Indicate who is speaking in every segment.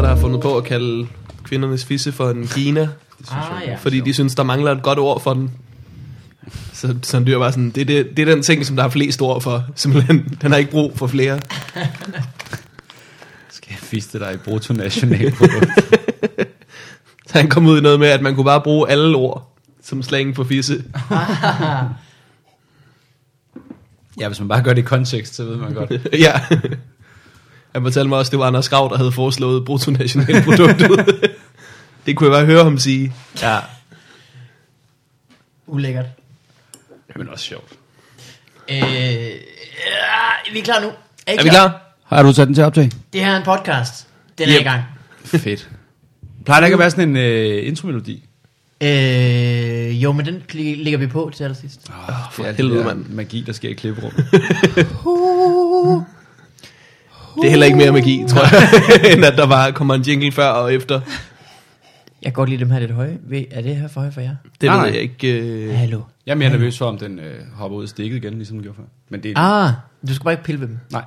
Speaker 1: at kalde kvindernes fisse for en gina,
Speaker 2: Ah, ja.
Speaker 1: fordi de synes, der mangler et godt ord for den. Så, så dyr var sådan, det, er det, det er den ting, som der er flest ord for, simpelthen. Den har ikke brug for flere.
Speaker 3: Skal jeg fiste dig i bruttonationalprodukt?
Speaker 1: Så han kom ud i noget med, at man kunne bare bruge alle ord som slang for fisse.
Speaker 3: ja, hvis man bare gør det i kontekst, så ved man godt.
Speaker 1: ja. Han fortalte mig også, at det var Anders Grav, der havde foreslået bruttonationalproduktet. det kunne jeg bare høre ham sige.
Speaker 3: Ja.
Speaker 2: Ulækkert.
Speaker 3: Men også sjovt.
Speaker 2: Øh, ja, vi er klar nu. Er, I
Speaker 1: Er vi klar?
Speaker 4: Har du sat den til at optage?
Speaker 2: Det her er en podcast. Den er
Speaker 1: Yep.
Speaker 2: i gang.
Speaker 3: Fedt. Plejer der ikke at være sådan en øh, intromelodi?
Speaker 2: Øh, jo, men den kli- lægger vi på til allersidst.
Speaker 3: Oh,
Speaker 1: for helvede, mand.
Speaker 3: Magi, der sker i klipperummet.
Speaker 1: Det er heller ikke mere magi, tror jeg, end at der bare kommer en jingle før og efter.
Speaker 2: Jeg kan godt lide dem her lidt høje. Ved- Er det her for højt for jer?
Speaker 1: Det
Speaker 3: Nej,
Speaker 1: ved
Speaker 3: nej.
Speaker 1: jeg ikke. Øh...
Speaker 2: Hallo.
Speaker 3: Jeg er mere nervøs for, om den øh, hopper ud af stikket igen, ligesom den gjorde før. Men det er...
Speaker 2: Ah, du skal bare ikke pille ved dem.
Speaker 3: Nej.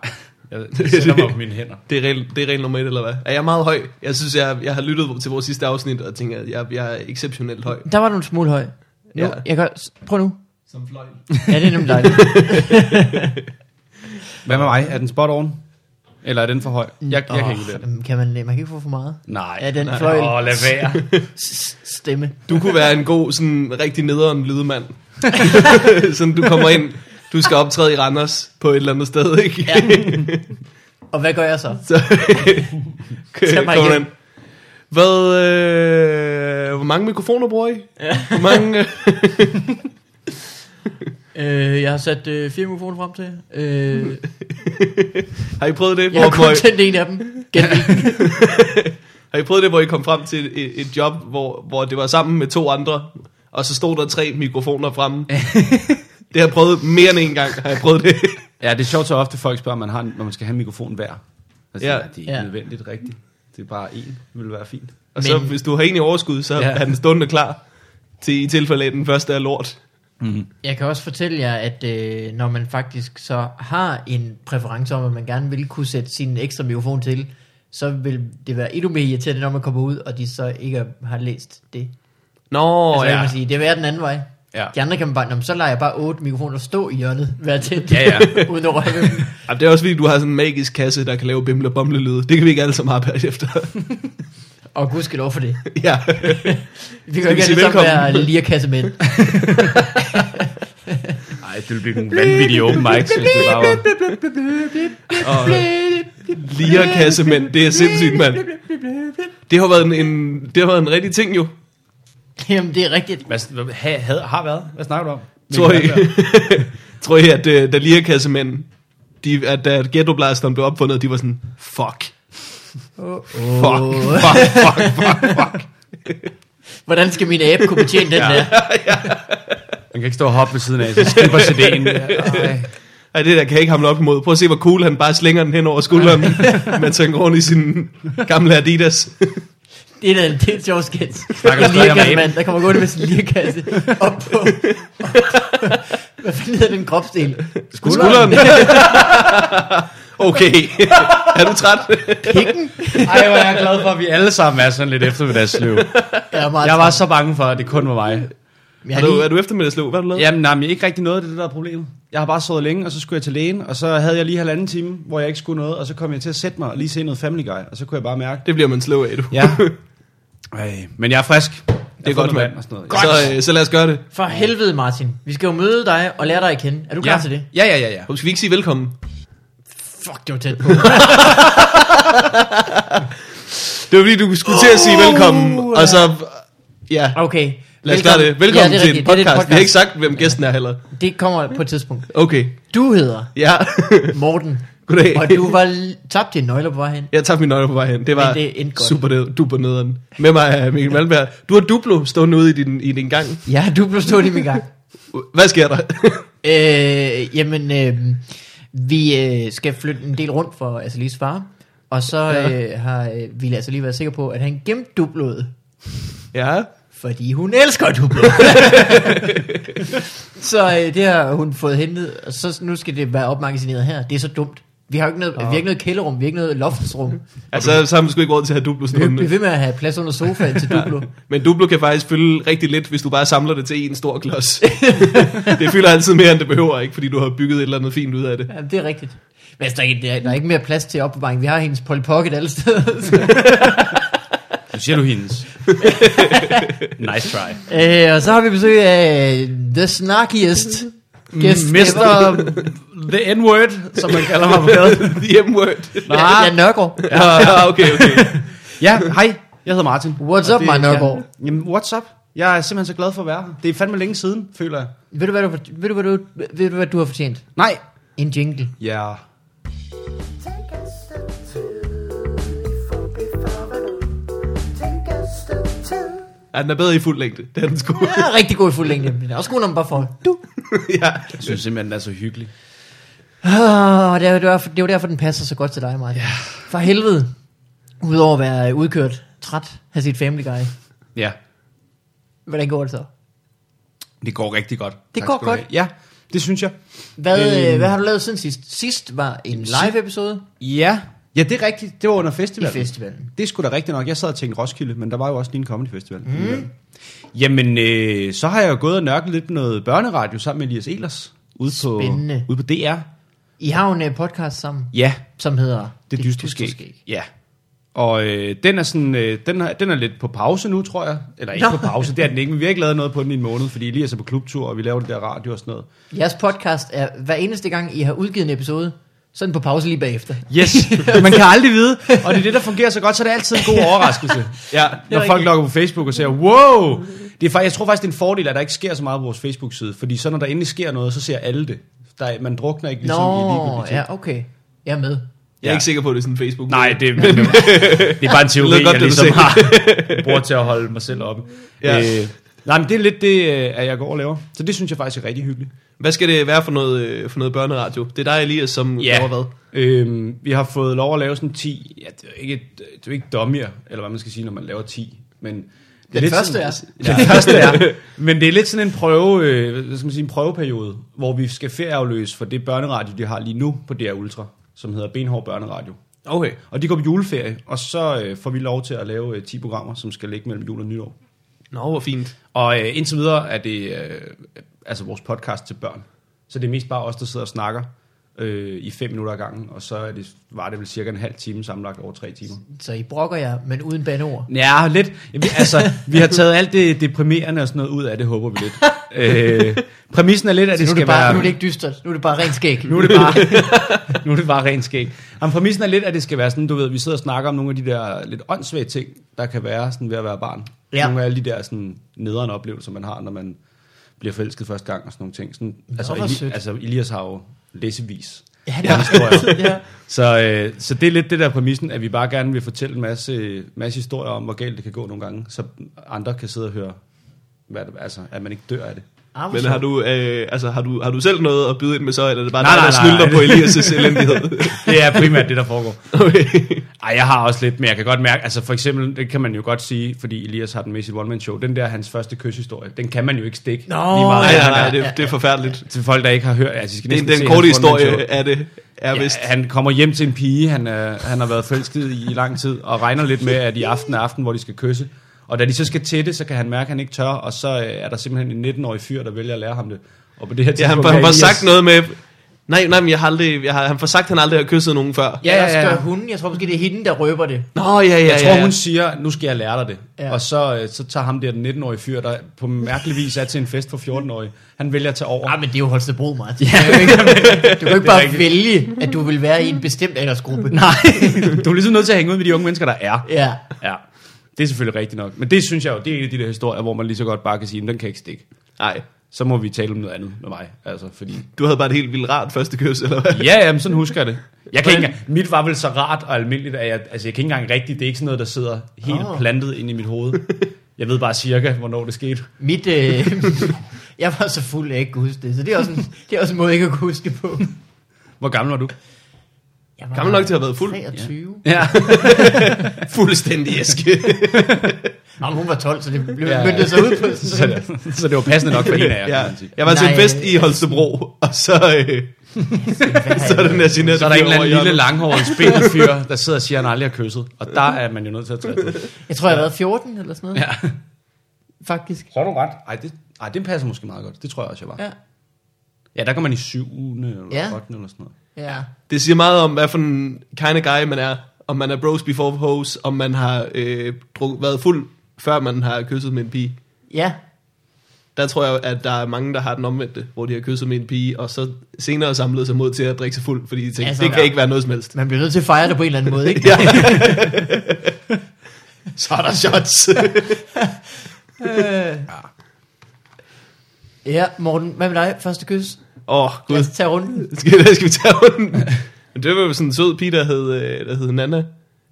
Speaker 3: Jeg sætter mig på mine hænder.
Speaker 1: Det er, regel, det er regel nummer et, eller hvad? Er jeg meget høj? Jeg synes, jeg, jeg har lyttet til vores sidste afsnit, og tænker, at jeg, jeg er exceptionelt høj.
Speaker 2: Der var du en smule høj. Nu,
Speaker 1: Ja.
Speaker 2: ja. jeg kan, s- prøv nu.
Speaker 1: Som fløj.
Speaker 2: Ja, det er nemlig dejligt.
Speaker 3: Hvad med mig? Er den spot on? Eller er den for høj? Jeg, jeg oh, kan
Speaker 2: Åh,
Speaker 3: ikke lide den.
Speaker 2: jamen, kan man, man kan ikke få for meget.
Speaker 3: Nej.
Speaker 2: Er den fløjl?
Speaker 3: Åh, lad være.
Speaker 2: Stemme.
Speaker 1: Du kunne være en god, sådan rigtig nederen lydmand. sådan, du kommer ind, du skal optræde i Randers på et eller andet sted, ikke?
Speaker 2: Ja. Og hvad gør jeg så?
Speaker 1: Så
Speaker 2: Tag mig
Speaker 1: kommer
Speaker 2: igen.
Speaker 1: den. Hvad, øh, hvor mange mikrofoner bruger I? Ja. Hvor mange, øh,
Speaker 2: Øh, jeg har sat øh, fire mikrofoner frem til. Øh,
Speaker 1: har I prøvet det?
Speaker 2: jeg har
Speaker 1: hvor, hvor,
Speaker 2: kun tændt en af dem. Gæt hvilken.
Speaker 1: har I prøvet det, hvor I kom frem til et, et job, hvor, hvor det var sammen med to andre, og så stod der tre mikrofoner fremme? det har jeg prøvet mere end en gang, har jeg prøvet det.
Speaker 3: Ja, det er sjovt så ofte, folk spørger, om man, har, en- om man skal have en mikrofon hver. Altså,
Speaker 1: Ja.
Speaker 3: ja. Det er ikke
Speaker 2: Ja.
Speaker 3: ja. nødvendigt rigtigt. Det er bare én, det ville være fint.
Speaker 1: Og så
Speaker 2: Men-
Speaker 1: hvis du har en i overskud, så
Speaker 3: Ja.
Speaker 1: er den stående klar til i tilfælde af, at den første er lort.
Speaker 3: Mhm.
Speaker 2: Jeg kan også fortælle jer, at øh, når man faktisk så har en præference om, at man gerne vil kunne sætte sin ekstra mikrofon til, så vil det være endnu mere irriterende, når man kommer ud, og de så ikke har læst det.
Speaker 1: Nå,
Speaker 2: Altså, ja. jeg
Speaker 1: ja.
Speaker 2: må sige, det vil være den anden vej.
Speaker 3: Ja.
Speaker 2: De andre kan man bare, "Nå, men så lader jeg bare otte mikrofoner stå i hjørnet, hver tændt,
Speaker 3: Ja, ja.
Speaker 2: uden at røre ved dem."
Speaker 1: Jamen, det er også fordi, du har sådan en magisk kasse, der kan lave bimle bomle lyde. Det kan vi ikke alle sammen arbejde efter.
Speaker 2: Og gud skal lov for det.
Speaker 1: ja.
Speaker 2: Vi kan
Speaker 1: Skal
Speaker 2: jo
Speaker 1: vi
Speaker 2: ikke
Speaker 1: sige
Speaker 2: alle sammen
Speaker 1: velkommen?
Speaker 2: være lirkassemænd.
Speaker 3: Nej, det ville blive nogle vanvittige open mics, hvis det bare var...
Speaker 1: Og lirakasse, men det er sindssygt, mand. Det har været en, en, det har været en rigtig ting, jo.
Speaker 2: Jamen, det er rigtigt.
Speaker 3: Hvad, hvad, ha, had, har været? Hvad snakker du om?
Speaker 1: Tror I, tror I at uh, da lirekassemænd, de, at da ghettoblasteren blev opfundet, de var sådan, fuck, fuck, fuck, fuck, fuck, fuck.
Speaker 2: Hvordan skal min abe kunne betjene den
Speaker 3: Ja.
Speaker 2: der?
Speaker 3: Man kan ikke stå og hoppe ved siden af, så skipper CD'en. Ej.
Speaker 1: Ej, det der kan jeg ikke hamle op imod. Prøv at se, hvor cool han bare slænger den hen over skulderen, mens han går rundt i sin gamle Adidas.
Speaker 2: Det er da en helt sjov sketch.
Speaker 3: Snakker
Speaker 2: En
Speaker 3: du stadig om
Speaker 2: lirekassemand, der kommer gående med sin lirekasse op på... Op på hvad fanden hedder den kropsdel?
Speaker 1: Skulderen. okay. er du træt?
Speaker 2: Pikken?
Speaker 3: Ej, hvor er jeg glad for, at vi alle sammen er sådan lidt eftermiddagsløv.
Speaker 2: Jeg er meget
Speaker 3: Jeg var så bange for, at det kun var mig.
Speaker 2: træt. jeg
Speaker 1: Er
Speaker 2: har
Speaker 1: du,
Speaker 2: lige,
Speaker 1: er du eftermiddagsløb? Hvad har du lavet?
Speaker 3: Jamen, nej, men ikke rigtig noget af det, der er problemet. Jeg har bare sovet længe, og så skulle jeg til lægen, og så havde jeg lige halvanden time, hvor jeg ikke skulle noget, og så kom jeg til at sætte mig og lige se noget Family Guy, og så kunne jeg bare mærke det.
Speaker 1: Det bliver man slå af, du.
Speaker 3: Ja. Ej, men jeg er frisk. Det
Speaker 1: er godt, mand.
Speaker 3: og sådan noget.
Speaker 1: Så, øh, så lad os gøre det.
Speaker 2: for helvede, Martin. Vi skal jo møde dig og lære dig at kende. Er du klar
Speaker 3: ja.
Speaker 2: til det?
Speaker 3: Ja, ja, ja, ja.
Speaker 1: Hov, Skal vi ikke sige velkommen?
Speaker 2: Fuck, det var tæt på.
Speaker 1: Det var fordi, du skulle til at sige velkommen, og så... Ja,
Speaker 2: Okay.
Speaker 1: lad os klare det. Velkommen
Speaker 2: ja, det er
Speaker 1: til
Speaker 2: rigtigt.
Speaker 1: en podcast.
Speaker 2: Det, er
Speaker 1: Vi har ikke sagt, hvem gæsten er heller.
Speaker 2: det kommer på et tidspunkt.
Speaker 1: Okay,
Speaker 2: Du hedder
Speaker 1: ja.
Speaker 2: Morten,
Speaker 1: Goddag.
Speaker 2: og du var l- tabt dine nøgler på vej hen.
Speaker 1: Jeg tager mine nøgler på vej hen. Det var
Speaker 2: Men det endte godt.
Speaker 1: super ned, duper nederen. Med mig er Mikkel Malmberg. Du har duplo stående ude i din, i din gang.
Speaker 2: Ja, du blev stået i min gang.
Speaker 1: Hvad sker der?
Speaker 2: Øh, jamen, øh, vi øh, skal flytte en del rundt for Azalis far, og så
Speaker 1: Ja.
Speaker 2: øh, har øh, ville Azali være sikker på, at han gemte dublodet,
Speaker 1: ja.
Speaker 2: fordi hun elsker dublod. så øh, det har hun fået hentet, og så nu skal det være opmagasineret her. Det er så dumt. Vi har jo ikke noget, vi har ikke noget kælderum, vi har ikke noget loftsrum.
Speaker 1: Altså, så har man sgu ikke råd til at have Duplo
Speaker 2: Vi kan blive
Speaker 1: stående.
Speaker 2: ved med at have plads under sofaen til Duplo.
Speaker 1: Men Duplo kan faktisk fylde rigtig lidt, hvis du bare samler det til en stor klods. det fylder altid mere, end det behøver, ikke? Fordi du har bygget et eller andet fint ud af det.
Speaker 2: Ja, det er rigtigt. Men altså, der, er, ikke- der, er- der er ikke mere plads til opbevaring. Vi har hendes Polly Pocket alle steder.
Speaker 3: Nu siger du hendes. nice try.
Speaker 2: øh, og så har vi besøg af øh, The Snarkiest
Speaker 3: Mm-hmm.
Speaker 2: Gæst
Speaker 3: Mester The N-word, som man kalder mig på gaden.
Speaker 1: The M-word.
Speaker 2: Ja, ja, Nørgaard.
Speaker 1: Ja, ja, okay, okay.
Speaker 3: Ja, hej. Jeg hedder Martin.
Speaker 2: What's
Speaker 3: Og
Speaker 2: up, Mark Nørgaard?
Speaker 3: Ja, jamen, what's up? Jeg er simpelthen så glad for at være her. Det er fandme længe siden, føler jeg.
Speaker 2: Ved du, hvad du, ved, du, hvad du, ved du, hvad du har fortjent?
Speaker 3: Nej.
Speaker 2: En jingle.
Speaker 3: Ja. Yeah.
Speaker 4: Take a step two before before Take a step two.
Speaker 1: Ja, den er bedre i fuld længde. Det er den sgu.
Speaker 2: Ja, rigtig god i fuld længde. Men den er også god, når man bare får... Du.
Speaker 1: ja.
Speaker 3: Jeg synes simpelthen, den er så hyggelig.
Speaker 2: Ah, det, er, jo derfor, det er jo derfor, den passer så godt til dig, Martin. For helvede. Udover at være udkørt, træt, have sit family guy.
Speaker 3: Ja,
Speaker 2: Hvordan går det så?
Speaker 3: det går rigtig godt.
Speaker 2: Det
Speaker 3: Tak
Speaker 2: går
Speaker 3: skal du have.
Speaker 2: godt.
Speaker 3: Ja, det synes jeg.
Speaker 2: Hvad, øh,
Speaker 3: Øhm.
Speaker 2: hvad har du lavet siden sidst? Sidst var en live episode
Speaker 3: Ja. Ja, det er rigtigt. Det var under
Speaker 2: i
Speaker 3: festivalen.
Speaker 2: festivalen.
Speaker 3: Det skulle sgu da rigtigt nok. Jeg sad og tænkte Roskilde, men der var jo også lige en comedy festival. Mm. Jamen, øh, så har jeg jo gået og nørklet lidt med noget børneradio sammen med Elias Elers. Ude på,
Speaker 2: Spændende.
Speaker 3: ude på DR.
Speaker 2: I har jo en øh, podcast sammen,
Speaker 3: Ja,
Speaker 2: som hedder
Speaker 3: det, det dystre skæg. Ja. Og øh, den er sådan, øh, den, er, den er lidt på pause nu, tror jeg. Eller ikke
Speaker 2: Nå.
Speaker 3: på pause, det er den ikke, men vi har ikke lavet noget på den i en måned, fordi Elias er på klubtur, og vi laver det der radio og sådan noget.
Speaker 2: Jeres podcast er hver eneste gang, I har udgivet en episode, sådan på pause lige bagefter.
Speaker 3: Yes, man kan aldrig vide, og det er det, der fungerer så godt, så det er altid en god overraskelse. Ja, når folk
Speaker 2: rigtigt.
Speaker 3: logger på Facebook og siger, wow, det er, fa- jeg tror faktisk, det er en fordel, at der ikke sker så meget på vores Facebook-side, fordi så når der endelig sker noget, så ser alle det. Der, er- man drukner ikke ligesom i
Speaker 2: Nå,
Speaker 3: ligegyldige ting.
Speaker 2: ja, okay. Jeg er med.
Speaker 1: Jeg er ikke sikker på, at det er sådan en facebook
Speaker 3: Nej, det, men, det er bare en teori,
Speaker 1: Det lyder godt,
Speaker 3: jeg
Speaker 1: det, du
Speaker 3: ligesom
Speaker 1: siger.
Speaker 3: har bruger til at holde mig selv oppe.
Speaker 1: Ja.
Speaker 3: Ja. Øh, nej, men det er lidt det, øh, at jeg går og laver. Så det synes jeg faktisk er rigtig hyggeligt.
Speaker 1: Hvad skal det være for noget, øh, for noget børneradio? Det er dig, Elias, som
Speaker 3: Ja.
Speaker 1: laver hvad?
Speaker 3: Øhm, vi har fået lov at lave sådan 10, ja, det er jo ikke, det er jo ikke dummier, eller hvad man skal sige, når man laver 10, men... Det
Speaker 2: Den første
Speaker 3: sådan,
Speaker 2: er.
Speaker 3: Ja, den første er. Men det er lidt sådan en prøve, øh, hvad skal man sige, en prøveperiode, hvor vi skal ferieafløse for det børneradio, de har lige nu på DR Ultra, som hedder Benhård Børneradio.
Speaker 1: Okay.
Speaker 3: Og de går på juleferie, og så øh, får vi lov til at lave øh, 10 programmer, som skal ligge mellem jul og nytår.
Speaker 1: Nå, hvor fint.
Speaker 3: Og øh, indtil videre er det øh, altså vores podcast til børn. Så det er mest bare os, der sidder og snakker øh, i fem minutter ad gangen, og så er det, var det vel cirka en halv time sammenlagt over tre timer.
Speaker 2: Så I brokker jer, men uden bandeord.
Speaker 3: Ja, lidt. Jamen, altså, vi har taget alt det deprimerende og sådan noget ud af det, håber vi lidt. Øh, præmissen er lidt, at
Speaker 2: Så
Speaker 3: det
Speaker 2: nu, er
Speaker 3: skal
Speaker 2: det bare,
Speaker 3: være...
Speaker 2: nu er det ikke dystert, nu er det bare rent skæg.
Speaker 3: Nu er det bare, nu er det bare rent skæg. Jamen, præmissen er lidt, at det skal være sådan, du ved, vi sidder og snakker om nogle af de der lidt åndssvage ting, der kan være sådan ved at være barn.
Speaker 2: Ja.
Speaker 3: Ja. Nogle af alle de der sådan nederen oplevelser, man har, når man bliver forelsket første gang og sådan nogle ting. Sådan, altså,
Speaker 2: hvor sødt.
Speaker 3: altså, Elias har jo læsevis.
Speaker 2: Ja,
Speaker 3: Ja,
Speaker 2: det
Speaker 3: historier.
Speaker 2: ja.
Speaker 3: så, øh, så det er lidt det der præmissen, at vi bare gerne vil fortælle en masse, masse historier om, hvor galt det kan gå nogle gange, så andre kan sidde og høre, hvad det, altså, at man ikke dør af det.
Speaker 2: Ah, hvor
Speaker 1: Men har
Speaker 2: sjovt.
Speaker 1: du, øh, altså, har, du, har du selv noget at byde ind med så, eller er det bare
Speaker 3: Nej,
Speaker 1: dig, der
Speaker 3: nej,
Speaker 1: snylder
Speaker 3: nej.
Speaker 1: på Elias' elendighed?
Speaker 3: Det er primært det, der foregår.
Speaker 1: Okay.
Speaker 3: Ej, jeg har også lidt, men jeg kan godt mærke, altså for eksempel, det kan man jo godt sige, fordi Elias har den med i sit one-man-show, den der hans første kyshistorie, den kan man jo ikke stikke.
Speaker 2: Nå,
Speaker 1: Nej,
Speaker 3: han
Speaker 1: nej,
Speaker 3: er.
Speaker 1: nej, det, det er forfærdeligt.
Speaker 3: Til folk, der ikke har hørt, altså I skal
Speaker 1: Den,
Speaker 3: næsten
Speaker 1: den
Speaker 3: se
Speaker 1: korte
Speaker 3: hans one-man-show.
Speaker 1: historie af det er
Speaker 3: Ja,
Speaker 1: vist...
Speaker 3: han kommer hjem til en pige, han, øh, han har været forelsket i, i lang tid, og regner lidt med, at i aften er aften, hvor de skal kysse. Og da de så skal tætte, så kan han mærke, at han ikke tør, og så øh, er der simpelthen en 19-årig fyr, der vælger at lære ham det. Og på det her
Speaker 1: Ja, han,
Speaker 3: tidspunkt
Speaker 1: han,
Speaker 3: er
Speaker 1: får
Speaker 3: Elias-
Speaker 1: sagt noget med... Nej, nej, men jeg har aldrig... Jeg har, han får sagt, at han aldrig har kysset nogen før.
Speaker 3: Ja, ja, ja.
Speaker 2: Oscar, hun, jeg tror måske, det er hende, der røber det.
Speaker 1: Nå, ja, ja,
Speaker 3: Jeg
Speaker 1: ja,
Speaker 3: tror,
Speaker 1: ja.
Speaker 3: hun siger, nu skal jeg lære dig det.
Speaker 2: Ja.
Speaker 3: Ja. Og så, øh, så tager ham der den 19-årige fyr, der på mærkelig vis er til en fest for 14-årige. Han vælger at tage over.
Speaker 2: Ah, men det er jo Holstebro, Martin. Ja. Du kan jo ikke, du kan jo ikke bare
Speaker 3: rigtigt.
Speaker 2: vælge, at du vil være i en bestemt aldersgruppe.
Speaker 3: Nej, du er ligesom nødt til at hænge ud med de unge mennesker, der er.
Speaker 2: Ja.
Speaker 3: Ja, det er selvfølgelig rigtigt nok. Men det synes jeg jo, det er en af de der historier, hvor man lige så godt bare kan sige, "Men den kan ikke stikke.
Speaker 1: Nej,
Speaker 3: Så må vi tale om noget andet med mig. Altså, fordi...
Speaker 1: du havde bare et helt vildt rart første kys, eller hvad?
Speaker 3: Ja, jamen, sådan husker jeg det. Jeg kan ikke
Speaker 1: Hvordan-
Speaker 3: engang, mit var vel så rart og almindeligt, at jeg, altså, jeg kan ikke engang rigtigt, det er ikke sådan noget, der sidder helt
Speaker 2: Åh.
Speaker 1: Ah.
Speaker 3: oh. plantet ind i mit hoved. Jeg ved bare cirka, hvornår det skete.
Speaker 2: Mit, øh, jeg var så fuld, at jeg ikke kunne huske det. Så det er også en, det er også en måde, ikke at kunne huske det på.
Speaker 3: Hvor gammel var du?
Speaker 2: Jeg var
Speaker 1: Gammel nok til at have været fuld.
Speaker 2: 23.
Speaker 3: Ja.
Speaker 1: Fuldstændig æske.
Speaker 2: Ja. Nå, men hun var 12, så det blev
Speaker 3: Ja,
Speaker 2: ja,
Speaker 3: ja.
Speaker 2: myndet sig ud på.
Speaker 3: så, så det var passende nok for en af jer, kan
Speaker 1: ja.
Speaker 3: man sige.
Speaker 1: Jeg var til en
Speaker 2: Nej.
Speaker 1: fest i Holstebro, og så, øh, så er det Nasinette.
Speaker 3: Så er der en eller anden lille langhåret spindet fyr, der sidder og siger, at han aldrig har kysset. Og der er man jo nødt til at træde til.
Speaker 2: Jeg tror, jeg har været 14 eller sådan noget.
Speaker 3: Ja.
Speaker 2: Faktisk.
Speaker 3: Så er du ret. Ej, det, ej, det passer måske meget godt. Det tror jeg også, jeg var. Ja,
Speaker 2: Ja.
Speaker 3: ja der går man i syvende eller
Speaker 2: Ja.
Speaker 3: ja. 8. eller sådan noget.
Speaker 2: Ja.
Speaker 1: Det siger meget om, hvad for en kind of guy man er. Om man er bros before hoes, om man har øh, druk, været fuld, før man har kysset med en pige.
Speaker 2: Ja.
Speaker 1: Der tror jeg, at der er mange, der har den omvendte, hvor de har kysset med en pige, og så senere samlet sig mod til at drikke sig fuld, fordi de tænker,
Speaker 2: Ja,
Speaker 1: ja,
Speaker 2: sådan
Speaker 1: det kan
Speaker 2: der.
Speaker 1: ikke være noget som helst.
Speaker 2: Man bliver nødt til at fejre det på en eller anden måde, ikke?
Speaker 1: Ja. så er der shots.
Speaker 2: Ja, Morten, hvad med dig? Første kys?
Speaker 1: Åh, oh,
Speaker 2: Lad
Speaker 1: gud.
Speaker 2: os tage runden.
Speaker 1: Skal, vi- skal vi tage runden? Men det var jo sådan en sød pige, der hed, øh, der hed Nana.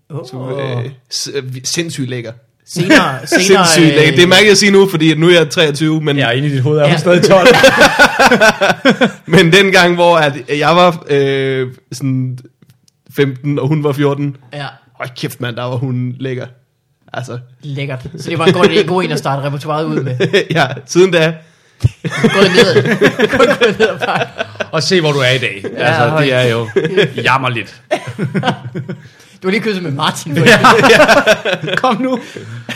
Speaker 1: Som,
Speaker 2: Oh.
Speaker 1: øh, s- øh, sindssygt lækker.
Speaker 2: Senere, senere,
Speaker 1: Sindssygt
Speaker 2: øh,
Speaker 1: lækker. Det mærker jeg at sige nu, fordi at nu er jeg 23, men, ja.
Speaker 3: inde i dit hoved,
Speaker 2: er hun stadig
Speaker 3: 12.
Speaker 1: men den gang, hvor at jeg var øh, sådan 15, og hun var 14.
Speaker 2: Ja,
Speaker 1: Hold kæft, mand, der var hun lækker. Altså,
Speaker 2: lækkert. Så det var en god, en god en at starte repertoireet ud med.
Speaker 1: ja, siden da,
Speaker 2: Gået ned, kun gået ned og bakke.
Speaker 3: og se, hvor du er i dag. Ja, altså,
Speaker 2: højt.
Speaker 3: det er jo jammerligt.
Speaker 2: Du har lige kysset med Martin. for eksempel.
Speaker 3: Kom nu.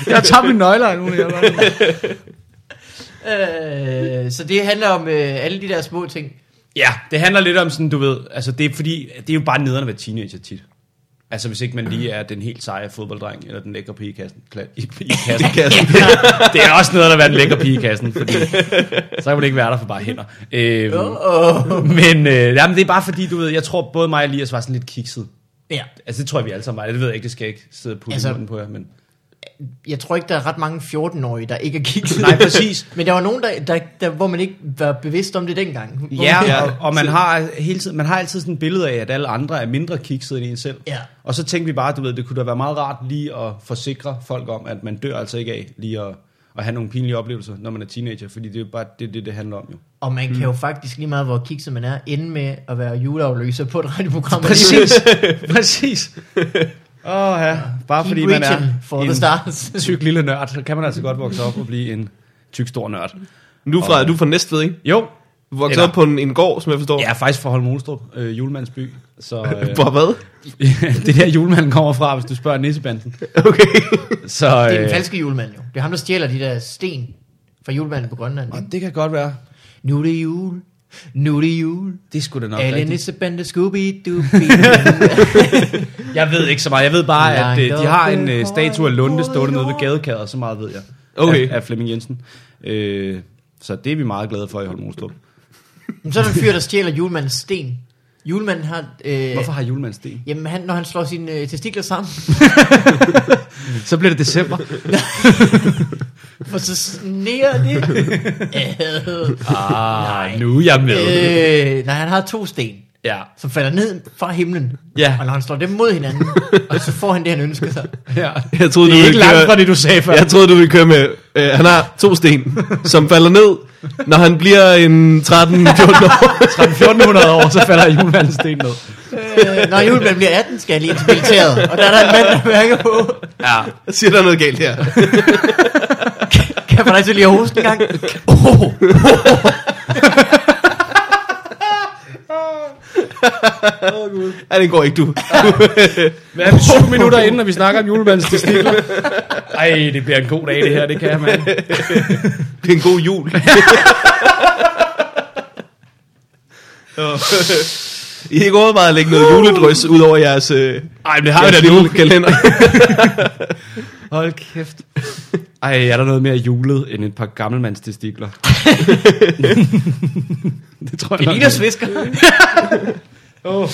Speaker 3: Jeg tager mine nøgler nu. Jeg
Speaker 2: Øh, så det handler om øh, alle de der små ting.
Speaker 3: ja, det handler lidt om sådan, du ved, altså det er fordi, det er jo bare nederen at være teenager tit. Altså hvis ikke man lige er den helt seje fodbolddreng, eller den lækre pige i kassen. Kla- i, i kassen.
Speaker 1: kan jeg
Speaker 3: det er også noget at være den lækre pige i kassen, fordi så kan man ikke være der for bare hænder. Øhm,
Speaker 2: Oh.
Speaker 3: Men øh, jamen, det er bare fordi, du ved, jeg tror både mig og Elias var sådan lidt kikset.
Speaker 2: Ja,
Speaker 3: Altså det tror jeg, vi alle sammen var. Det ved jeg ikke, det skal jeg ikke sidde og putte
Speaker 2: Altså-
Speaker 3: altså, munden på jer. Men...
Speaker 2: jeg tror ikke, der er ret mange 14-årige, der ikke er kikset.
Speaker 3: Nej, præcis.
Speaker 2: Men der var nogen, der, der, der, hvor man ikke var bevidst om det dengang. Hvor
Speaker 3: Ja,
Speaker 2: man-
Speaker 1: Ja.
Speaker 3: og, og man, har hele tiden, man har altid sådan et billede af, at alle andre er mindre kiksede end en selv.
Speaker 2: Ja.
Speaker 3: Og så tænkte vi bare, du ved, det kunne da være meget rart lige at forsikre folk om, at man dør altså ikke af lige at, at have nogle pinlige oplevelser, når man er teenager, fordi det er jo bare det, det, det handler om jo.
Speaker 2: Og man
Speaker 3: Mm.
Speaker 2: kan jo faktisk lige meget, hvor kikset man er, ende med at være juleafløser på et radioprogram.
Speaker 3: præcis. Åh oh, ja, bare
Speaker 2: Keep
Speaker 3: fordi man er
Speaker 2: reaching for the
Speaker 3: en
Speaker 2: stars.
Speaker 3: tyk lille nørd, så kan man altså godt vokse op og blive en tyk stor nørd.
Speaker 1: Nu fra, du er fra Næstved, ikke?
Speaker 3: Jo,
Speaker 1: Du voksede
Speaker 3: Eller-
Speaker 1: op på en, en gård, som jeg forstår.
Speaker 3: jeg er faktisk fra Holm Olstrup, øh, julemandsby. Så, øh,
Speaker 1: Hvor hvad?
Speaker 3: det er der julemanden kommer fra, hvis du spørger nissebanden.
Speaker 1: Okay.
Speaker 3: Så,
Speaker 2: Det er den
Speaker 3: øh,
Speaker 2: falske julemand jo. Det er ham, der stjæler de der sten fra julemanden på Grønland.
Speaker 3: og
Speaker 2: ikke?
Speaker 3: det kan godt være.
Speaker 2: Nu er det jul. Nu er det jul.
Speaker 3: Det skulle da nok
Speaker 2: Alle
Speaker 3: rigtigt.
Speaker 2: nissebande scooby doo
Speaker 3: Jeg ved ikke så meget. Jeg ved bare, at øh,
Speaker 2: Langt
Speaker 3: de har
Speaker 2: op
Speaker 3: en
Speaker 2: ad
Speaker 3: øh, statue af Lunde stående nede ved
Speaker 2: korridoren.
Speaker 3: gadekæder, så meget ved jeg.
Speaker 1: Okay.
Speaker 3: Af, af Flemming Jensen. Øh, så det er vi meget glade for i Holm Olstrup.
Speaker 2: Så er der en fyr, der stjæler julemandens sten. Julemanden har... Øh,
Speaker 3: Hvorfor har julemanden sten?
Speaker 2: Jamen, han, når han slår sine øh, testikler sammen,
Speaker 3: Så bliver det december.
Speaker 2: for så sneer det. Øh,
Speaker 3: ah, nu er jeg med.
Speaker 2: øh, nej, han har to sten,
Speaker 3: Ja.
Speaker 2: som falder ned fra himlen.
Speaker 3: Ja.
Speaker 2: Og når han slår dem mod hinanden, så får han det, han ønsker sig.
Speaker 3: ja.
Speaker 1: Jeg troede,
Speaker 3: Det
Speaker 1: du
Speaker 3: er
Speaker 1: ville
Speaker 3: ikke langt fra
Speaker 1: køre,
Speaker 3: det, du sagde før.
Speaker 1: jeg troede, du ville køre med, øh, han har to sten, som falder ned, når han bliver en 13-14 år.
Speaker 3: 1400 år, så falder julemandens sten ned.
Speaker 2: Øh, når julemanden bliver 18, skal jeg lige til militæret. Og der er der en mand, der mærker på.
Speaker 3: Ja.
Speaker 1: Jeg siger, der er noget galt her.
Speaker 2: Kan jeg få dig til lige at hoste en gang?
Speaker 1: Ja, den går ikke, du.
Speaker 3: Hvad er det, syv minutter inden, når vi snakker om julemandens testikler? Ej, det bliver en god dag, det her, det kan jeg, mand.
Speaker 1: Det er en god jul. Åh. I har ikke overvejet at lægge noget juledrys ud over jeres, øh,
Speaker 3: Ej, men det har vi da
Speaker 1: jeres
Speaker 3: nu.
Speaker 1: julekalender.
Speaker 3: Hold kæft. Ej, er der noget mere julet end et par gammelmandstestikler? det tror jeg
Speaker 2: Det
Speaker 3: nok.
Speaker 2: ligner svisker.
Speaker 3: Åh.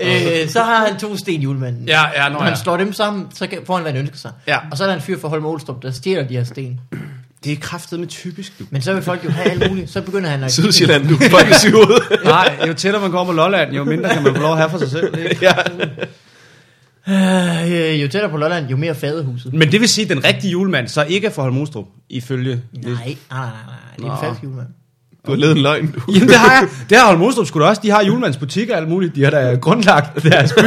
Speaker 2: øh, så har han to sten, julemanden.
Speaker 3: Ja, ja, nå
Speaker 2: Når han
Speaker 3: ja.
Speaker 2: slår dem sammen, så kan- får han, hvad han ønsker sig.
Speaker 3: Ja.
Speaker 2: Og så er der en fyr fra Holm Olstrup, der stjæler de her sten.
Speaker 3: Det er kraftet med typisk, du.
Speaker 2: Men så vil folk jo have alt muligt. Så begynder han at...
Speaker 1: Sydsjælland, du er fucking syg ud.
Speaker 3: Nej, jo tættere man kommer på Lolland, jo mindre kan man få lov at have for sig selv. Ikke?
Speaker 1: ja.
Speaker 2: Øh, jo tættere på Lolland, jo mere fadehuset.
Speaker 3: Men det vil sige, at den rigtige julemand så ikke er fra Holmostrup, ifølge...
Speaker 2: Nej, nej, nej, nej, nej. Det er en
Speaker 3: Nå.
Speaker 2: falsk julemand.
Speaker 1: Du har levet en løgn, du.
Speaker 3: Jamen det har jeg. Det har Holmostrup sgu da også. De har julemandsbutikker og alt muligt. De har da grundlagt deres by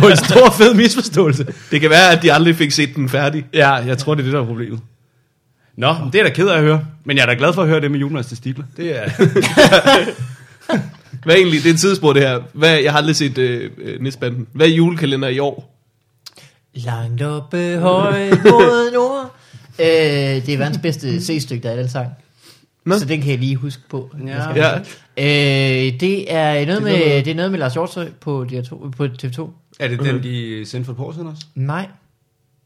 Speaker 3: på en stor fed misforståelse.
Speaker 1: Det kan være, at de aldrig fik set den færdig.
Speaker 3: Ja, jeg tror, det er det, der er problemet. Nå, men det er jeg da ked af at høre. Men jeg er da glad for at høre det med julemandens testikler. Det er...
Speaker 1: Hvad er egentlig, det er et tidsspur det her. Hvad, jeg har aldrig set øh, øh, Nisbanden. Hvad er julekalender i år?
Speaker 2: Langt oppe højt mod nord. Øh, det er verdens bedste C-stykke, der er i den sang.
Speaker 1: Nå.
Speaker 2: Nå. Så den kan jeg lige huske på. Jeg skal-
Speaker 1: Ja.
Speaker 2: Øh, det, er noget med, det er noget med Lars Hjortøj på, DR2, på TV2.
Speaker 3: Er det den, de sendte for et par år siden også?
Speaker 2: Nej,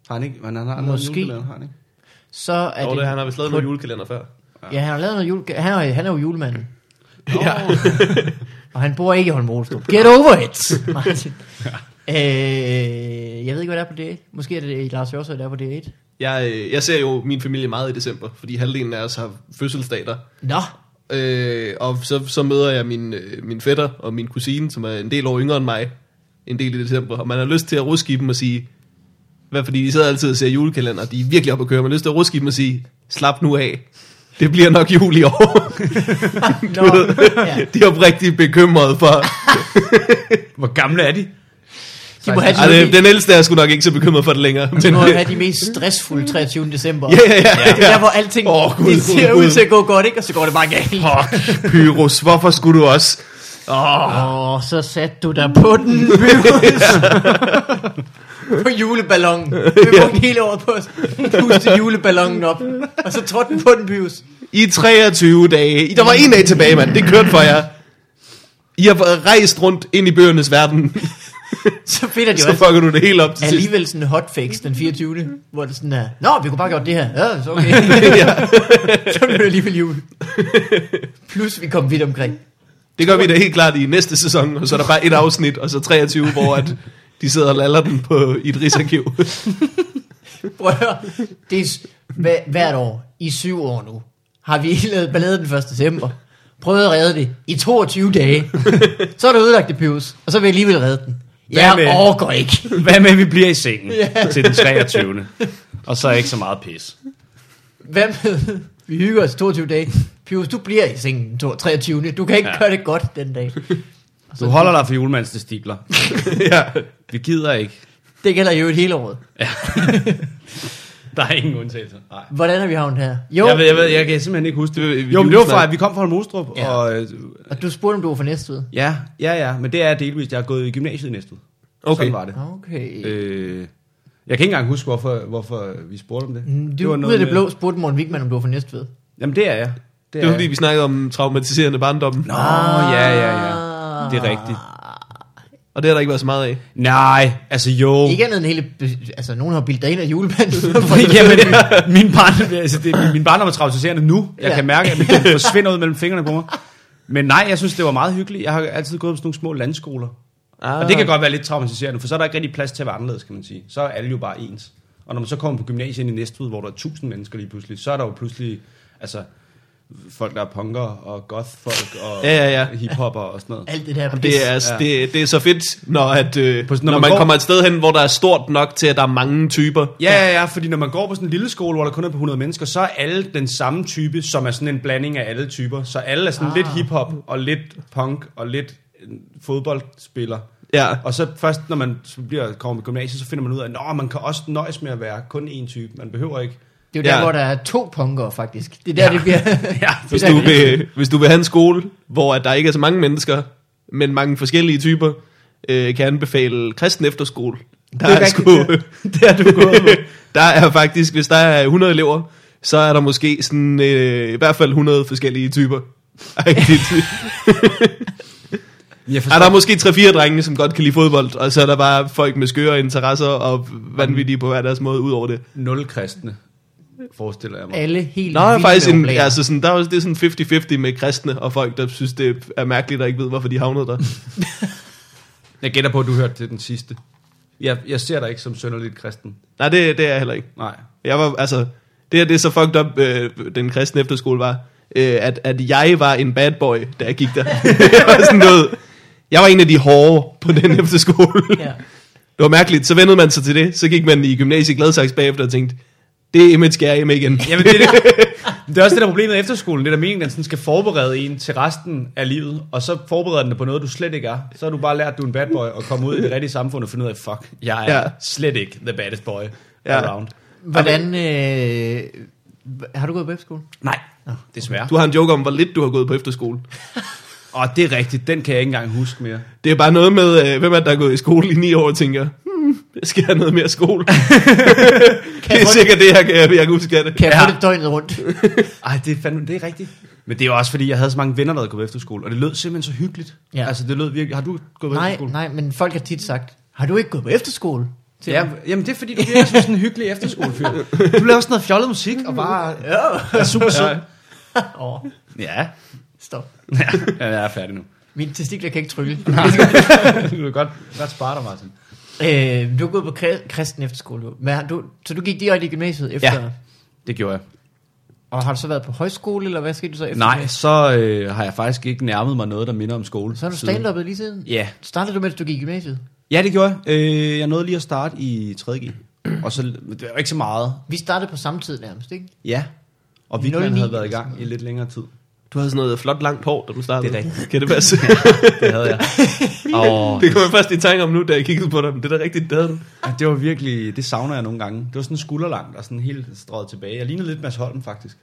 Speaker 3: Har han ikke? Men han har, han
Speaker 2: Måske.
Speaker 3: Har en har han ikke?
Speaker 2: så er
Speaker 1: Jo,
Speaker 2: det...
Speaker 1: det, han har vist lavet
Speaker 2: på-
Speaker 1: nogle julekalender før.
Speaker 2: Ja, han har lavet noget jule... Han er, han er jo julemanden.
Speaker 1: Ja.
Speaker 2: Og han bor ikke i Holm Olstrup. Get over it, Martin. øh, jeg ved ikke, hvad der er på D1. Måske er det Lars Hjortøj, der er på D1.
Speaker 1: Jeg, øh, jeg ser jo min familie meget i december, fordi halvdelen af os har fødselsdater.
Speaker 2: Nå,
Speaker 1: Øh, og så, så møder jeg min, øh, min fætter og min kusine, som er en del år yngre end mig, en del i december. Og man har lyst til at ruske i dem og sige, hvad fordi de sidder altid og ser julekalender, og de er virkelig oppe at køre. Man har lyst til at ruske i dem og sige, slap nu af. Det bliver nok jul i år.
Speaker 2: nå. ja.
Speaker 1: de er oprigtigt bekymrede for...
Speaker 3: Hvor gamle er de?
Speaker 2: De må have
Speaker 1: Ej,
Speaker 2: de,
Speaker 1: det, den ældste er sgu nok ikke så bekymret for det længere. Men,
Speaker 2: de, må have de mest stressfulde 23. december.
Speaker 1: ja, ja, ja.
Speaker 2: Det er der, hvor alting
Speaker 1: Åh,
Speaker 2: oh,
Speaker 1: Gud,
Speaker 2: Gud, det ser
Speaker 1: Gud,
Speaker 2: ud
Speaker 1: Gud.
Speaker 2: til at gå godt, ikke? Og så går det bare galt.
Speaker 1: Fuck, Pyrus, hvorfor skulle du også? Oh,
Speaker 2: Åh, oh, så satte du dig på den, Pyrus. på juleballonen. Vi brugte hele året på at puste juleballonen op. Og så trådte den på den, Pyrus.
Speaker 1: I 23 dage. I- Der var en dag tilbage, mand. Det kørte for jer. I har rejst rundt ind i bøgernes verden.
Speaker 2: Så finder de
Speaker 1: Så
Speaker 2: også
Speaker 1: fucker du det helt op til sidst.
Speaker 2: alligevel sådan en hotfix den 24. Hvor det sådan er, Nå, vi kunne bare gøre det her. Ja, så okay. så blev det alligevel jul. Plus vi kom vidt omkring.
Speaker 1: Det gør vi da helt klart i næste sæson, og så er der bare et afsnit, og så 23, hvor at de sidder og laller den på, i et rigsarkiv.
Speaker 2: Prøv at høre. Det er s- hver, hvert år, i syv år nu, har vi lavet ballade den 1. december. Prøvet at redde det i 22 dage. så er det ødelagt det pivs, og så vil jeg alligevel redde den.
Speaker 3: Hvad
Speaker 2: Jeg
Speaker 3: med-
Speaker 2: overgår ikke.
Speaker 3: Hvad med, at vi bliver i sengen til den 23. Og så er ikke så meget pis.
Speaker 2: Hvad med, vi hygger os 22 dage. Pivs, du bliver i sengen to- 23. Du kan ikke
Speaker 3: Ja.
Speaker 2: ja. gøre det godt den dag.
Speaker 3: Du holder dig for julemandens testikler.
Speaker 1: ja.
Speaker 3: Vi gider ikke.
Speaker 2: Det gælder jo et hele året.
Speaker 3: Der er ingen undtagelse. Nej.
Speaker 2: Hvordan er vi havnet her? Jo,
Speaker 3: Jeg, ved, jeg, ved, jeg kan simpelthen ikke huske det.
Speaker 1: Det-
Speaker 3: Jo, men det var
Speaker 1: julesnak.
Speaker 3: fra, at vi kom fra Holmostrup, ja.
Speaker 2: Ja.
Speaker 3: og øh,
Speaker 2: og du spurgte, om du var fra Næstved.
Speaker 3: ja, ja, ja, men det er delvist, jeg har gået i gymnasiet næste uge.
Speaker 1: Okay.
Speaker 3: Sådan var det.
Speaker 2: Okay. Øh,
Speaker 3: Øh, jeg kan ikke engang huske, hvorfor, hvorfor vi spurgte om det.
Speaker 2: Mm, det var ud af
Speaker 3: noget
Speaker 2: det
Speaker 3: med-
Speaker 2: blå spurgte Morten Wigman, om du var fra Næstved.
Speaker 3: Jamen, det er jeg.
Speaker 1: Det var fordi, vi snakkede om traumatiserende barndommen,
Speaker 3: Nå, ja, ja, ja. Det er rigtigt.
Speaker 2: Ah,
Speaker 1: og det har der ikke været så meget af.
Speaker 3: Nej, altså jo.
Speaker 2: Ikke andet end hele... Altså, nogen har bildt dig ind af julemanden.
Speaker 3: Jamen, min, barn, altså det, min barndom er traumatiserende nu. Jeg ja.
Speaker 2: Ja.
Speaker 3: kan mærke, at det forsvinder ud mellem fingrene på mig. Men nej, jeg synes, det var meget hyggeligt. Jeg har altid gået på sådan nogle små landskoler. Ah. Og det kan godt være lidt traumatiserende, for så er der ikke rigtig plads til at være anderledes, kan man sige. Så er alle jo bare ens. Og når man så kommer på gymnasiet ind i Næstved, hvor der er tusind mennesker lige pludselig, så er der jo pludselig altså, folk, der er punker og goth-folk og
Speaker 1: Ja, ja, ja.
Speaker 3: hiphopper og sådan noget.
Speaker 2: Alt det der.
Speaker 1: Det er, ja. det, det er så fedt, når, at, øh,
Speaker 3: På sådan-
Speaker 1: når,
Speaker 3: når
Speaker 1: man,
Speaker 3: man går-
Speaker 1: kommer et sted hen, hvor der er stort nok til, at der er mange typer.
Speaker 3: Ja, ja, ja, fordi når man går på sådan en lille skole, hvor der kun er på 100 mennesker, så er alle den samme type, som er sådan en blanding af alle typer. Så alle er sådan ah.
Speaker 2: Ah.
Speaker 3: lidt hiphop, og lidt punk, og lidt øh, fodboldspiller.
Speaker 1: Ja.
Speaker 3: Og så først, når man så bliver, kommer på gymnasiet, så finder man ud af, at man kan også nøjes med at være kun én type. Man behøver ikke...
Speaker 2: Det er jo der,
Speaker 1: Ja.
Speaker 2: hvor der er to punkere, faktisk. Det er der, det bliver...
Speaker 3: Ja,
Speaker 1: Hvis du, vil, hvis du vil have en skole, hvor at der ikke er så mange mennesker, men mange forskellige typer, øh, kan jeg anbefale kristen efterskole. Der
Speaker 3: Det er
Speaker 1: er,
Speaker 3: rigtigt,
Speaker 1: sgu, der, du der er faktisk, hvis der er 100 elever, så er der måske sådan, øh, i hvert fald 100 forskellige typer. Agtigt.
Speaker 3: Jeg
Speaker 1: er
Speaker 3: forstår,
Speaker 1: der er måske 3-4 drenge, som godt kan lide fodbold, og så er der bare folk med skøre interesser og vanvittige på hver deres måde ud over det.
Speaker 3: nul kristne, forestiller jeg mig.
Speaker 2: Alle helt
Speaker 1: Der er
Speaker 2: vildt
Speaker 1: faktisk en,
Speaker 2: neuroplaner.
Speaker 1: altså sådan, der er, også- det er sådan 50-50 med kristne og folk, der synes, det er mærkeligt og ikke ved, hvorfor de havnede der.
Speaker 3: Jeg gætter på, at du hørte til den sidste. Jeg, jeg ser dig ikke som sønderligt kristen.
Speaker 1: Nej, det, det er jeg heller ikke.
Speaker 3: Nej.
Speaker 1: Jeg var, altså, det her, det er så fucked up, øh, den kristne efterskole var, øh, at, at jeg var en bad boy, da jeg gik der. det var sådan noget, jeg var en af de hårde på den efterskole.
Speaker 2: Ja.
Speaker 1: Det var mærkeligt, så vendede man sig til det, så gik man i gymnasiet i Gladsaxe bagefter og tænkte, det image skal jeg hjem igen.
Speaker 3: Jamen, det, er det, det er også det, der er problemet efter skolen. Det er der meningen, at den sådan skal forberede en til resten af livet, og så forbereder den dig på noget, du slet ikke er. Så har du bare lært, at du er en bad boy, og komme ud i det rigtige samfund og finde ud af, fuck, jeg er
Speaker 1: Ja.
Speaker 3: ja. slet ikke the baddest boy
Speaker 1: Ja.
Speaker 3: ja. around.
Speaker 2: Hvordan... Øh, har du gået på efterskole?
Speaker 3: Nej, desværre.
Speaker 1: Du har en joke om, hvor lidt du har gået på efterskole.
Speaker 3: Og det er rigtigt, den kan jeg ikke engang huske mere.
Speaker 1: Det er bare noget med, øh, hvem er det, der er gået i skole i ni år, og tænker, hmm, jeg skal have noget mere skole. det er sikkert det, jeg kan, jeg kan huske af det.
Speaker 2: Kan jeg få
Speaker 3: Ja.
Speaker 2: det døgnet rundt?
Speaker 3: Ej, det er fandme, det er rigtigt. Men det er jo også, fordi jeg havde så mange venner, der havde gået på efterskole, og det lød simpelthen så hyggeligt.
Speaker 2: Ja.
Speaker 3: Ja. Altså, det lød virkelig... Har du gået på
Speaker 2: nej,
Speaker 3: efterskole?
Speaker 2: nej, men folk har tit sagt, har du ikke gået på efterskole? Til
Speaker 3: Ja,
Speaker 2: mig.
Speaker 3: jamen det er fordi, du virker som sådan en hyggelig efterskolefyr. Du laver sådan noget fjollet musik, og bare er super sød.
Speaker 2: Åh,
Speaker 3: Ja.
Speaker 2: stop.
Speaker 3: ja, jeg er færdig nu.
Speaker 2: Mine testikler kan ikke trylle.
Speaker 3: Du kan godt, godt spare dig, Martin.
Speaker 2: øh, du er gået på kri- kristen efterskole. jo. Men har du, så du gik direkte i gymnasiet efter?
Speaker 3: Ja. Det gjorde jeg.
Speaker 2: Og har du så været på højskole, eller hvad skete du så efter?
Speaker 3: Nej,
Speaker 2: gymnasiet?
Speaker 3: så øh, har jeg faktisk ikke nærmet mig noget, der minder om skole.
Speaker 2: Så har du
Speaker 3: siden.
Speaker 2: stand-uppet lige siden?
Speaker 3: Ja.
Speaker 2: Startede du, mens du gik i gymnasiet?
Speaker 3: Ja, det gjorde jeg. Øh, jeg nåede lige at starte i 3.G.
Speaker 2: Mm.
Speaker 3: Og så, det var jo ikke så meget.
Speaker 2: Vi startede på samme tid nærmest, ikke?
Speaker 3: Ja. Og weekenden
Speaker 2: 09
Speaker 3: havde været i gang i lidt længere tid.
Speaker 1: Du havde sådan noget flot langt hår, da du startede.
Speaker 3: Det er rigtigt.
Speaker 1: Kan det passe?
Speaker 3: Det havde jeg. Og
Speaker 1: det kom jeg først i tanke om nu, da jeg kiggede på dig. Men det er da rigtigt, det havde du.
Speaker 3: Ja, det var virkelig, det savner jeg nogle gange. Det var sådan skulderlangt og sådan helt strøget tilbage. Jeg lignede lidt Mads Holm faktisk,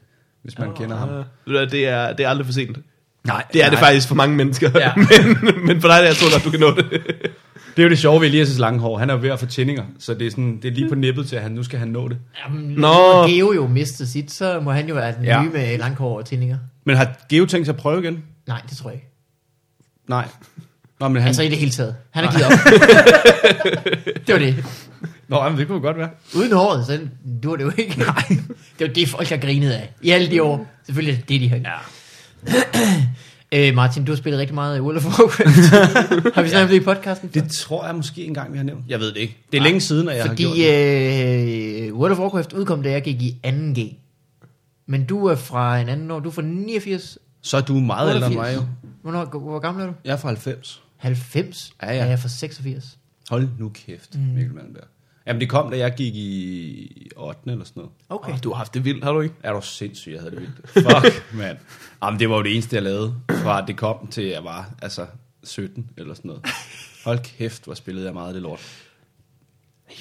Speaker 3: hvis man oh, kender ham.
Speaker 1: Ja. Ved du hvad, Det er, det er aldrig for sent.
Speaker 3: Nej,
Speaker 1: Det er Nej. det faktisk for mange mennesker.
Speaker 3: Ja.
Speaker 1: Ja. men, men for dig, der jeg tror godt, du kan nå det.
Speaker 3: Det er jo det sjove ved Elias' lange hår. Han er jo ved at få tændinger, så det er, sådan, det er lige på nippet til, at han, nu skal han nå det.
Speaker 2: Jamen,
Speaker 1: Nå.
Speaker 2: når Geo jo mistede sit, så må han jo være den
Speaker 3: Ja.
Speaker 2: ja. nye med langhår og tændinger.
Speaker 3: Men har Geo tænkt sig at prøve igen?
Speaker 2: Nej, det tror jeg ikke.
Speaker 3: Nej. Nå, men han,
Speaker 2: Altså
Speaker 3: altså,
Speaker 2: i det hele taget. Han har givet op. det var det.
Speaker 3: nå, jamen, det kunne godt være.
Speaker 2: Uden håret, så dur det jo ikke. Nej. Det var det, folk har grinet af. I alle de år. Selvfølgelig er det det, de har
Speaker 3: Ja.
Speaker 2: øh, Martin, du har spillet rigtig meget i World of Warcraft. har vi snakket om det i podcasten?
Speaker 3: Det tror jeg måske engang, vi har nævnt. Jeg ved det ikke. Det er længe siden, at jeg
Speaker 2: Fordi
Speaker 3: har gjort det.
Speaker 2: øh, World of Warcraft udkom, da jeg gik i 2G. Men du er fra en anden år. Du er fra 89.
Speaker 3: Så er du meget ældre end mig jo.
Speaker 2: 88. Hvornår, hvor gammel er du?
Speaker 3: Jeg er fra 90.
Speaker 2: 90?
Speaker 3: Ja, ja.
Speaker 2: Jeg er fra 86.
Speaker 3: Hold nu kæft, mm. Mikkel Malmberg. Jamen det kom, da jeg gik i 8. eller sådan noget.
Speaker 2: Okay.
Speaker 1: Du har haft det vildt, har du ikke?
Speaker 3: Er du sindssyg, jeg havde det vildt. Fuck, mand. Jamen, det var jo det eneste, jeg lavede, fra det kom til jeg var, altså, 17 eller sådan noget. Hold kæft, hvor spillede jeg meget af det lort.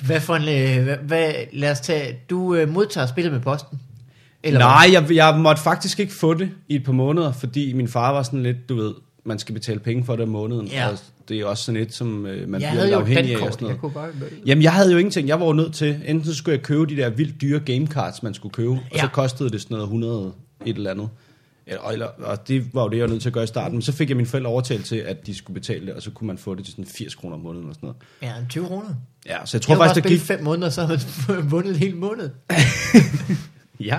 Speaker 2: Hvad for en... Øh, hvad, hvad, lad os tage... Du øh, modtager spillet med posten?
Speaker 3: Eller
Speaker 2: hvad?
Speaker 3: Nej, jeg, jeg måtte faktisk ikke få det i et par måneder, fordi min far var sådan lidt, du ved, man skal betale penge for det om måneden.
Speaker 2: Ja.
Speaker 3: Og det er også sådan et, som øh, man
Speaker 2: jeg
Speaker 3: bliver
Speaker 2: havde
Speaker 3: lidt
Speaker 2: jo
Speaker 3: afhængig af.
Speaker 2: dankort.
Speaker 3: og sådan noget.
Speaker 2: Jeg kunne bare...
Speaker 3: Jamen, jeg havde jo ingenting. Jeg var jo nødt til, enten så skulle jeg købe de der vildt dyre gamecards, man skulle købe, og så
Speaker 2: Ja.
Speaker 3: kostede det sådan noget 100 et eller andet. Eller, eller, og det var jo det, jeg var nødt til at gøre i starten. Men så fik jeg mine forældre overtalt til, at de skulle betale det, og så kunne man få det til sådan 80 kroner om måneden eller sådan noget.
Speaker 2: Ja, 20 kroner.
Speaker 3: Ja, så jeg
Speaker 2: Jeg
Speaker 3: tror
Speaker 2: har bare
Speaker 3: faktisk, der
Speaker 2: spillet
Speaker 3: gik...
Speaker 2: gik... fem måneder, så har man vundet en hel måned.
Speaker 3: Ja.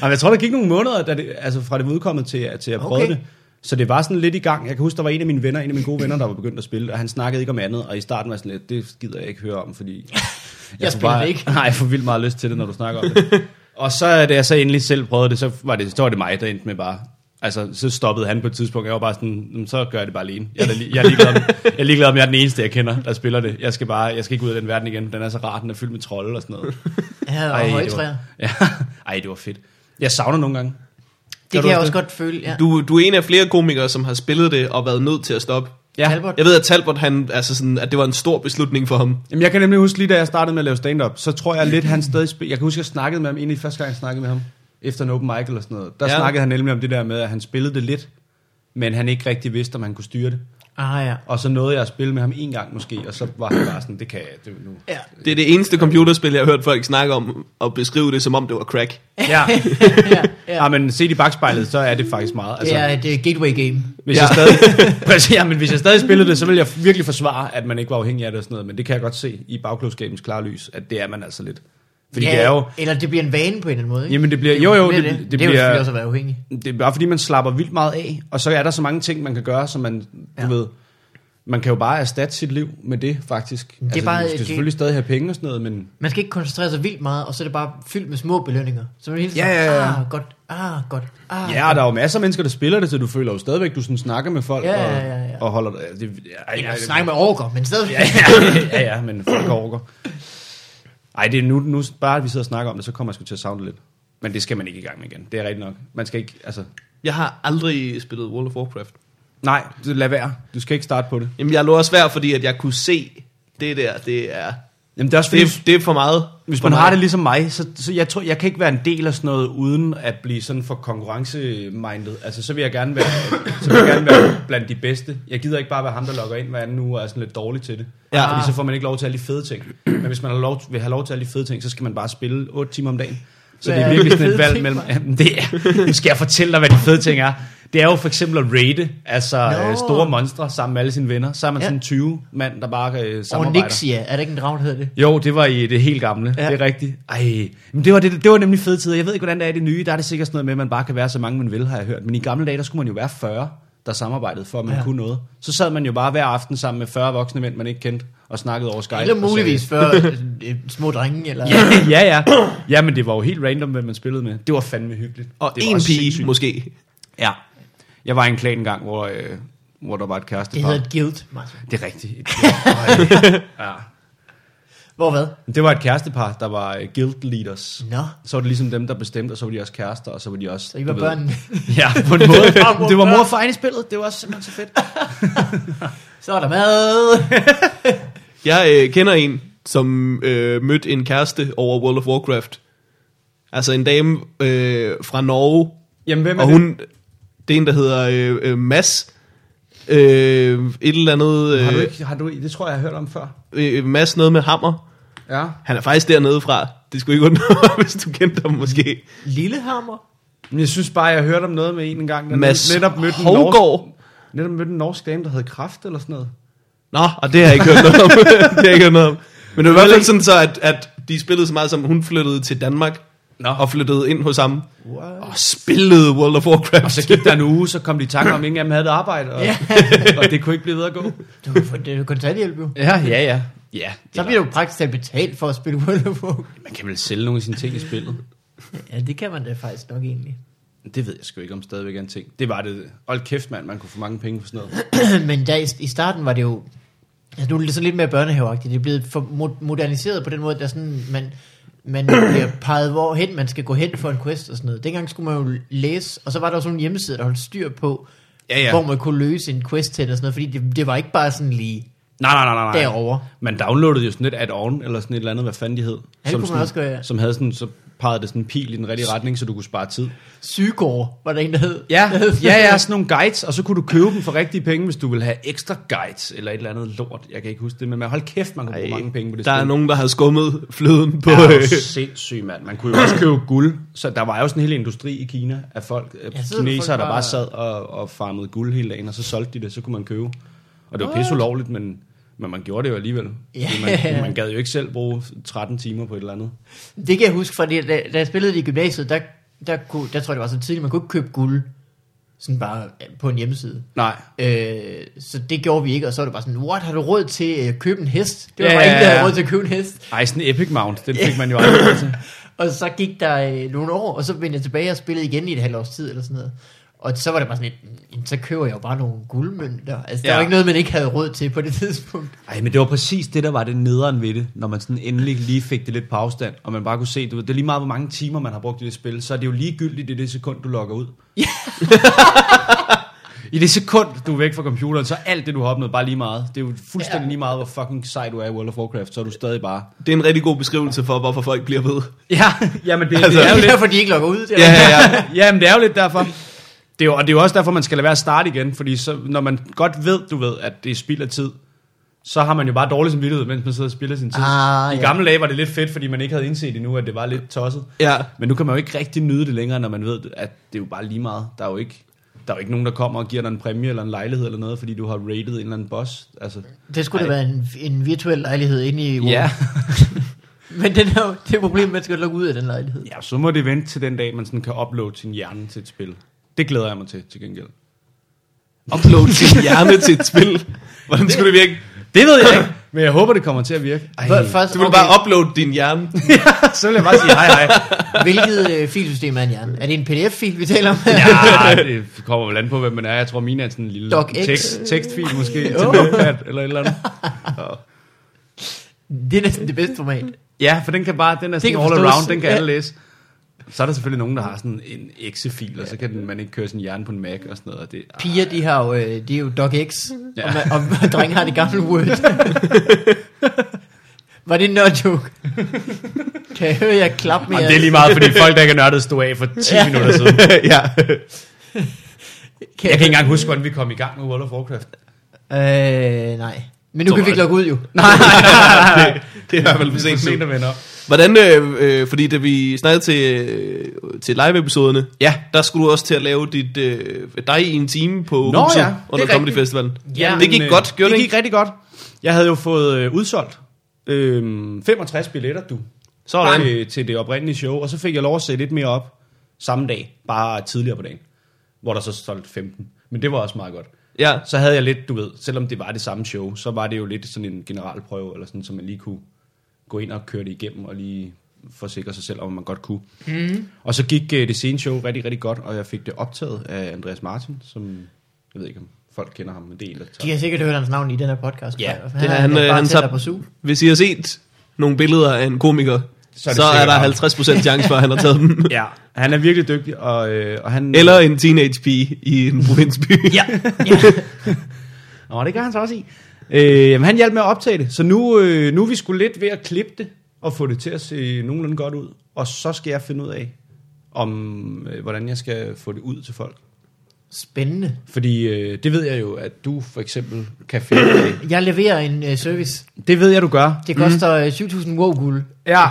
Speaker 3: Jamen, jeg tror, der gik nogle måneder, da det, altså fra det var udkommet til, at- til jeg prøvede
Speaker 2: Okay.
Speaker 3: det. Så det var sådan lidt i gang. Jeg kan huske, der var en af mine venner, en af mine gode venner, der var begyndt at spille, og han snakkede ikke om andet, og i starten var jeg sådan lidt, det gider jeg ikke høre om, fordi... Jeg, får
Speaker 2: spiller det ikke.
Speaker 3: Nej, jeg får vildt meget lyst til det, når du snakker om det. og så, da jeg så endelig selv prøvede det, så var det, så var det mig, der endte med bare... Altså, så stoppede han på et tidspunkt. Jeg var bare sådan, "Jamen, så gør jeg det bare alene. Jeg er, da lige, jeg, er ligeglad om, jeg er ligeglad om, jeg er den eneste, jeg kender, der spiller det. Jeg skal bare, jeg skal ikke ud af den verden igen. Den er så rar, den er fyldt med trolde og sådan noget.
Speaker 2: Ja, og
Speaker 3: det
Speaker 2: højtræer.
Speaker 3: var, ja, ej, det var fedt. Jeg savner nogle gange.
Speaker 2: Det
Speaker 3: du
Speaker 2: kan jeg
Speaker 3: også
Speaker 2: også godt føle, ja.
Speaker 1: Du, du er en af flere komikere, som har spillet det og været nødt til at stoppe.
Speaker 3: Ja.
Speaker 2: Talbot.
Speaker 1: Jeg ved, at Talbot, han, altså sådan, at det var en stor beslutning for ham.
Speaker 3: Jamen, jeg kan nemlig huske, lige da jeg startede med at lave stand-up, så tror jeg lidt, han stadig spil... Jeg kan huske, jeg snakkede med ham, en af de første gang, jeg snakkede med ham, efter en open mic eller sådan noget. Der
Speaker 1: Ja.
Speaker 3: ja. snakkede han nemlig om det der med, at han spillede det lidt, men han ikke rigtig vidste, om han kunne styre det.
Speaker 2: Ah, ja.
Speaker 3: Og så nåede jeg at spille med ham en gang måske, og så var han bare sådan, det kan jeg, det er nu.
Speaker 2: Ja.
Speaker 1: Det er det eneste computerspil, jeg har hørt folk snakke om, og beskrive det, som om det var crack.
Speaker 3: Ja,
Speaker 2: ja, ja.
Speaker 3: ja. men set i bagspejlet, så er det faktisk meget. Altså,
Speaker 2: Det er et uh, gateway game.
Speaker 3: Hvis, ja. jeg stadig, præcis, ja, men hvis jeg stadig spillede det, så ville jeg virkelig forsvare, at man ikke var afhængig af det og sådan noget. Men det kan jeg godt se i bagklodskabens klare lys, at det er man altså lidt. Fordi ja. det er jo...
Speaker 2: Eller det bliver en vane på en eller anden måde, ikke?
Speaker 3: Jamen det bliver... Jo, jo, det,
Speaker 2: det,
Speaker 3: det,
Speaker 2: det, er jo
Speaker 3: bliver...
Speaker 2: selvfølgelig også at være afhængig.
Speaker 3: Det er bare fordi, man slapper vildt meget af, og så er der så mange ting, man kan gøre, som man, du
Speaker 2: Ja.
Speaker 3: ja. ved... Man kan jo bare erstatte sit liv med det, faktisk. Det
Speaker 2: er
Speaker 3: er altså,
Speaker 2: bare-
Speaker 3: bare, du skal
Speaker 2: det-
Speaker 3: selvfølgelig stadig have penge og sådan noget, men...
Speaker 2: Man skal ikke koncentrere sig vildt meget, og så er det bare fyldt med små belønninger. Så man hele tiden,
Speaker 3: Ja, ja, ja.
Speaker 2: ah, godt, ah, godt, ah.
Speaker 3: Ja, og der er jo masser af mennesker, der spiller det, så du føler jo stadigvæk, du sådan snakker med folk
Speaker 2: Ja,
Speaker 3: og,
Speaker 2: ja, ja, ja.
Speaker 3: og holder... Det, det, ja,
Speaker 2: Eller snakke med orker, men stadig. Ja,
Speaker 3: ja, ja, men folk orker. Ej, det er nu, nu bare, at vi sidder og snakker om det, så kommer jeg sgu til at savne det lidt. Men det skal man ikke i gang med igen. Det er rigtigt nok. Man skal ikke, altså...
Speaker 1: Jeg har aldrig spillet World of Warcraft.
Speaker 3: Nej, det- lad være. Du skal ikke starte på det.
Speaker 1: Jamen, jeg lå også værd, fordi at jeg kunne se, det der, det er
Speaker 3: Jamen det er også
Speaker 1: Det
Speaker 3: fordi,
Speaker 1: er, det er for meget.
Speaker 3: hvis
Speaker 1: For
Speaker 3: man
Speaker 1: mig.
Speaker 3: har det ligesom mig, så, så jeg tror, jeg kan ikke være en del af sådan noget, uden at blive sådan for konkurrencemindet. Altså, så vil jeg gerne være, så vil jeg gerne være blandt de bedste. Jeg gider ikke bare være ham, der logger ind hver anden uge og er sådan lidt dårlig til det.
Speaker 1: Ja.
Speaker 3: Ja. Fordi så får man ikke lov til alle de fede ting. Men hvis man har lov, vil have lov til alle de fede ting, så skal man bare spille 8 timer om dagen. Så
Speaker 2: Hvad
Speaker 3: det er
Speaker 2: er
Speaker 3: virkelig
Speaker 2: de
Speaker 3: sådan et
Speaker 2: fede
Speaker 3: valg
Speaker 2: ting,
Speaker 3: mellem... Jamen, det er, nu skal jeg fortælle dig, hvad de fede ting er. Det er jo for eksempel at raide, altså
Speaker 2: Nå.
Speaker 3: no. store monstre sammen med alle sine venner. Så er man
Speaker 2: Ja.
Speaker 3: sådan 20 mand, der bare øh,
Speaker 2: Og
Speaker 3: samarbejder.
Speaker 2: Nixia, er det ikke en drag, der hedder det?
Speaker 3: Jo, det var i det helt gamle. Ja.
Speaker 2: Ja.
Speaker 3: Det er rigtigt. Ej, men det var, det, det var nemlig fede tider. Jeg ved ikke, hvordan det er i det nye. Der er det sikkert sådan noget med, at man bare kan være så mange, man vil, har jeg hørt. Men i gamle dage, der skulle man jo være 40, der samarbejdede for, at man ja.
Speaker 2: Ja.
Speaker 3: kunne noget. Så sad man jo bare hver aften sammen med 40 voksne mænd, man ikke kendte, og snakkede over Skype.
Speaker 2: Eller
Speaker 3: og sagde-
Speaker 2: muligvis før øh, små drenge, eller...
Speaker 3: Ja, ja, ja. Ja, men det var jo helt random, hvem man spillede med. Det var fandme hyggeligt.
Speaker 1: Og
Speaker 3: det var
Speaker 1: en
Speaker 3: også
Speaker 1: pige
Speaker 3: sindssygt.
Speaker 1: måske.
Speaker 3: Ja. Jeg var i en klan engang, hvor, øh, hvor der var et kærestepar.
Speaker 2: Det hedder et guild, Martin.
Speaker 3: Det er rigtigt. Et- Øj. ja.
Speaker 2: Hvor hvad?
Speaker 3: Det var et kærestepar, der var øh, guild leaders.
Speaker 2: Nå.
Speaker 3: Så var det ligesom dem, der bestemte, og så var de også kærester, og så var de også...
Speaker 2: Så I
Speaker 3: du
Speaker 2: var
Speaker 3: ved-
Speaker 2: børn.
Speaker 3: Ja, på en måde.
Speaker 2: Far, mor,
Speaker 3: det var mor og
Speaker 2: børn.
Speaker 3: far inde i spillet, det var også simpelthen så fedt.
Speaker 2: Så er der mad.
Speaker 1: Jeg øh, kender en, som øh, mødte en kæreste over World of Warcraft. Altså en dame øh, fra Norge,
Speaker 3: Jamen, hvem
Speaker 1: og hun, det er en, der hedder øh, øh, Mads, øh, et eller andet,
Speaker 3: Har du
Speaker 1: øh,
Speaker 3: ikke, har du, det tror jeg, jeg har hørt om før.
Speaker 1: øh, Mads noget med hammer.
Speaker 3: Ja.
Speaker 1: Han er faktisk dernede fra. Det skulle ikke undre mig, hvis du kendte ham måske.
Speaker 2: Lillehammer.
Speaker 3: Men jeg synes bare, jeg hørte om noget med en engang, der
Speaker 1: Mads
Speaker 3: netop mødte en norsk,
Speaker 1: Hovgaard.
Speaker 3: netop mødte en norsk dame, der hed Kraft eller sådan noget.
Speaker 1: Nå, og det har jeg ikke hørt noget om. det har jeg ikke hørt noget om. Men det var i hvert fald sådan så, at, at de spillede så meget, som hun flyttede til Danmark.
Speaker 3: Nå.
Speaker 1: Og flyttede ind hos ham.
Speaker 2: What?
Speaker 1: Og spillede World of Warcraft.
Speaker 3: Og så gik der en uge, så kom de i tanke om, at ingen af dem havde et arbejde, og,
Speaker 2: Ja.
Speaker 3: og det kunne ikke blive ved at gå.
Speaker 2: Du kan få det er jo kontanthjælp jo.
Speaker 3: Ja, ja, ja. Ja,
Speaker 2: Så bliver du praktisk talt betalt for at spille World of Warcraft.
Speaker 3: man kan vel sælge nogle af sine ting i spillet.
Speaker 2: Ja, det kan man da faktisk nok egentlig.
Speaker 3: Det ved jeg sgu ikke om stadigvæk er en ting. Det var det. Hold kæft, mand, man kunne få mange penge for sådan noget.
Speaker 2: Men da i, i starten var det jo... Altså nu er det sådan lidt mere børnehaveagtigt. Det er blevet for mo- moderniseret på den måde, der sådan, man, man bliver peget hvorhen man skal gå hen for en quest og sådan noget. Dengang skulle man jo læse, og så var der også nogle hjemmesider, der holdt styr på,
Speaker 3: Ja, ja.
Speaker 2: hvor man kunne løse en quest til og sådan noget, fordi det, det var ikke bare sådan lige
Speaker 3: Nej, nej, nej, nej. nej.
Speaker 2: derovre.
Speaker 3: Man downloadede jo sådan et add-on, eller sådan et eller andet, hvad fanden de hed.
Speaker 2: det kunne man
Speaker 3: sådan,
Speaker 2: også gøre, ja.
Speaker 3: Som havde sådan, så pegede det sådan en pil i den rigtige retning, så du kunne spare tid.
Speaker 2: Sygård var der en, der hed.
Speaker 3: Ja,
Speaker 2: der hed
Speaker 3: ja, ja, sådan nogle guides, og så kunne du købe dem for rigtige penge, hvis du ville have ekstra guides, eller et eller andet lort. Jeg kan ikke huske det, men man- hold kæft, man kunne bruge mange penge på det
Speaker 1: Der er
Speaker 3: spil.
Speaker 1: nogen, der har skummet fløden på...
Speaker 3: Ja, det er
Speaker 1: Øh,
Speaker 3: jo sindssygt, mand. Man kunne jo også købe guld. Så der var jo sådan en hel industri i Kina af folk, ja,
Speaker 2: Ja, så
Speaker 3: kinesere,
Speaker 2: folk
Speaker 3: der bare
Speaker 2: bare-
Speaker 3: sad og, og farmede guld hele dagen, og så solgte de det, så kunne man købe. Og det var pisse ulovligt, men, men man gjorde det jo alligevel.
Speaker 2: Ja.
Speaker 3: Fordi Man, man gad jo ikke selv bruge 13 timer på et eller andet.
Speaker 2: Det kan jeg huske, fordi da, da jeg spillede det i gymnasiet, der, der, kunne, der tror jeg, det var så tidligt, man kunne ikke købe guld sådan bare på en hjemmeside.
Speaker 3: Nej.
Speaker 2: Øh, så det gjorde vi ikke, og så var det bare sådan, what, har du råd til at købe en hest? Det var
Speaker 3: Ja,
Speaker 2: ja, bare
Speaker 3: ja,
Speaker 2: ikke, der
Speaker 3: ja.
Speaker 2: havde råd til at købe en hest.
Speaker 3: Ej, sådan en epic mount, den fik man jo aldrig Altså, til.
Speaker 2: Og så gik der øh, nogle år, og så vendte jeg tilbage og spillede igen i et halvt års tid, eller sådan noget. Og så var det bare sådan lidt, "Mm, så køber jeg jo bare nogle guldmønter. Altså, der
Speaker 3: Ja.
Speaker 2: var ikke noget, man ikke havde råd til på det tidspunkt.
Speaker 3: Ej, men det var præcis det, der var det nederen ved det, når man sådan endelig lige fik det lidt på afstand, og man bare kunne se, du ved, det er lige meget, hvor mange timer man har brugt i det spil, så er det jo ligegyldigt i det sekund, du logger ud.
Speaker 2: Ja.
Speaker 3: I det sekund, du er væk fra computeren, så er alt det, du har opnået, bare lige meget. Det er jo fuldstændig ja.
Speaker 2: Ja.
Speaker 3: lige meget, hvor fucking sej du er i World of Warcraft, så er du stadig bare...
Speaker 1: det er en rigtig god beskrivelse for, hvorfor folk bliver ved.
Speaker 3: Ja, jamen det,
Speaker 1: Altså-
Speaker 3: det er jo
Speaker 2: Det er
Speaker 3: lidt...
Speaker 2: derfor, de ikke lukker ud. Det er
Speaker 1: Ja, ja, ja.
Speaker 3: Jamen det er jo lidt derfor. Det er jo, og det er jo også derfor, man skal lade være at starte igen, fordi så, når man godt ved, du ved, at det er spild af tid, så har man jo bare dårlig samvittighed, mens man sidder og spilder sin tid.
Speaker 2: Ah,
Speaker 3: I
Speaker 2: ja.
Speaker 3: gamle dage var det lidt fedt, fordi man ikke havde indset endnu, at det var lidt tosset.
Speaker 1: ja.
Speaker 3: Men nu kan man jo ikke rigtig nyde det længere, når man ved, at det er jo bare lige meget. Der er jo ikke, der er jo ikke nogen, der kommer og giver dig en præmie eller en lejlighed eller noget, fordi du har rated en eller anden boss. Altså,
Speaker 2: Det skulle da være en, en virtuel lejlighed inde i
Speaker 3: ja.
Speaker 2: Men den er jo, det er problemet, man skal lukke ud af den lejlighed.
Speaker 3: ja, så må det vente til den dag, man sådan kan uploade sin hjerne til et spil. Det glæder jeg mig til, til gengæld.
Speaker 1: Upload sin hjerne til et spil. Hvordan skulle det virke?
Speaker 3: Det ved jeg ikke, men jeg håber, det kommer til at virke. Ej,
Speaker 2: Hvor- Først,
Speaker 1: Du ville bare uploade din hjerne.
Speaker 3: så vil jeg bare sige hej hej.
Speaker 2: hvilket øh, filsystem er en hjerne? Er det en pdf-fil, vi taler om?
Speaker 3: Ja, det kommer vel an på, hvem man er. Jeg tror, mine er sådan en lille
Speaker 2: DocX.
Speaker 3: tekst, tekstfil måske, til
Speaker 2: Åh.
Speaker 3: Notepad eller et eller andet.
Speaker 2: det er næsten det bedste format.
Speaker 3: Ja, for den kan bare, den er sådan
Speaker 2: kan
Speaker 3: all
Speaker 2: forstås.
Speaker 3: around, den kan
Speaker 2: Ja.
Speaker 3: alle læse. Så er der selvfølgelig nogen, der har sådan en exe-fil, og så kan den, man ikke køre sin hjerne på en Mac og sådan noget. Og det,
Speaker 2: Piger, de, har jo, øh, de er jo DocX,
Speaker 3: Ja.
Speaker 2: ja. og, man, og drenge har det gamle Word. Var det en nerd joke? kan jeg høre, jeg klap med
Speaker 3: Jamen, det er lige meget, fordi folk, der ikke er nørdet, stod af for 10
Speaker 2: Ja.
Speaker 3: minutter siden.
Speaker 1: ja.
Speaker 2: kan
Speaker 3: Jeg kan ikke engang huske, hvordan vi kom i gang med World of Warcraft.
Speaker 2: Øh, nej. Men nu
Speaker 1: Så
Speaker 2: kan vi
Speaker 1: var
Speaker 2: ikke logge ud jo.
Speaker 1: det, det er i hvert fald for sent nu.
Speaker 3: sent at vende op.
Speaker 1: Hvordan, øh, øh, fordi da vi snakkede til, øh, til live-episoderne,
Speaker 3: Ja.
Speaker 1: der skulle du også til at lave dit, øh, dig i en time på
Speaker 3: Nå
Speaker 1: huset
Speaker 3: ja, det er
Speaker 1: under
Speaker 3: rigtigt.
Speaker 1: Comedy Festivalen.
Speaker 3: Ja,
Speaker 1: det gik
Speaker 3: men, øh,
Speaker 1: godt, gjorde det,
Speaker 3: det
Speaker 1: det
Speaker 3: gik rigtig godt. Jeg havde jo fået øh, udsolgt øh, 65 billetter, du.
Speaker 1: Sådan.
Speaker 3: Til, til det oprindelige show, og så fik jeg lov at sætte lidt mere op samme dag, bare tidligere på dagen, hvor der så solgte 15. Men det var også meget godt.
Speaker 1: Ja,
Speaker 3: Så havde jeg lidt, du ved, selvom det var det samme show, så var det jo lidt sådan en generalprøve, eller sådan, så man lige kunne gå ind og køre det igennem, og lige forsikre sig selv, om man godt kunne. Mm. Og så gik øh, det sene show rigtig, rigtig godt, og jeg fik det optaget af Andreas Martin, som, jeg ved ikke om folk kender ham, men det er en, der
Speaker 2: De
Speaker 3: tager.
Speaker 2: har sikkert hørt hans navn i den her podcast.
Speaker 3: Ja,
Speaker 2: han,
Speaker 1: det
Speaker 2: er
Speaker 1: er han,
Speaker 2: en
Speaker 1: øh, han
Speaker 2: bartender
Speaker 1: tager-
Speaker 2: på su.
Speaker 1: hvis I har set nogle billeder af en komiker, så
Speaker 3: Så
Speaker 1: er,
Speaker 3: er det
Speaker 1: så er
Speaker 3: sikkert
Speaker 1: der
Speaker 3: ham.
Speaker 1: 50% chance for, at han har taget dem.
Speaker 3: Ja, han er virkelig dygtig, og, øh, og han...
Speaker 1: Eller en teenage pige i en provinsby.
Speaker 3: Ja. Nå, det gør han så også i. Øh, jamen, han hjalp med at optage det, så nu, øh, nu er vi sgu lidt ved at klippe det, og få det til at se nogenlunde godt ud, og så skal jeg finde ud af, om øh, hvordan jeg skal få det ud til folk.
Speaker 2: Spændende.
Speaker 3: Fordi øh, det ved jeg jo, at du for eksempel kan finde ud af.
Speaker 2: Jeg leverer en øh, service.
Speaker 3: Det ved jeg, du gør.
Speaker 2: Det koster øh, 7.000 wow guld.
Speaker 3: Ja.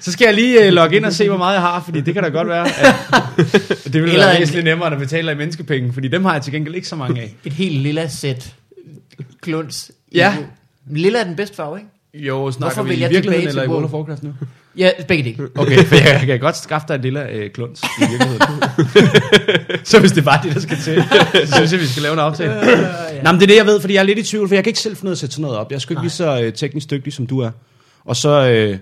Speaker 3: så skal jeg lige øh, logge ind og se, hvor meget jeg har, fordi det kan da godt være, at det ville
Speaker 2: Eller
Speaker 3: være
Speaker 2: en-
Speaker 3: væsentligt nemmere, end at betale i menneskepenge, fordi dem har jeg til gengæld ikke så mange af.
Speaker 2: Et helt lilla sæt kluns. i-
Speaker 3: Ja.
Speaker 2: Lilla er den bedste farve, ikke?
Speaker 3: Jo,
Speaker 2: snakker vi i virkeligheden eller i World of
Speaker 3: Warcraft nu?
Speaker 2: Ja, begge dele.
Speaker 3: Okay, for jeg kan godt skaffe dig en lille øh, kluns i virkeligheden. så hvis det er bare det, der skal til, så synes jeg, vi skal lave en aftale.
Speaker 2: ja.
Speaker 3: Nej, men det er det, jeg ved, fordi jeg er lidt i tvivl, for jeg kan ikke selv finde ud af at sætte sådan noget op. Jeg er sgu ikke lige så øh, teknisk dygtig, som du er. Og så, øh,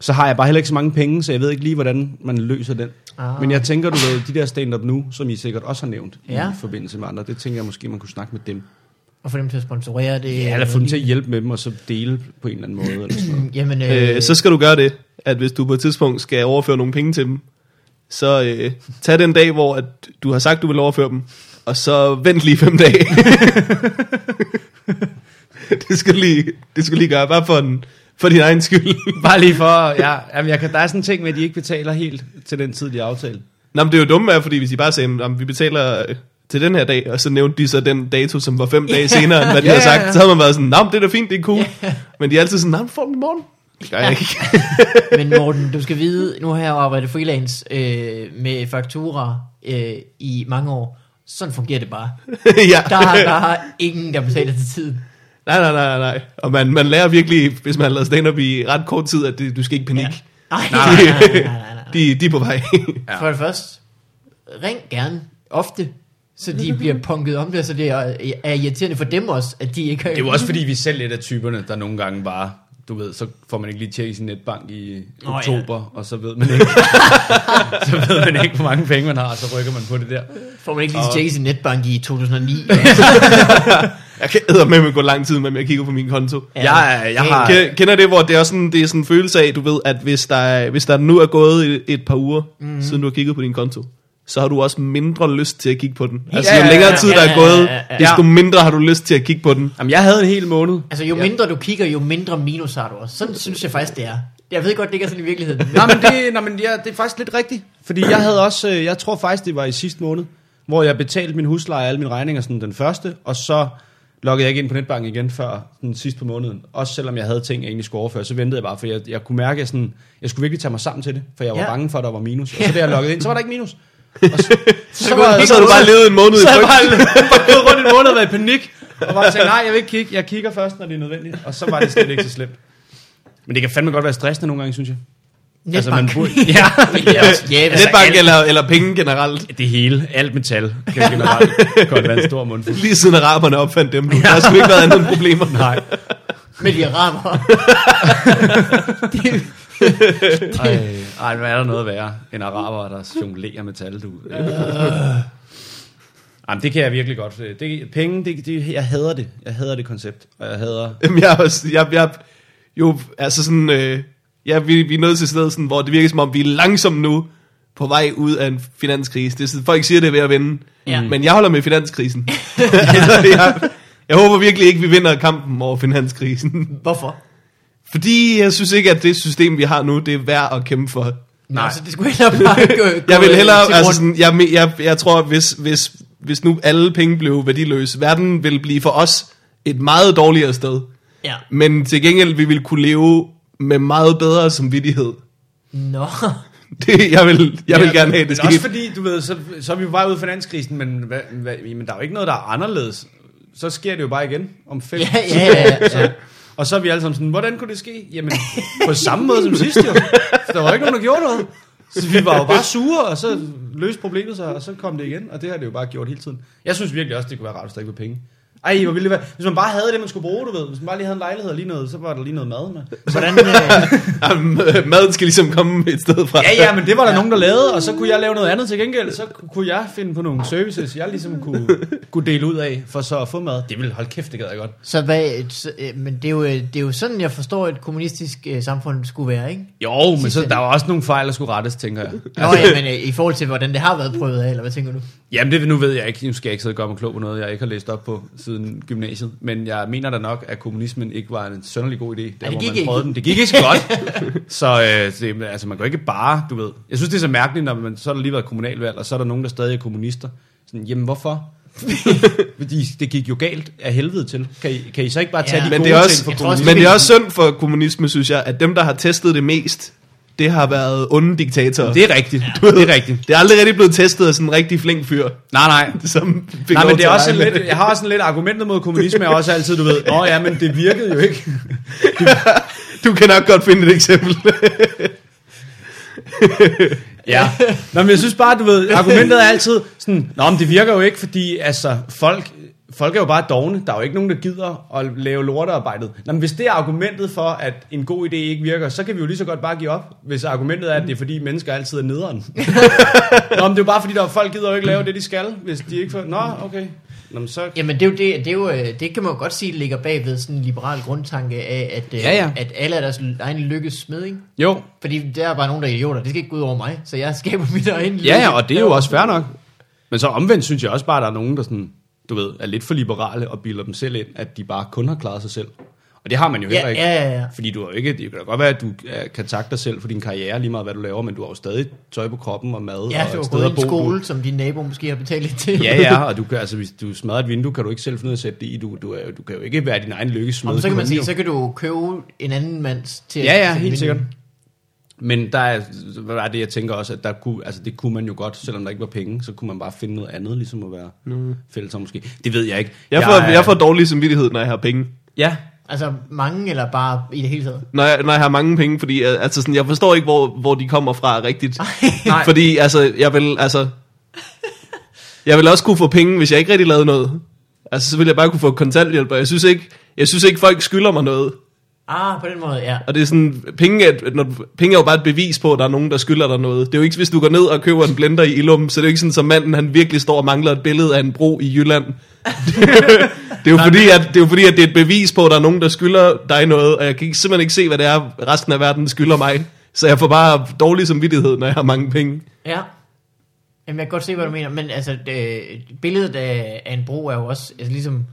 Speaker 3: så har jeg bare heller ikke så mange penge, så jeg ved ikke lige, hvordan man løser den.
Speaker 2: Ah.
Speaker 3: Ah. Men jeg tænker, du ved, de der stand-up nu, som I sikkert også har nævnt
Speaker 2: Ja.
Speaker 3: ja. i forbindelse med andre, det tænker jeg måske, man kunne snakke med dem.
Speaker 2: Og få dem til at sponsorere det. øh,
Speaker 3: Ja, eller få dem til at hjælpe med dem, og så dele på en eller anden måde. Eller sådan noget.
Speaker 2: Jamen, øh,
Speaker 1: Øh, så skal du gøre det, at hvis du på et tidspunkt skal overføre nogle penge til dem, så øh, tag den dag, hvor at du har sagt, du vil overføre dem, og så vent lige fem dage. det, skal du lige, det skal du lige gøre, bare for, den, for din egen skyld.
Speaker 3: Bare lige for, ja, jamen jeg kan, der er sådan en ting med, at de ikke betaler helt til den tid, de aftalte.
Speaker 1: Nå, men det er jo dumt, er, fordi hvis de bare sagde, at vi betaler øh, til den her dag, og så nævnte de så den dato, som var fem dage senere, end hvad de
Speaker 3: Ja,
Speaker 1: havde
Speaker 3: ja,
Speaker 1: sagt,
Speaker 3: ja.
Speaker 1: så havde man været sådan, nå, men det er da fint, det er cool. Men de er altid sådan, nå, men får den i morgen. Det gør jeg ikke.
Speaker 2: Men Morten, du skal vide, nu har jeg jo arbejdet freelance øh, med faktura øh, i mange år. Sådan fungerer det bare.
Speaker 1: ja.
Speaker 2: Der er, der er ingen, der betaler til tiden.
Speaker 1: Nej, nej, nej, nej. Og man, man lærer virkelig, hvis man har lavet stand-up i ret kort tid, at det, du skal ikke panik. Ja.
Speaker 2: Nej, nej, nej, nej, nej, nej.
Speaker 1: De, de er på vej.
Speaker 2: For det første, ring gerne ofte, så de bliver punket om det, så det er, er irriterende for dem også, at de ikke har...
Speaker 3: Det er jo også fordi, vi selv lidt af typerne, der nogle gange bare, du ved, så får man ikke lige tjekket sin netbank i
Speaker 2: Nå,
Speaker 3: Nå,
Speaker 2: ja.
Speaker 3: oktober, ja. og så ved man ikke, så ved man ikke, hvor mange penge man har, og så rykker man på det der.
Speaker 2: Får man ikke lige tjekket sin netbank i 2009?
Speaker 1: jeg kan æder med, at gå lang tid, men jeg kigger på min konto.
Speaker 2: Ja.
Speaker 3: Jeg, jeg har,
Speaker 1: Ken- Kender det, hvor det er sådan, det er sådan en følelse af, du ved, at hvis der, er- hvis der nu er gået et, et par uger, mm. siden du har kigget på din konto, så har du også mindre lyst til at kigge på den. Altså,
Speaker 3: Ja,
Speaker 1: jo
Speaker 3: ja,
Speaker 1: længere
Speaker 3: ja,
Speaker 1: tid,
Speaker 2: ja,
Speaker 1: der er
Speaker 2: ja, ja,
Speaker 1: gået,
Speaker 2: ja, ja, ja.
Speaker 1: desto mindre har du lyst til at kigge på den.
Speaker 3: jamen, jeg havde en hel måned.
Speaker 2: altså, jo mindre du kigger, jo mindre minus har du også. Sådan synes jeg faktisk, det er. Jeg ved godt, det ikke er sådan i virkeligheden. Men
Speaker 3: Nej, men, det, nej, men ja, det er faktisk lidt rigtigt, fordi jeg havde også, øh, jeg tror faktisk, det var i sidste måned, hvor jeg betalte min husleje og alle mine regninger sådan den første, og så loggede jeg ikke ind på netbanken igen før den sidste på måneden. Også selvom jeg havde ting, jeg egentlig skulle overføre, så ventede jeg bare, for jeg, jeg kunne mærke, at jeg, sådan, jeg skulle virkelig tage mig sammen til det, for jeg var
Speaker 2: Ja.
Speaker 3: ja. bange for, at der var minus. Og så da jeg loggede ind, så var der ikke minus. Og så, så, så,
Speaker 1: Og så har du bare levet en måned i
Speaker 3: så har jeg
Speaker 1: frygt.
Speaker 3: bare, bare gået rundt en måned og været i panik. Og bare tænkt, nej, jeg vil ikke kigge. Jeg kigger først, når det er nødvendigt. Og så var det slet ikke så slemt. Men det kan fandme godt være stressende nogle gange, synes jeg. Altså, man
Speaker 2: netbank.
Speaker 3: burde-
Speaker 2: ja, ja, altså,
Speaker 1: Netbank eller, eller penge generelt.
Speaker 3: Det hele, alt metal, kan generelt godt være en stor mundfuld.
Speaker 1: Lige siden araberne opfandt dem, der har sgu ikke været andet end problemer.
Speaker 3: Nej.
Speaker 2: med de araber. det,
Speaker 3: Ej, ej, hvad er der noget værre end araber, der jonglerer metal, du? Jamen, det kan jeg virkelig godt. øh, Det, penge, det, det, jeg hader det. Jeg hader det koncept, og jeg hader...
Speaker 1: Jamen, jeg, er også, jeg, jeg, jo, altså sådan, øh, ja, vi, vi er nået til et sted, sådan, hvor det virker som om, vi er langsomt nu på vej ud af en finanskrise. Det er sådan, folk siger, det er ved at vinde,
Speaker 2: Ja.
Speaker 1: ja. men jeg holder med finanskrisen. altså, jeg, jeg håber virkelig ikke, vi vinder kampen over finanskrisen.
Speaker 2: hvorfor?
Speaker 1: Fordi jeg synes ikke, at det system, vi har nu, det er værd at kæmpe for.
Speaker 2: Nej. Altså, det skulle hellere bare gå, gå
Speaker 1: Jeg vil hellere,
Speaker 2: til
Speaker 1: altså
Speaker 2: grund.
Speaker 1: sådan, jeg, me- jeg, jeg tror, hvis, hvis, hvis nu alle penge blev værdiløse, verden ville blive for os et meget dårligere sted.
Speaker 2: Ja.
Speaker 1: Men til gengæld, vi ville kunne leve med meget bedre samvittighed.
Speaker 2: Nå.
Speaker 1: Det, jeg vil, jeg vil
Speaker 3: Ja,
Speaker 1: gerne have, det
Speaker 3: men
Speaker 1: skal
Speaker 3: også fordi, du ved, så, så er vi jo bare ude af finanskrisen, men, hvad, hvad, men der er jo ikke noget, der er anderledes. Så sker det jo bare igen om fem.
Speaker 2: Ja, ja, ja, ja.
Speaker 3: Så, og så er vi alle sammen sådan, hvordan kunne det ske? Jamen, på samme måde som sidst jo. For der var ikke nogen, der gjorde noget. Så vi var jo bare sure, og så løste problemet sig, og så kom det igen. Og det har det jo bare gjort hele tiden. Jeg synes virkelig også, det kunne være rart, hvis der ikke var penge. Ej, hvor ville det være. Hvis man bare havde det, man skulle bruge, du ved. Hvis man bare lige havde en lejlighed og lige noget, så var der lige noget mad med.
Speaker 2: Hvordan, øh,
Speaker 1: Jamen, øh, maden skal ligesom komme et sted fra.
Speaker 3: Ja, ja, men det var der nogen, der lavede, og så kunne jeg lave noget andet til gengæld. Så kunne jeg finde på nogle services, jeg ligesom kunne, kunne dele ud af, for så at få mad. Det ville, hold kæft, det gad jeg godt.
Speaker 2: så hvad, et, så, øh, men det er, jo, øh, det er jo sådan, jeg forstår, et kommunistisk øh, samfund skulle være, ikke?
Speaker 3: Jo, men så,
Speaker 2: Sidste-
Speaker 3: der var også nogle fejl, der skulle rettes, tænker jeg.
Speaker 2: Nå ja, men øh, i forhold til, hvordan det har været prøvet af, eller hvad tænker du?
Speaker 3: Jamen, det nu ved jeg ikke. Nu skal jeg ikke sidde og gøre mig klog på noget, jeg ikke har læst op på siden gymnasiet. Men jeg mener da nok, at kommunismen ikke var en sønderlig god idé, der
Speaker 2: det
Speaker 3: hvor
Speaker 2: gik
Speaker 3: man
Speaker 2: ikke.
Speaker 3: prøvede den. Det gik ikke så godt. så øh, det, altså, man kan jo ikke bare, du ved. Jeg synes, det er så mærkeligt, når man, så har der lige været kommunalvalg, og så er der nogen, der stadig er kommunister. Sådan, jamen, hvorfor? Fordi det gik jo galt af helvede til. Kan I, kan I så ikke bare tage
Speaker 2: Ja.
Speaker 3: ja,
Speaker 1: Men
Speaker 3: de gode
Speaker 1: det, er også,
Speaker 3: ting
Speaker 2: Jeg
Speaker 3: fra
Speaker 2: tror også,
Speaker 3: kommunismen?
Speaker 1: men det er også synd for kommunisme, synes jeg, at dem, der har testet det mest, det har været onde diktatorer. Det,
Speaker 3: Det er rigtigt. Ja. Det er rigtigt.
Speaker 1: det er aldrig rigtig blevet testet af sådan en rigtig flink fyr,
Speaker 3: Nej, nej.
Speaker 1: som fik
Speaker 3: Nej,
Speaker 1: lov
Speaker 3: men det
Speaker 1: til
Speaker 3: er
Speaker 1: at
Speaker 3: også
Speaker 1: regne.
Speaker 3: sådan lidt, jeg har også sådan lidt argumentet mod kommunisme, er også altid, du ved, åh ja, men det virkede jo ikke.
Speaker 1: Du kan nok godt finde et eksempel.
Speaker 3: Ja. Nå, men jeg synes bare, du ved, argumentet er altid sådan, Nå, men det virker jo ikke, fordi altså, folk, folk er jo bare dogne. Der er jo ikke nogen, der gider at lave lortearbejdet. Nå, men hvis det er argumentet for, at en god idé ikke virker, så kan vi jo lige så godt bare give op, hvis argumentet er, at det er fordi mennesker altid er nederen. Nå, men det er jo bare fordi, der er folk gider jo ikke lave det, de skal, hvis de ikke får... Nå, okay. Nå, men så...
Speaker 2: Jamen det er jo det, det, er jo, øh, det kan man jo godt sige ligger bag ved sådan en liberal grundtanke af, at, øh,
Speaker 3: Ja, ja.
Speaker 2: at alle er deres egen lykkes smed, ikke?
Speaker 3: Jo,
Speaker 2: Fordi der er bare nogen, der er idioter. Det skal ikke gå ud over mig, så jeg skaber mit egen
Speaker 3: Ja, ja, og det er jo også fair nok. Men så omvendt synes jeg også bare, at der er nogen, der sådan, du ved, er lidt for liberale og bilder dem selv ind, at de bare kun har klaret sig selv. Og det har man jo heller
Speaker 2: Ja,
Speaker 3: ikke.
Speaker 2: ja, ja, ja.
Speaker 3: Fordi du har jo ikke, det kan da godt være, at du øh, kan takke dig selv for din karriere, lige meget hvad du laver, men du har jo stadig tøj på kroppen og mad
Speaker 2: Ja,
Speaker 3: og
Speaker 2: du
Speaker 3: et
Speaker 2: har
Speaker 3: sted
Speaker 2: gået
Speaker 3: at
Speaker 2: i
Speaker 3: bo.
Speaker 2: en
Speaker 3: Skole.
Speaker 2: skole, som din nabo måske har betalt lidt til.
Speaker 3: Ja, ja, og du kan, altså, hvis du smadrer et vindue, kan du ikke selv finde ud af at sætte det i. Du, du, er, jo- du kan jo ikke være din egen lykkesmed.
Speaker 2: Om, så kan man
Speaker 3: kun
Speaker 2: sige,
Speaker 3: jo.
Speaker 2: så kan du købe en anden mands til
Speaker 3: Ja, ja,
Speaker 2: til
Speaker 3: helt
Speaker 2: vinde.
Speaker 3: sikkert. Men der er, hvad er det, jeg tænker også, at der kunne, altså det kunne man jo godt, selvom der ikke var penge, så kunne man bare finde noget andet, ligesom at være mm. fælles om måske. Det ved jeg ikke.
Speaker 1: Jeg får, jeg får dårlig samvittighed, når jeg har penge.
Speaker 3: Ja,
Speaker 2: Altså mange, eller bare i det hele taget.
Speaker 1: Når jeg, når jeg har mange penge, fordi øh, altså sådan, jeg forstår ikke, hvor, hvor de kommer fra rigtigt.
Speaker 3: Nej.
Speaker 1: Fordi altså, jeg vil, altså, jeg vil også kunne få penge, hvis jeg ikke rigtig lavede noget. Altså, så vil jeg bare kunne få kontanthjælp, og jeg synes ikke, jeg synes ikke folk skylder mig noget.
Speaker 2: Ah, på den måde, ja.
Speaker 1: Og det er sådan, penge er, et- når, penge er jo bare et bevis på, at der er nogen, der skylder dig noget. Det er jo ikke, hvis du går ned og køber en blender i Ilum, så det er jo ikke sådan, som manden han virkelig står og mangler et billede af en bro i Jylland. det, er jo fordi, at, det er jo fordi, at det er et bevis på, at der er nogen, der skylder dig noget, og jeg kan ikke, simpelthen ikke se, hvad det er, resten af verden skylder mig. Så jeg får bare dårlig samvittighed, når jeg har mange penge.
Speaker 2: Ja. Jamen, jeg kan godt se, hvad du mener. Men altså, det, billedet af, af en bro er jo også altså, ligesom...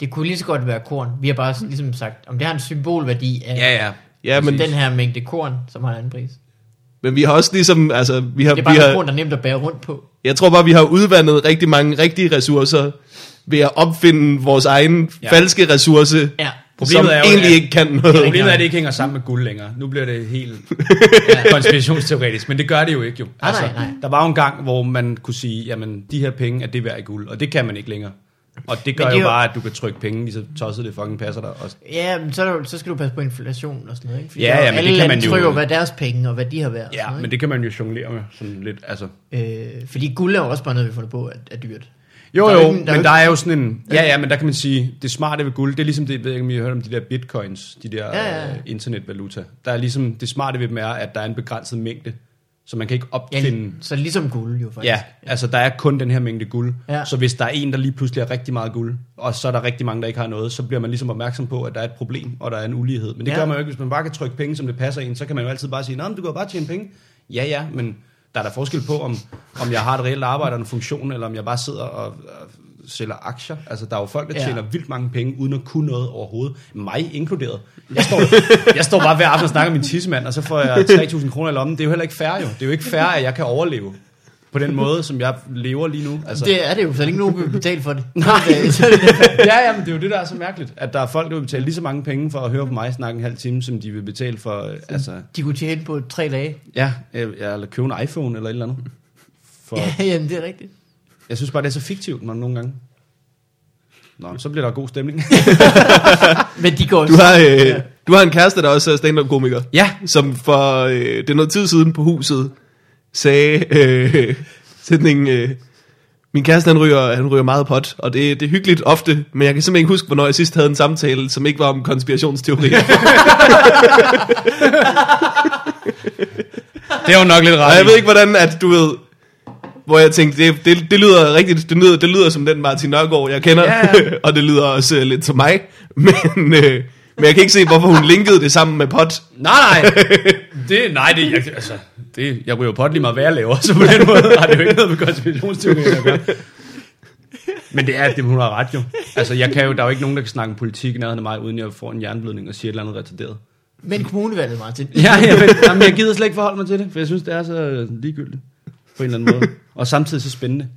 Speaker 2: Det kunne lige så godt være korn. Vi har bare ligesom sagt, om det har en symbolværdi af altså,
Speaker 3: ja, ja.
Speaker 1: Ja, men,
Speaker 2: den her mængde korn, som har en anden pris.
Speaker 1: men vi har også ligesom, altså, vi har,
Speaker 2: Det er
Speaker 1: vi
Speaker 2: bare noget
Speaker 1: har,
Speaker 2: korn, der er nemt at bære rundt på.
Speaker 1: jeg tror bare, vi har udvandet rigtig mange rigtige ressourcer ved at opfinde vores egen
Speaker 3: Ja.
Speaker 1: ja. falske ressource,
Speaker 2: Ja.
Speaker 1: Problemet som er jo, egentlig
Speaker 3: at-
Speaker 1: ikke kan noget.
Speaker 2: rigtigt.
Speaker 3: Problemet er, at det ikke hænger sammen med guld længere. Nu bliver det helt konspirationsteoretisk, men det gør det jo ikke jo.
Speaker 2: Nej, nej, nej.
Speaker 3: Der var jo en gang, hvor man kunne sige, jamen de her penge er det værd i guld, og det kan man ikke længere. Og det gør
Speaker 2: det
Speaker 3: det
Speaker 2: er
Speaker 3: jo
Speaker 2: jo-
Speaker 3: bare, at du kan trykke penge, lige så tosset det fucking passer dig. Og
Speaker 2: Ja, men så, er der, jo- så skal du passe på inflationen og sådan noget, ikke? Fordi
Speaker 3: Ja,
Speaker 2: der er
Speaker 3: ja,
Speaker 2: jo-
Speaker 3: men
Speaker 2: alle
Speaker 3: det kan
Speaker 2: lande
Speaker 3: man jo-
Speaker 2: trykker hvad deres penge og hvad de har været. og
Speaker 3: Ja,
Speaker 2: sådan
Speaker 3: men
Speaker 2: noget,
Speaker 3: det kan man jo jonglere med sådan lidt, altså.
Speaker 2: ikke? Øh, fordi guld er jo også bare noget, vi har fundet på, at er dyrt.
Speaker 3: Jo,
Speaker 2: Der er
Speaker 3: jo,
Speaker 2: jo ikke- der er
Speaker 3: men
Speaker 2: jo
Speaker 3: der er jo sådan en... Ja, ja, men der kan man sige, det smarte ved guld, det er ligesom det, jeg ved ikke, om I har hørt om de der bitcoins, de der
Speaker 2: Ja, ja, ja.
Speaker 3: øh, internetvaluta. Der er ligesom, det smarte ved dem er, at der er en begrænset mængde, så man kan ikke
Speaker 2: Ja,
Speaker 3: opfinde...
Speaker 2: Så ligesom guld jo faktisk.
Speaker 3: Ja, altså der er kun den her mængde guld.
Speaker 2: Ja.
Speaker 3: Så hvis der er en, der lige pludselig har rigtig meget guld, og så er der rigtig mange, der ikke har noget, så bliver man ligesom opmærksom på, at der er et problem, og der er en ulighed. Men det
Speaker 2: Ja.
Speaker 3: gør man jo ikke, hvis man bare kan trykke penge, som det passer ind, så kan man jo altid bare sige, nej, men du kan jo bare tjene penge. Ja, ja, men der er der forskel på, om, om jeg har et reelt arbejde og en funktion, eller om jeg bare sidder og, og sælger aktier. Altså, der er jo folk, der
Speaker 2: Ja.
Speaker 3: ja. tjener vildt mange penge, uden at kunne noget overhovedet. Mig inkluderet. Jeg står, jeg står bare hver aften og snakker med min tissemand, og så får jeg 3.000 kroner i lommen. Det er jo heller ikke fair, jo. Det er jo ikke fair, at jeg kan overleve på den måde, som jeg lever lige nu. Altså,
Speaker 2: Det er det jo, så længe nogen vil betale for det.
Speaker 3: Nej.
Speaker 2: Så er det
Speaker 3: ja, ja, men det er jo det, der er så mærkeligt. At der er folk, der vil betale lige så mange penge for at høre på mig snakke en halv time, som de vil betale for, øh, altså,
Speaker 2: de kunne tjene på tre dage.
Speaker 3: ja, øh, ja, eller købe en iPhone eller et eller andet. For,
Speaker 2: Ja, jamen, det er rigtigt.
Speaker 3: Jeg synes bare, det er så fiktivt man nogle gange. Nå, så bliver der god stemning.
Speaker 2: Men de går
Speaker 1: Du har, øh, du har en kæreste, der også er stand-up-komiker.
Speaker 3: ja,
Speaker 1: som for øh, det er noget tid siden på huset sagde øh, sætningen, øh, min kæreste han ryger, han ryger meget pot, og det, det er hyggeligt ofte, men jeg kan simpelthen ikke huske, hvornår jeg sidst havde en samtale, som ikke var om konspirationsteorier.
Speaker 3: det er jo nok lidt
Speaker 1: og
Speaker 3: ret.
Speaker 1: jeg ved ikke, hvordan at du ved, hvor jeg tænkte, det, det, det lyder rigtigt, det lyder, det lyder som den Martin Nørgaard, jeg kender,
Speaker 3: Ja,
Speaker 1: og det lyder også øh, lidt som mig, men, øh, men jeg kan ikke se, hvorfor hun linkede det sammen med pot.
Speaker 3: Nej, nej. Det, nej, det, jeg, altså, det, jeg ryger pot lige meget, hvad jeg laver, så på den måde har det jo ikke noget med konspirationsteorier at gøre. Men det er, det hun har ret jo. Altså, jeg kan jo, der er jo ikke nogen, der kan snakke politik i nærheden af mig, uden jeg får en jernblødning og siger et eller andet retarderet.
Speaker 2: Men kommunevalget, Martin.
Speaker 3: Ja, ja men, jamen, jeg gider slet ikke forholde mig til det, for jeg synes, det er så ligegyldigt på en eller anden måde. Og samtidig så spændende.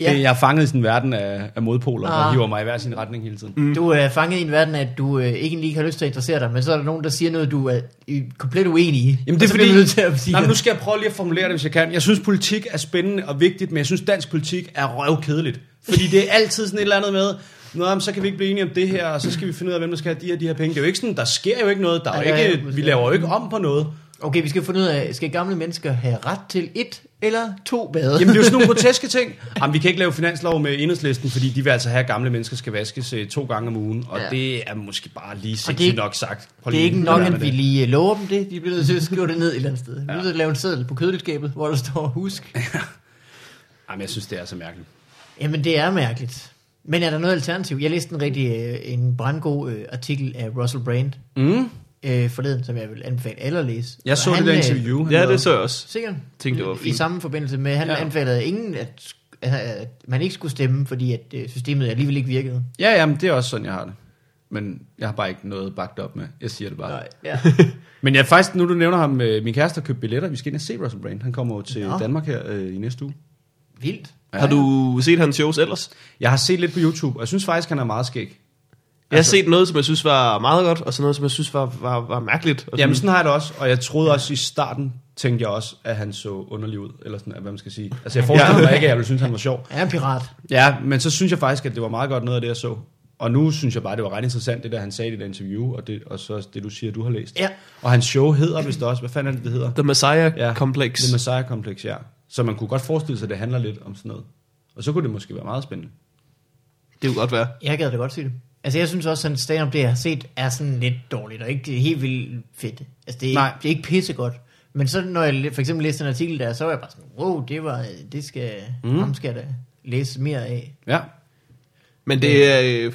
Speaker 2: Ja.
Speaker 3: Ja. Jeg er fanget i sådan en verden af, af modpoler, ah. der
Speaker 2: Ah.
Speaker 3: hiver mig i hver sin retning hele tiden.
Speaker 2: Du er fanget i en verden, at du øh, ikke lige har lyst til at interessere dig, men så er der nogen, der siger noget, du er øh, komplet uenig i.
Speaker 3: Jamen
Speaker 2: Og
Speaker 3: det er
Speaker 2: så
Speaker 3: fordi,
Speaker 2: Bliver du nødt til at sige,
Speaker 3: nej, men nu skal jeg prøve lige at formulere det, hvis jeg kan. Jeg synes, politik er spændende og vigtigt, men jeg synes, dansk politik er røvkedeligt. Fordi det er altid sådan et eller andet med, Nå, men så kan vi ikke blive enige om det her, og så skal vi finde ud af, hvem der skal have de her, de her penge. Det er jo ikke sådan, der sker jo ikke noget. Der er
Speaker 2: Ej,
Speaker 3: jo
Speaker 2: ja, ja,
Speaker 3: ikke,
Speaker 2: måske.
Speaker 3: vi laver jo ikke om på noget.
Speaker 2: Okay, vi skal finde ud af, skal gamle mennesker have ret til et eller to bade?
Speaker 3: Jamen det er jo sådan nogle groteske ting. Jamen vi kan ikke lave finanslov med enhedslisten, fordi de vil altså have, at gamle mennesker skal vaskes øh, to gange om ugen. Og
Speaker 2: Ja.
Speaker 3: ja. det er måske bare lige
Speaker 2: ikke-
Speaker 3: sindssygt nok sagt. Prøv
Speaker 2: det
Speaker 3: lige
Speaker 2: er ikke
Speaker 3: at
Speaker 2: nok,
Speaker 3: lade med
Speaker 2: at vi
Speaker 3: det.
Speaker 2: lige øh, lover dem det. De bliver nødt til at skrive det ned et eller andet sted. Vi er nødt til at lave en seddel på køddelskabet, hvor der står husk.
Speaker 3: Jamen jeg synes, det er så mærkeligt.
Speaker 2: Jamen, det er mærkeligt. Men er der noget alternativ? Jeg læste en rigtig øh, en brandgod øh, artikel af Russell Brand
Speaker 3: Mm.
Speaker 2: øh, forleden, som jeg vil anbefale alle at læse.
Speaker 3: Jeg
Speaker 2: Og
Speaker 3: så
Speaker 2: han,
Speaker 3: det der
Speaker 2: øh,
Speaker 3: interview. han
Speaker 1: Ja,
Speaker 3: lavede.
Speaker 1: det så jeg også.
Speaker 2: Sikkert.
Speaker 1: Tænkte, det var
Speaker 2: I
Speaker 1: fint.
Speaker 2: samme forbindelse med, han ja.
Speaker 3: Ja.
Speaker 2: anbefalede ingen, at, at man ikke skulle stemme, fordi at øh, systemet alligevel ikke virkede.
Speaker 3: Ja, jamen det er også sådan, jeg har det. Men jeg har bare ikke noget bagt op med. Jeg siger det bare. Nej.
Speaker 2: ja.
Speaker 3: Men jeg faktisk, nu du nævner ham, øh, min kæreste har købt billetter. Vi skal ind og se Russell Brand. Han kommer jo til
Speaker 2: Nå.
Speaker 3: ja. Danmark her øh, i næste uge.
Speaker 2: Vildt.
Speaker 3: Ja,
Speaker 1: Har du set hans shows ellers?
Speaker 3: Jeg har set lidt på YouTube, og jeg synes faktisk, han er meget skæg.
Speaker 1: Jeg har
Speaker 3: Altså-
Speaker 1: set noget, som jeg synes var meget godt, og så noget, som jeg synes var, var, var mærkeligt. Og
Speaker 3: Jamen
Speaker 1: sådan-
Speaker 3: sådan har jeg det også, og jeg troede også i starten, tænkte jeg også, at han så underlig ud, eller sådan, hvad man skal sige. Altså jeg forestillede mig ikke, at jeg ville synes, han var sjov.
Speaker 2: Han er en pirat.
Speaker 3: Ja, men så synes jeg faktisk, at det var meget godt noget af det, jeg så. Og nu synes jeg bare, det var ret interessant, det der han sagde i det der interview, og, det, og så også det, du siger, du har læst.
Speaker 2: Ja.
Speaker 3: Og hans show hedder vist også, hvad fanden er det, det hedder?
Speaker 1: The Messiah
Speaker 3: Ja,
Speaker 1: ja. Complex.
Speaker 3: The Messiah Complex, ja. Så man kunne godt forestille sig, at det handler lidt om sådan noget. Og så kunne det måske være meget spændende.
Speaker 1: Det kunne godt være.
Speaker 2: Jeg gad da godt se det. Altså, jeg synes også, at stand-up, det jeg har set, er sådan lidt dårligt, og ikke det er helt vildt fedt. Altså, det er,
Speaker 3: Nej.
Speaker 2: Ikke, det er ikke pissegodt. Men så når jeg læ- for eksempel læste en artikel der, så var jeg bare sådan, wow, det, var, det skal, mm. ham skal jeg da læse mere af.
Speaker 3: Ja.
Speaker 1: Men det er... Øh,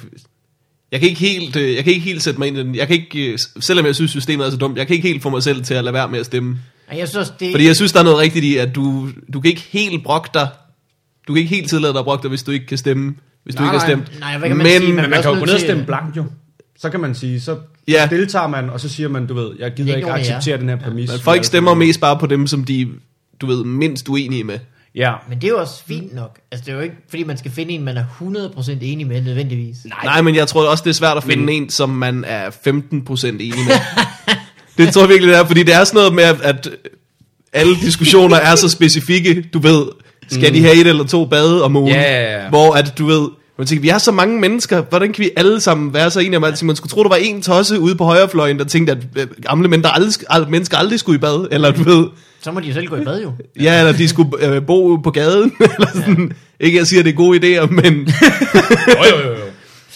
Speaker 1: jeg kan, ikke helt, øh, jeg kan ikke helt sætte mig ind i den. Jeg kan ikke, øh, selvom jeg synes, systemet er så dumt, jeg kan ikke helt få mig selv til at lade være med at stemme.
Speaker 2: Og jeg synes også, det,
Speaker 1: Fordi jeg synes, der er noget rigtigt i, at du, du kan ikke helt brokke dig. Du kan ikke helt tillade dig at brokke dig, hvis du ikke kan stemme. Hvis du
Speaker 3: Nej,
Speaker 1: ikke har
Speaker 3: nej.
Speaker 1: stemt.
Speaker 2: Nej, hvad kan man
Speaker 1: men,
Speaker 2: sige?
Speaker 3: Men man
Speaker 2: også
Speaker 3: kan jo gå
Speaker 2: nødt
Speaker 3: ned og
Speaker 2: til-
Speaker 3: stemme blankt jo. Så kan man sige, så
Speaker 1: Ja.
Speaker 3: ja. deltager man, og så siger man, du ved, jeg gider
Speaker 2: ikke
Speaker 3: ikke, ikke
Speaker 2: nogen af jer.
Speaker 3: acceptere den her præmis.
Speaker 1: Men folk stemmer mest bare på dem, som de, du ved, mindst uenige med.
Speaker 3: Ja.
Speaker 2: Men det er jo også fint nok. Altså, det er jo ikke, fordi man skal finde en, man er 100% enig med, nødvendigvis.
Speaker 1: Nej, Nej men jeg tror også, det er svært at finde men... en, som man er 15% enig med. det tror jeg virkelig, det er, fordi det er sådan noget med, at- at alle diskussioner er så specifikke, du ved, skal mm. de have et eller to bade om ugen?
Speaker 3: Ja, ja, ja.
Speaker 1: Hvor at, du ved, man tænker, vi er så mange mennesker, hvordan kan vi alle sammen være så enige om alting? Man skulle tro, der var en tosse ude på højrefløjen, der tænkte, at øh, gamle mennesker aldrig, al- mennesker aldrig skulle i bad, eller du ved,
Speaker 2: Så må de jo selv gå i bad jo.
Speaker 1: ja, eller de skulle øh, bo på gaden, eller sådan. Ikke, jeg siger, at det er gode idéer, men,
Speaker 3: Jo, jo, jo, jo.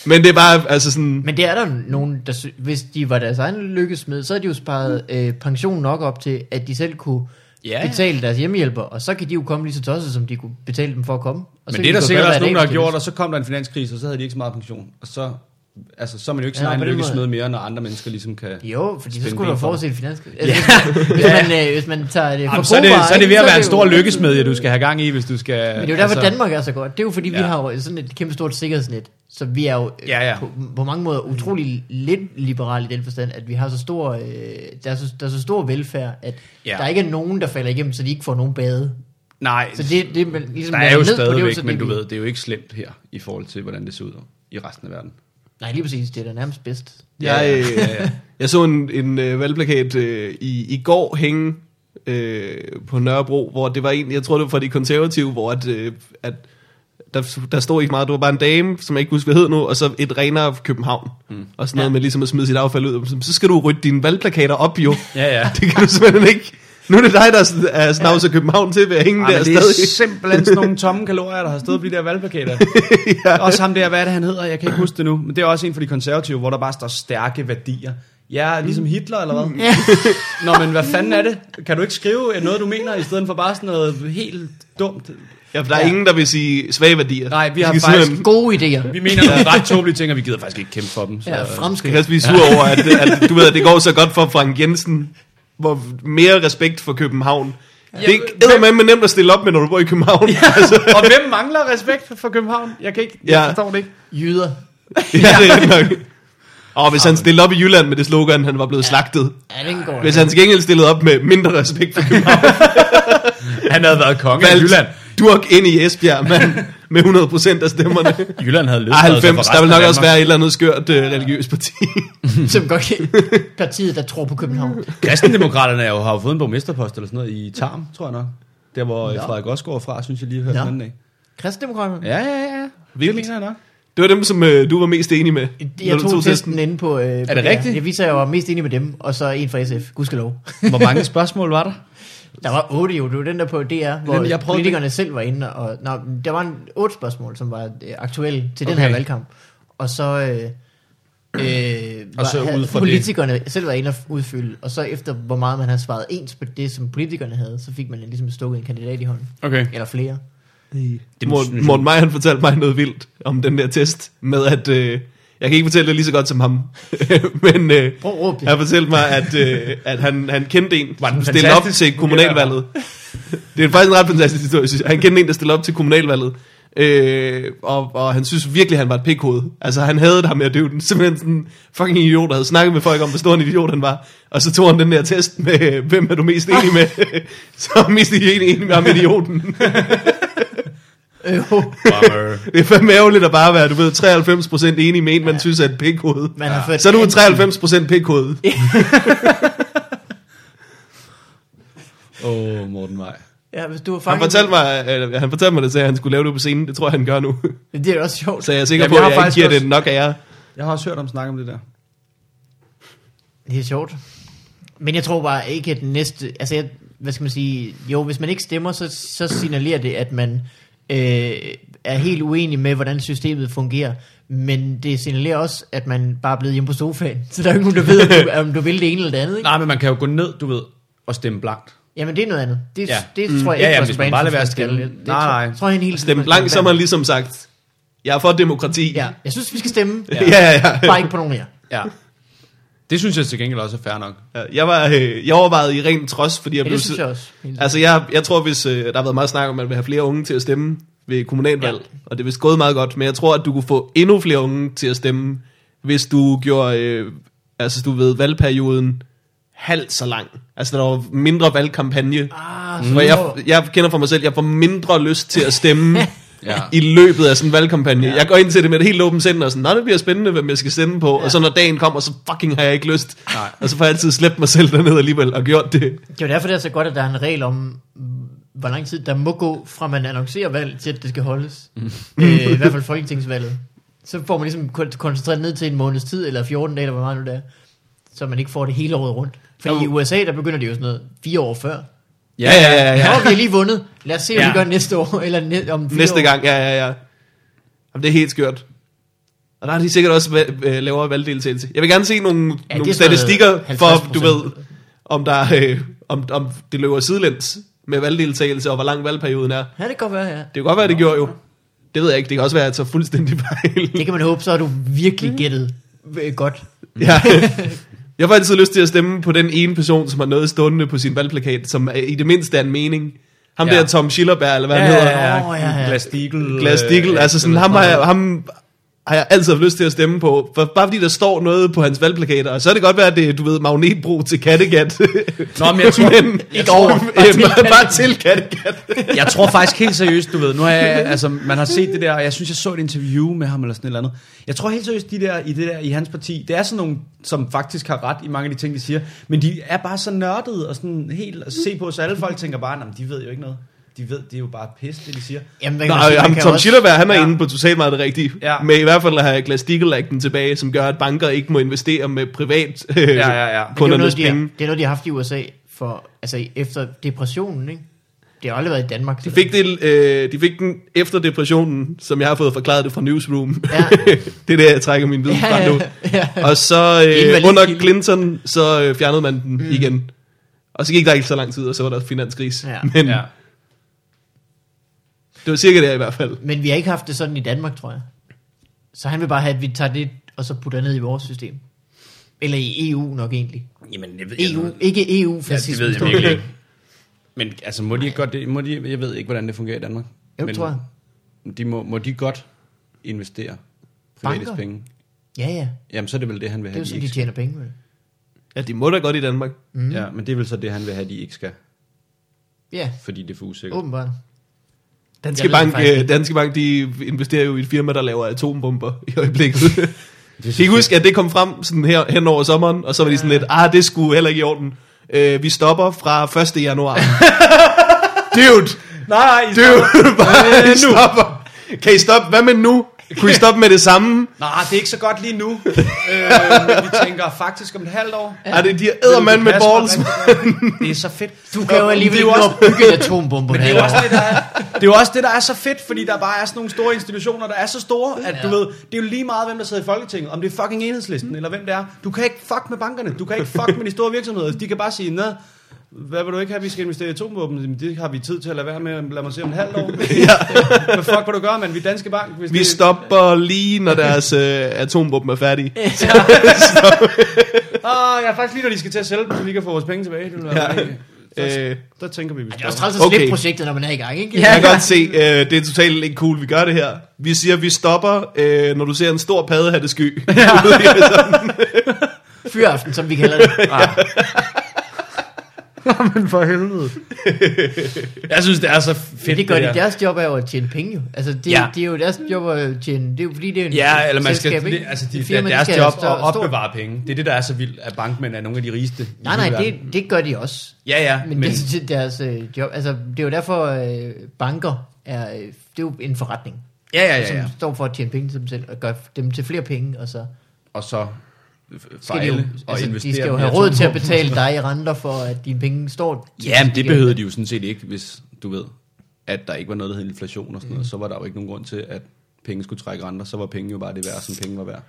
Speaker 1: men det er bare, altså sådan...
Speaker 2: Men det er der nogen, der, sy- hvis de var deres egen lykkesmed, så havde de jo sparet øh, pension nok op til, at de selv kunne
Speaker 3: Ja,
Speaker 2: ja.
Speaker 3: Mm. ja.
Speaker 2: betale deres hjemmehjælper, og så kan de jo komme lige så tosset, som de kunne betale dem for at komme. Og så
Speaker 3: Men
Speaker 2: kan
Speaker 3: det er
Speaker 2: de
Speaker 3: der
Speaker 2: gå i
Speaker 3: sikkert
Speaker 2: bad
Speaker 3: også
Speaker 2: hver
Speaker 3: nogen,
Speaker 2: dag,
Speaker 3: der har
Speaker 2: hvis de
Speaker 3: gjort,
Speaker 2: vil.
Speaker 3: og så kom der en finanskrise, og så havde de ikke så meget pension. Og så altså, så er man jo ikke sin
Speaker 2: Ja,
Speaker 3: ja, egen
Speaker 2: på den måde.
Speaker 3: lykkesmed mere, når andre mennesker ligesom kan...
Speaker 2: Jo, fordi så
Speaker 3: Spænd
Speaker 2: skulle du
Speaker 3: ben for
Speaker 2: forudse finanskrise. Ja. Hvis, man, hvis, man, øh, hvis man tager det for
Speaker 3: Jamen, så, er det,
Speaker 2: gode varer,
Speaker 3: så er det
Speaker 2: ikke,
Speaker 3: ved at være en
Speaker 2: jo-
Speaker 3: stor lykkesmed, ja, du skal have gang i, hvis du skal...
Speaker 2: Men det er jo derfor, altså, Danmark er så godt. Det er jo fordi, ja. vi
Speaker 3: Ja.
Speaker 2: har jo sådan et kæmpe stort sikkerhedsnet. Så vi er jo øh,
Speaker 3: Ja, ja. Mm.
Speaker 2: På, på mange måder utrolig lidt liberale i den forstand, at vi har så stor, øh, der, er så, der er så stor velfærd, at ja.
Speaker 3: Ja.
Speaker 2: der ikke er nogen, der falder igennem, så de ikke får nogen bade.
Speaker 3: Nej,
Speaker 2: Så det, det er vel ligesom...
Speaker 3: der
Speaker 2: at
Speaker 3: er jo
Speaker 2: ned på, det er
Speaker 3: stadigvæk,
Speaker 2: så
Speaker 3: men
Speaker 2: det,
Speaker 3: du
Speaker 2: vi-
Speaker 3: ved, det er jo ikke slemt her, i forhold til, hvordan det ser ud i resten af verden.
Speaker 2: Nej, lige præcis, det er da nærmest bedst.
Speaker 1: Jeg, øh, jeg så en, en øh, valgplakat øh, i, i går hænge øh, på Nørrebro, hvor det var en, jeg tror det var fra de konservative, hvor at, øh, at der, der stod ikke meget, det var bare en dame, som jeg ikke husker, hvad hed nu, og så et renere København, mm. og sådan noget
Speaker 2: Ja.
Speaker 1: ja. med ligesom at smide sit affald ud, og så- så skal du rytte dine valgplakater op jo,
Speaker 3: Ja, ja.
Speaker 1: det kan du simpelthen ikke. Nu er det dig, der er snavset ja. København til ved at hænge
Speaker 3: Ej,
Speaker 1: der
Speaker 3: men det er
Speaker 1: stadig.
Speaker 3: simpelthen sådan nogle tomme kalorier, der har stået på de der valgplakater. ja. Også ham der, hvad er det, han hedder? Jeg kan ikke huske det nu. Men det er også en for de konservative, hvor der bare står stærke værdier. Ja, ligesom Hitler eller hvad? Ja. Nå, men hvad fanden er det? Kan du ikke skrive noget, du mener, i stedet for bare sådan noget helt dumt?
Speaker 1: Ja, for der er ja. ingen, der vil sige svage værdier.
Speaker 3: Nej, vi
Speaker 1: De
Speaker 3: har
Speaker 1: skal
Speaker 3: faktisk-
Speaker 1: simpelthen-
Speaker 2: Gode idéer.
Speaker 3: Vi mener nogle ret tåbelige ting, og vi gider faktisk ikke kæmpe for dem. Så.
Speaker 2: Ja,
Speaker 1: Det
Speaker 2: fremskridt.
Speaker 1: kan også blive sur over, at, at du ved, at det går så godt for Frank Jensen, hvor mere respekt for København. det er
Speaker 3: hvem-
Speaker 1: ikke med nemt at stille op med, når du bor i København. Altså, Ja,
Speaker 3: Og hvem mangler respekt for København? Jeg kan ikke, jeg
Speaker 1: Ja.
Speaker 3: forstår det ikke.
Speaker 2: Jyder.
Speaker 1: ja det er rigtig nok. Og hvis han stillede op i Jylland med det slogan, han var blevet slagtet.
Speaker 2: Ja, den går.
Speaker 1: Hvis han til gengæld stillede op med mindre respekt for København,
Speaker 3: Han havde været konge af Jylland.
Speaker 1: valgte durk ind i Esbjerg, mand, med 100% af stemmerne.
Speaker 3: Jylland havde løsnet
Speaker 1: Ej, 90, der vil nok også være et eller andet skørt øh, religiøst parti.
Speaker 2: Som godt kan- partiet, der tror på København.
Speaker 3: Kristendemokraterne er jo, har jo fået en borgmesterpost eller sådan noget i Tarm, tror jeg nok. Der hvor
Speaker 2: Nå.
Speaker 3: ja. Frederik Osgaard er fra, synes jeg lige hørte
Speaker 2: Nå.
Speaker 3: den anden dag.
Speaker 2: Kristdemokraterne?
Speaker 3: Ja, ja, ja.
Speaker 1: Vildt.
Speaker 3: Det mener jeg nok.
Speaker 1: Det var dem, som øh, du var mest enig med. når
Speaker 2: Jeg
Speaker 1: du
Speaker 2: tog testen inde på... Øh, er
Speaker 3: det rigtigt?
Speaker 2: Jeg viser, at jeg var mest enig med dem, og så en fra SF. Gudskelov.
Speaker 3: Hvor mange spørgsmål var der?
Speaker 2: Der var otte jo, det var den der på DR, hvor
Speaker 3: Den, jeg prøvede-
Speaker 2: politikerne selv var inde, og nå, der var en, otte spørgsmål, som var øh, aktuelle til den
Speaker 3: Okay.
Speaker 2: her valgkamp. Og så, øh, øh, var,
Speaker 3: Og så
Speaker 2: havde-
Speaker 3: ud fra det.
Speaker 2: politikerne selv var inde og udfylde, og så efter hvor meget man havde svaret ens på det, som politikerne havde, så fik man ligesom stukket en kandidat i hånden.
Speaker 3: Okay.
Speaker 2: Eller flere.
Speaker 1: Det Morten, Morten Meier, han fortalte mig noget vildt om den der test, med at, øh, jeg kan ikke fortælle det lige så godt som ham, men øh,
Speaker 2: Prøv at råbe det.
Speaker 1: han fortalte mig, at, øh, at han, han kendte en,
Speaker 3: Var den
Speaker 1: som stillede op
Speaker 3: fantastisk?
Speaker 1: til kommunalvalget. Det er faktisk en ret fantastisk historie, synes jeg. Han kendte en, der stillede op til kommunalvalget, øh, og, og han synes virkelig, han var et pikhoved. Altså, han havde det her med at døve den. Simpelthen sådan en fucking idiot, der havde snakket med folk om, hvor stor en idiot han var. Og så tog han den der test med, øh, hvem er du mest enig med? så er han mest enig enig med ham, idioten.
Speaker 2: Øh,
Speaker 1: Det er fandme ærgerligt at bare være, du ved, 93% enig med en, man synes er et pikhoved.
Speaker 2: man har ført
Speaker 1: Så er du
Speaker 2: an-
Speaker 1: 93% pikhoved.
Speaker 3: Åh, oh, Morten Maj.
Speaker 2: Ja, hvis du har
Speaker 1: Han
Speaker 2: fanget...
Speaker 1: fortalte mig, øh, han fortalte mig det, så han skulle lave det på scenen. Det tror jeg, han gør nu.
Speaker 2: Det er da også sjovt.
Speaker 1: Så jeg er sikker
Speaker 3: Jamen,
Speaker 1: på,
Speaker 3: jeg har
Speaker 1: at jeg ikke
Speaker 3: faktisk
Speaker 1: giver
Speaker 3: også-
Speaker 1: det nok af jer.
Speaker 3: Jeg har også hørt om snakke om det der.
Speaker 2: Det er sjovt. Men jeg tror bare ikke, at den næste... Altså, jeg, hvad skal man sige? Jo, hvis man ikke stemmer, så, så signalerer det, at man øh, er helt uenig med, hvordan systemet fungerer. Men det signalerer også, at man bare er blevet hjemme på sofaen. Så der er jo ikke nogen, der ved, om du, om du vil det ene eller det andet. Ikke?
Speaker 3: Nej, men man kan jo gå ned, du ved, og stemme blankt.
Speaker 2: Jamen, det er noget andet. Det, ja.
Speaker 3: Ja. Mm.
Speaker 2: det, det tror jeg
Speaker 3: Ja,
Speaker 2: ikke,
Speaker 3: ja,
Speaker 2: Rasmus
Speaker 3: hvis man
Speaker 2: Prehn
Speaker 3: bare lader være at
Speaker 2: skal.
Speaker 3: stemme.
Speaker 2: Det
Speaker 3: Nej,
Speaker 2: tror-
Speaker 3: nej.
Speaker 2: Tror jeg en hel
Speaker 1: Stemme blank, så har man ligesom sagt, jeg er for demokrati.
Speaker 2: Ja, jeg synes, vi skal stemme.
Speaker 1: ja, ja. ja.
Speaker 2: Bare ikke på nogen mere.
Speaker 3: Ja. Det synes jeg til gengæld også er fair nok.
Speaker 1: Jeg, var, øh, jeg overvejede i ren trods, fordi jeg
Speaker 2: Ja,
Speaker 1: blev...
Speaker 2: det synes jeg også. Helt
Speaker 1: Altså, jeg, jeg tror, hvis øh, der har været meget snak om, at man vil have flere unge til at stemme ved kommunalvalg,
Speaker 2: Ja.
Speaker 1: ja. og det er vist gået meget godt, men jeg tror, at du kunne få endnu flere unge til at stemme, hvis du gjorde, øh, altså du ved, valgperioden halvt så lang. Altså, der var mindre valgkampagne.
Speaker 2: Ah,
Speaker 1: Mm. Jeg,
Speaker 2: så-
Speaker 1: jeg kender for mig selv, jeg får mindre lyst til at stemme
Speaker 3: Ja.
Speaker 1: i løbet af sådan en valgkampagne. Ja. Jeg går ind til det med et helt åbent sind og sådan, nej, det bliver spændende, hvem jeg skal stemme på. Ja. Og så når dagen kommer, så fucking har jeg ikke lyst.
Speaker 3: Nej.
Speaker 1: Og så får jeg altid slæbt mig selv derned alligevel og gjort det.
Speaker 2: Det er jo derfor, det er så godt, at der er en regel om, mm, hvor lang tid der må gå, fra man annoncerer valg, til at det skal holdes.
Speaker 1: Mm.
Speaker 2: øh, I hvert fald folketingsvalget. Så får man ligesom kon- koncentreret ned til en måneds tid, eller 14 dage, eller hvor meget nu det er. Så man ikke får det hele året rundt. Fordi
Speaker 1: Jo.
Speaker 2: i USA, der begynder det jo sådan noget fire år før. Ja.
Speaker 1: Ja, ja, ja. ja, ja.
Speaker 2: Nå, vi har lige vundet. Lad os se, hvad ja.
Speaker 3: Ja.
Speaker 2: vi gør næste år, eller næ- om fire
Speaker 1: Næste
Speaker 2: år.
Speaker 1: gang, ja, ja, ja. Jamen, det er helt skørt. Og der har de sikkert også va- øh, lavere valgdeltagelse. Jeg vil gerne se nogle,
Speaker 2: Ja,
Speaker 1: ja,
Speaker 2: det er
Speaker 1: nogle
Speaker 2: sådan noget
Speaker 1: statistikker for,
Speaker 2: 50%.
Speaker 1: du ved, om, der, øh, om, om det løber sidelæns med valgdeltagelse, og hvor lang valgperioden er.
Speaker 2: Ja, det kan godt være, ja.
Speaker 1: Det kan godt være, det gjorde jo. Det ved jeg ikke, det kan også være, at jeg tager fuldstændig fejl.
Speaker 2: Det kan man håbe, så har du
Speaker 1: Mm.
Speaker 2: virkelig gættet øh, godt.
Speaker 1: Ja. Jeg får altid lyst til at stemme på den ene person, som har noget stående på sin valgplakat, som er- i det mindste er en mening. Ham
Speaker 3: Ja.
Speaker 1: ja. der Tom Schillerberg, eller hvad han hedder.
Speaker 2: Åh, ja, ja.
Speaker 3: Glastikel.
Speaker 1: Glass-Steagall,
Speaker 3: øh,
Speaker 1: altså sådan, ham har, jeg, ham har jeg altid haft lyst til at stemme på, for, bare fordi der står noget på hans valgplakater, og så er det godt være, at det er, du ved, magnetbro til Kattegat.
Speaker 3: Nå, men jeg tror-
Speaker 1: men,
Speaker 2: Ikke over, bare
Speaker 1: øhm,
Speaker 2: til Kattegat.
Speaker 1: bare til Kattegat.
Speaker 3: jeg tror faktisk helt seriøst, du ved, nu har jeg, altså, man har set det der, og jeg synes, jeg så et interview med ham eller sådan et eller andet. Jeg tror helt seriøst, de der i det der, i hans parti, det er sådan nogle, som faktisk har ret i mange af de ting, de siger, men de er bare så nørdede og sådan helt at se på, så alle folk tænker bare, "Nå, men de ved jo ikke noget. De ved, det er jo bare pis, det de siger.
Speaker 2: Jamen, hvad kan man
Speaker 1: Nej,
Speaker 2: sige, man
Speaker 1: ham,
Speaker 2: kan
Speaker 1: Tom
Speaker 2: også-
Speaker 1: Schillerberg, han er
Speaker 3: Ja.
Speaker 1: inde på totalt meget det rigtige,
Speaker 3: Ja.
Speaker 1: med i hvert fald at have Glass-Steagall-akten tilbage, som gør, at banker ikke må investere med privat øh,
Speaker 3: ja, ja.
Speaker 2: Men det, er jo noget,
Speaker 1: kundernes
Speaker 2: de har,
Speaker 1: penge.
Speaker 2: det er noget, de har haft i USA for, altså efter depressionen, ikke? Det har aldrig været i Danmark.
Speaker 1: De fik, det, øh, de fik den efter depressionen, som jeg har fået forklaret det fra Newsroom.
Speaker 2: Ja.
Speaker 1: det er der, jeg trækker min viden
Speaker 2: Ja,
Speaker 1: fra nu.
Speaker 2: ja.
Speaker 1: Og så øh,
Speaker 2: Invalidkilde.
Speaker 1: under Clinton, så øh, fjernede man den mm. igen. Og så gik der ikke så lang tid, og så var der finanskris.
Speaker 2: Ja.
Speaker 1: Men
Speaker 3: Ja.
Speaker 1: det var cirka det i hvert fald.
Speaker 2: Men vi har ikke haft det sådan i Danmark, tror jeg. Så han vil bare have, at vi tager det, og så putter ned i vores system. Eller i EU nok egentlig.
Speaker 3: Jamen, jeg ved,
Speaker 2: EU, ikke E EU
Speaker 3: Ja,
Speaker 2: fascisme.
Speaker 3: det ved jeg virkelig ikke. Men altså, må de ikke godt, det, må de, jeg ved ikke, hvordan det fungerer i Danmark.
Speaker 2: Jo,
Speaker 3: men
Speaker 2: tror jeg.
Speaker 3: De må, må de godt investere privates
Speaker 2: Banker?
Speaker 3: penge?
Speaker 2: Ja, ja.
Speaker 3: Jamen, så er det vel det, han
Speaker 2: Det
Speaker 3: vil
Speaker 2: er
Speaker 3: have,
Speaker 2: jo sådan,
Speaker 3: ikke
Speaker 2: de
Speaker 3: skal.
Speaker 2: tjener penge med.
Speaker 1: Ja, de må da godt i Danmark.
Speaker 3: Mm. Ja, men det er vel så det, han vil have, de ikke skal,
Speaker 2: Ja,
Speaker 3: fordi det er for usikkert. Oh.
Speaker 2: åbenbart.
Speaker 1: Danske
Speaker 2: Jeg ved det
Speaker 1: Bank,
Speaker 2: faktisk
Speaker 1: øh,
Speaker 2: ikke.
Speaker 1: Danske Bank, de investerer jo i et firma, der laver atombomber i øjeblikket.
Speaker 3: synes
Speaker 1: Kan I huske, at det kom frem sådan her hen over sommeren, og så var de sådan lidt, ah, det skulle heller ikke i orden. Øh, vi stopper fra 1. januar. Dude!
Speaker 3: Nej,
Speaker 1: Det er jo bare, I stopper. Kan I stoppe? Hvad med nu? Kunne I stoppe med det samme?
Speaker 3: nej, det er ikke så godt lige nu. øh, vi tænker faktisk om et halvt år.
Speaker 1: Ja. Er det Altså, de ædermand med balls?
Speaker 3: Det er så fedt.
Speaker 2: Du kan jo alligevel
Speaker 3: det er
Speaker 2: ikke
Speaker 3: jo
Speaker 2: nå
Speaker 3: også,
Speaker 2: at bygge en atombombe.
Speaker 3: det er jo også det, der er, det er jo også det, der er så fedt, fordi der bare er sådan nogle store institutioner, der er så store, at du ved, det er jo lige meget, hvem der sidder i Folketinget, om det er fucking enhedslisten, eller hvem det er. Du kan ikke fuck med bankerne, du kan ikke fuck med de store virksomheder. De kan bare sige, nej, hvad vil du ikke have, vi skal investere i atomvåben? Jamen, Det har vi tid til at lade være med, lad mig se om et halvt år. Hvad fuck vil du gøre, mand? Vi er Danske Bank. Hvis
Speaker 1: Vi
Speaker 3: det-
Speaker 1: stopper lige, når deres øh, atomvåben er færdige.
Speaker 3: Åh, jeg er faktisk lige, når de skal til at sælge dem, så vi kan få vores penge tilbage. Det vil være
Speaker 1: Ja.
Speaker 3: ja.
Speaker 1: Øh,
Speaker 3: Der tænker vi, vi
Speaker 2: Det er også
Speaker 3: stopper.
Speaker 2: træls at slippe
Speaker 1: Okay.
Speaker 2: projektet, når man er i gang, ikke?
Speaker 1: jeg kan godt se, øh, det er totalt ikke cool, vi gør det her. Vi siger, vi stopper, øh, når du ser en stor padde have det sky.
Speaker 2: Fyraften, som vi kalder det.
Speaker 3: Jamen for helvede. jeg synes, det er så fedt.
Speaker 2: Men det gør
Speaker 3: der.
Speaker 2: de. Deres job er jo at tjene penge, jo. Altså, det,
Speaker 3: Ja.
Speaker 2: ja. det er jo deres job at tjene... Det er jo fordi, det er en
Speaker 3: Ja, eller man
Speaker 2: selskab,
Speaker 3: skal,
Speaker 2: ikke?
Speaker 3: det, altså de,
Speaker 2: Et firma, de
Speaker 3: deres
Speaker 2: skal
Speaker 3: job
Speaker 2: have
Speaker 3: at
Speaker 2: større- stor-
Speaker 3: opbevare penge. Det er det, der er så vildt, at bankmænd er nogle af de rigeste. i
Speaker 2: Nej, nej,
Speaker 3: hele verden.
Speaker 2: det, det gør de også.
Speaker 3: Ja, ja,
Speaker 2: Men,
Speaker 3: men,
Speaker 2: men det er deres øh, job. Altså, det er jo derfor, øh, banker er... Øh, det er jo en forretning,
Speaker 3: ja, ja, ja,
Speaker 2: som
Speaker 3: ja.
Speaker 2: står for at tjene penge til dem selv, og gør dem til flere penge, og så
Speaker 3: Og så for
Speaker 2: skal de jo,
Speaker 3: alle og
Speaker 2: altså,
Speaker 3: investere.
Speaker 2: de skal jo
Speaker 3: i
Speaker 2: have råd til at
Speaker 3: atombomben.
Speaker 2: betale dig i renter for, at dine penge står. til-
Speaker 3: Ja, men
Speaker 2: til-
Speaker 3: det behøvede de jo sådan set ikke, hvis du ved, at der ikke var noget, der hed inflation og sådan
Speaker 2: Mm.
Speaker 3: noget. Så var der jo ikke nogen grund til, at penge skulle trække renter. Så var penge jo bare det værd, som penge var værd.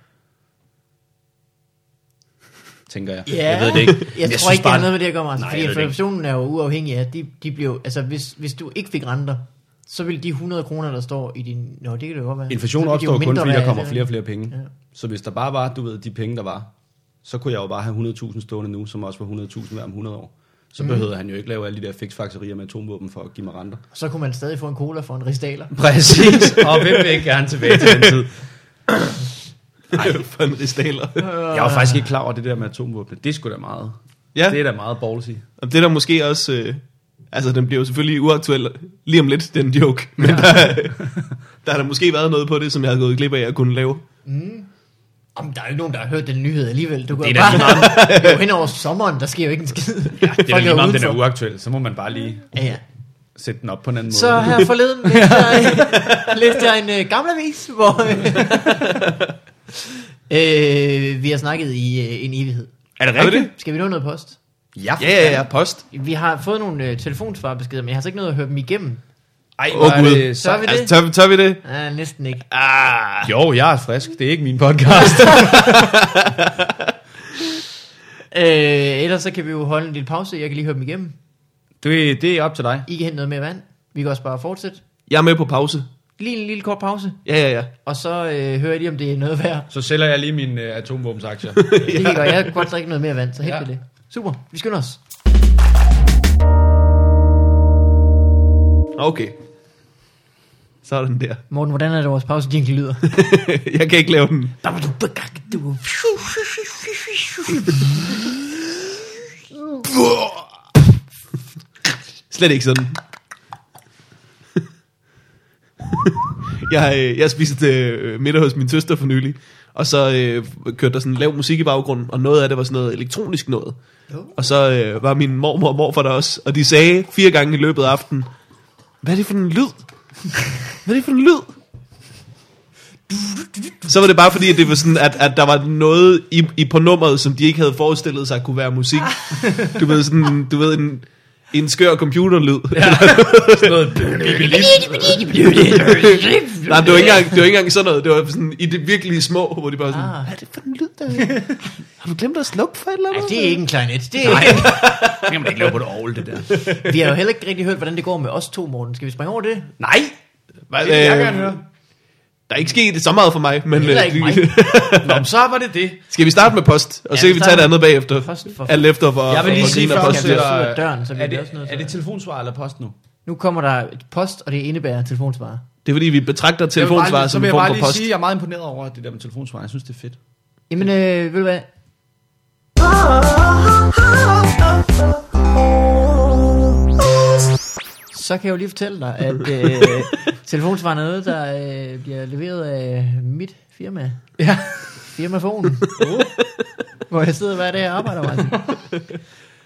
Speaker 3: Tænker jeg.
Speaker 2: Ja.
Speaker 3: Jeg ved det ikke. Men
Speaker 2: Jeg, jeg tror
Speaker 3: synes
Speaker 2: ikke, det
Speaker 3: bare-
Speaker 2: har noget med det at gøre, Martin,
Speaker 3: Nej,
Speaker 2: fordi
Speaker 3: jeg ved det ikke.
Speaker 2: inflationen er jo uafhængig af, de, de bliver, jo- altså hvis, hvis du ikke fik renter, så vil de 100 kroner, der står i din... Nå, det kan det jo godt være.
Speaker 3: Inflation
Speaker 2: Så vil de jo
Speaker 3: opstår kun,
Speaker 2: mindre
Speaker 3: fordi
Speaker 2: værd
Speaker 3: der
Speaker 2: af
Speaker 3: kommer
Speaker 2: det.
Speaker 3: flere og flere penge.
Speaker 2: Ja.
Speaker 3: Ja. Så hvis der bare var, du ved, de penge, der var, så kunne jeg jo bare have 100.000 stående nu, som også var 100.000 hver om 100 år. Så mm. behøvede han jo ikke lave alle de der fiksfakserier med atomvåben for at give mig renter.
Speaker 2: Så kunne man stadig få en cola for en ristaler.
Speaker 3: Præcis, og hvem vil ikke gerne tilbage til den tid?
Speaker 1: for en ristaler.
Speaker 3: Jeg var faktisk ikke klar over det der med atomvåben. Det er sgu da meget.
Speaker 1: Ja.
Speaker 3: Det er da meget ballsy.
Speaker 1: Og det er der måske også... Øh, altså, den bliver jo selvfølgelig uaktuel lige om lidt, den joke. Men ja. der, øh, der har der måske været noget på det, som jeg har gået glip af at kunne lave.
Speaker 2: Jamen, der er jo ikke nogen, der har hørt den nyhed alligevel. Du kan
Speaker 3: Det
Speaker 2: det
Speaker 3: er
Speaker 2: er
Speaker 3: da
Speaker 2: bare det er jo hen over sommeren, der sker jo ikke en skid. Ja,
Speaker 3: Det er da lige meget, om den er uaktuel. Så må man bare lige
Speaker 2: Ja, ja.
Speaker 3: sætte den op på en anden måde.
Speaker 2: Så her forleden læste jeg, læste jeg en øh, gammel avis, hvor øh, vi har snakket i øh, en evighed.
Speaker 3: er det
Speaker 1: Har vi
Speaker 3: rigtigt?
Speaker 1: det?
Speaker 2: Skal vi nå noget post?
Speaker 3: Ja.
Speaker 1: Ja, ja, ja, post.
Speaker 2: Vi har fået nogle øh, telefonsvarbeskeder, men jeg har altså ikke noget at høre dem igennem.
Speaker 3: Ej,
Speaker 1: Åh,
Speaker 3: hvor er
Speaker 1: Gud.
Speaker 3: det
Speaker 2: Så er vi
Speaker 3: så...
Speaker 2: det.
Speaker 1: Altså, tør, tør vi det?
Speaker 2: Ah, næsten ikke.
Speaker 1: Ah,
Speaker 3: Jo, jeg er frisk. Det er ikke min podcast.
Speaker 2: Øh, ellers så kan vi jo holde en lille pause. Jeg kan lige høre dem igennem.
Speaker 3: Det, det er op til dig.
Speaker 2: I kan hente noget mere vand. Vi kan også bare fortsætte.
Speaker 1: jeg er med på pause.
Speaker 2: Lige en lille kort pause,
Speaker 1: Ja, ja, ja.
Speaker 2: og så øh, hører de, om det er noget værd.
Speaker 3: Så sælger jeg lige mine øh, atomvåbensaktier.
Speaker 2: Det kan godt. Jeg kan godt drikke noget mere vand, så helt
Speaker 3: Ja.
Speaker 2: ja. det. Super, vi skynder os.
Speaker 1: Okay. Sådan der.
Speaker 2: Morten, hvordan er det, vores pause jingle lyder?
Speaker 1: jeg kan ikke lave den. Slet ikke sådan. jeg, øh, jeg spiste øh, middag hos min søster for nylig, og så øh, kørte der sådan lav musik i baggrunden, og noget af det var sådan noget elektronisk noget. Og så øh, var min mormor og morfar der også, og de sagde fire gange i løbet af aftenen, hvad er det for en lyd? Hvad er det for en lyd? Så var det bare fordi, at, det var sådan, at, at der var noget i, i på nummeret, som de ikke havde forestillet sig kunne være musik. Du ved, sådan, du ved en, en skør computerlyd. Ja.
Speaker 3: Sådan noget
Speaker 1: Nej, det var, ikke engang, det var ikke engang sådan noget. Det var sådan i det virkelige små, hvor de bare sådan,
Speaker 2: Ah.
Speaker 1: hvad er det for en lyd, der er? Har du glemt at slukke for et eller
Speaker 2: Ej,
Speaker 1: andet?
Speaker 2: det er ikke en klarinet. Det er ikke.
Speaker 3: Det kan man ikke lave på et ovl, det der.
Speaker 2: Vi har jo heller ikke rigtig hørt, hvordan det går med os to, Morten. Skal vi springe over det?
Speaker 3: Ah. Nej!
Speaker 1: Hvad,
Speaker 3: Det vil jeg
Speaker 1: øh,
Speaker 3: gerne høre.
Speaker 1: Der er ikke sket så meget for mig, men øh,
Speaker 2: Heller ikke mig.
Speaker 3: Nå, men så var det det.
Speaker 1: skal vi starte med post, og
Speaker 2: Ja,
Speaker 1: så kan
Speaker 2: vi
Speaker 1: vi tage det
Speaker 2: starter
Speaker 1: andet bagefter.
Speaker 2: Post for-
Speaker 1: Alt efter, hvor,
Speaker 3: Jeg vil lige
Speaker 1: hvor
Speaker 3: sige
Speaker 1: griner
Speaker 3: først,
Speaker 1: post
Speaker 2: skal
Speaker 1: bliver.
Speaker 2: vi også ud af døren, så vi
Speaker 3: er
Speaker 2: bliver også nødt
Speaker 3: det,
Speaker 2: til
Speaker 3: er det
Speaker 2: at-
Speaker 3: telefonsvar eller post nu?
Speaker 2: Nu kommer der et post, og det indebærer telefonsvarer.
Speaker 1: Det er fordi, vi betragter telefonsvar
Speaker 3: så
Speaker 1: som
Speaker 3: vil
Speaker 1: en
Speaker 3: jeg bare
Speaker 1: form for
Speaker 3: lige
Speaker 1: post.
Speaker 3: sige, at jeg er meget imponeret over det der med telefonsvar. Jeg synes, det er fedt.
Speaker 2: Jamen, øh, ved du hvad?
Speaker 4: Oh,
Speaker 2: Så kan jeg jo lige fortælle dig, at øh, telefonsvar er noget, der øh, bliver leveret af mit firma.
Speaker 3: Ja.
Speaker 2: Firmafonen. Uh. Hvor jeg sidder hver dag og arbejder, Martin.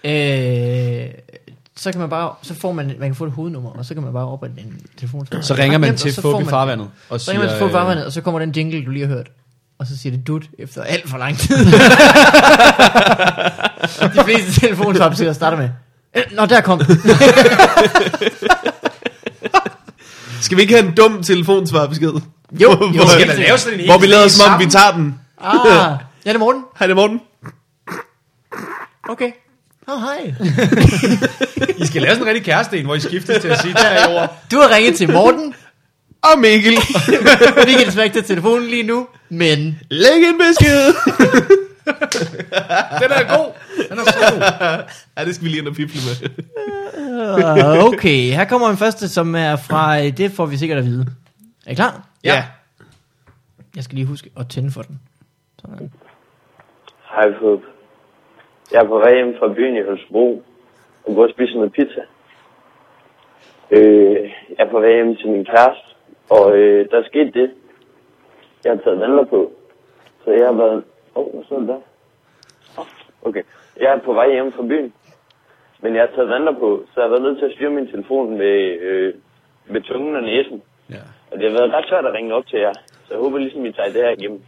Speaker 2: øh, så kan man bare, så får man, man kan få et hovednummer, og så kan man bare oprette en telefonsvar.
Speaker 3: Så ringer
Speaker 2: Ret
Speaker 3: man
Speaker 2: nemt,
Speaker 3: til
Speaker 2: og så får
Speaker 3: Fubi
Speaker 2: man-
Speaker 3: Farvandet og
Speaker 2: så ringer man til
Speaker 3: siger,
Speaker 2: Fubi
Speaker 3: øh,
Speaker 2: Farvandet, og så kommer den jingle, du lige har hørt. Og så siger det dut efter alt for lang tid. De fleste telefonsvapsøger starter med, "Øh, Nå, der kom den.
Speaker 1: Skal vi ikke have en dum telefonsvarbesked?
Speaker 2: Jo,
Speaker 1: Hvor-
Speaker 2: jo,
Speaker 1: hvor-
Speaker 2: skal
Speaker 3: da lave sådan en
Speaker 1: Hvor
Speaker 3: hel
Speaker 1: vi lader
Speaker 3: serie
Speaker 1: som om, vi
Speaker 3: sammen?
Speaker 1: tager den.
Speaker 2: Ah, ja, det er morgen.
Speaker 1: Hej, det er Morten.
Speaker 2: Okay. Åh, oh, hej.
Speaker 3: øh, I skal lave sådan en rigtig kæreste en, hvor I skiftes til at sige det her ord.
Speaker 2: Du har ringet til Morten.
Speaker 1: Og Mikkel.
Speaker 2: Vi kan desværre ikke tage telefonen lige nu, men
Speaker 1: Læg en besked.
Speaker 3: Den er god. Den er så god.
Speaker 1: ja, det skal vi lige ind og pifle med.
Speaker 2: Øh, okay, her kommer en første, som er fra, øh, det får vi sikkert at vide. Er I klar?
Speaker 3: Ja.
Speaker 2: Jeg skal lige huske at tænde for den. Sådan.
Speaker 5: Hej, Fub. Jeg er på vej hjem fra byen i Holstebro og går og spiser noget pizza. Øh, jeg er på vej hjem til min kæreste, og øh, der skete det. Jeg har taget vandler på, så jeg har været... Åh, oh, hvad står det der? Åh, Okay, jeg er på vej hjem fra byen, men jeg har taget vandler på, så jeg har været nødt til at styre min telefon med, øh, med tungen og næsen.
Speaker 3: ja.
Speaker 5: Og det har været ret svært at ringe op til jer, så jeg håber ligesom, I tager det her igennem.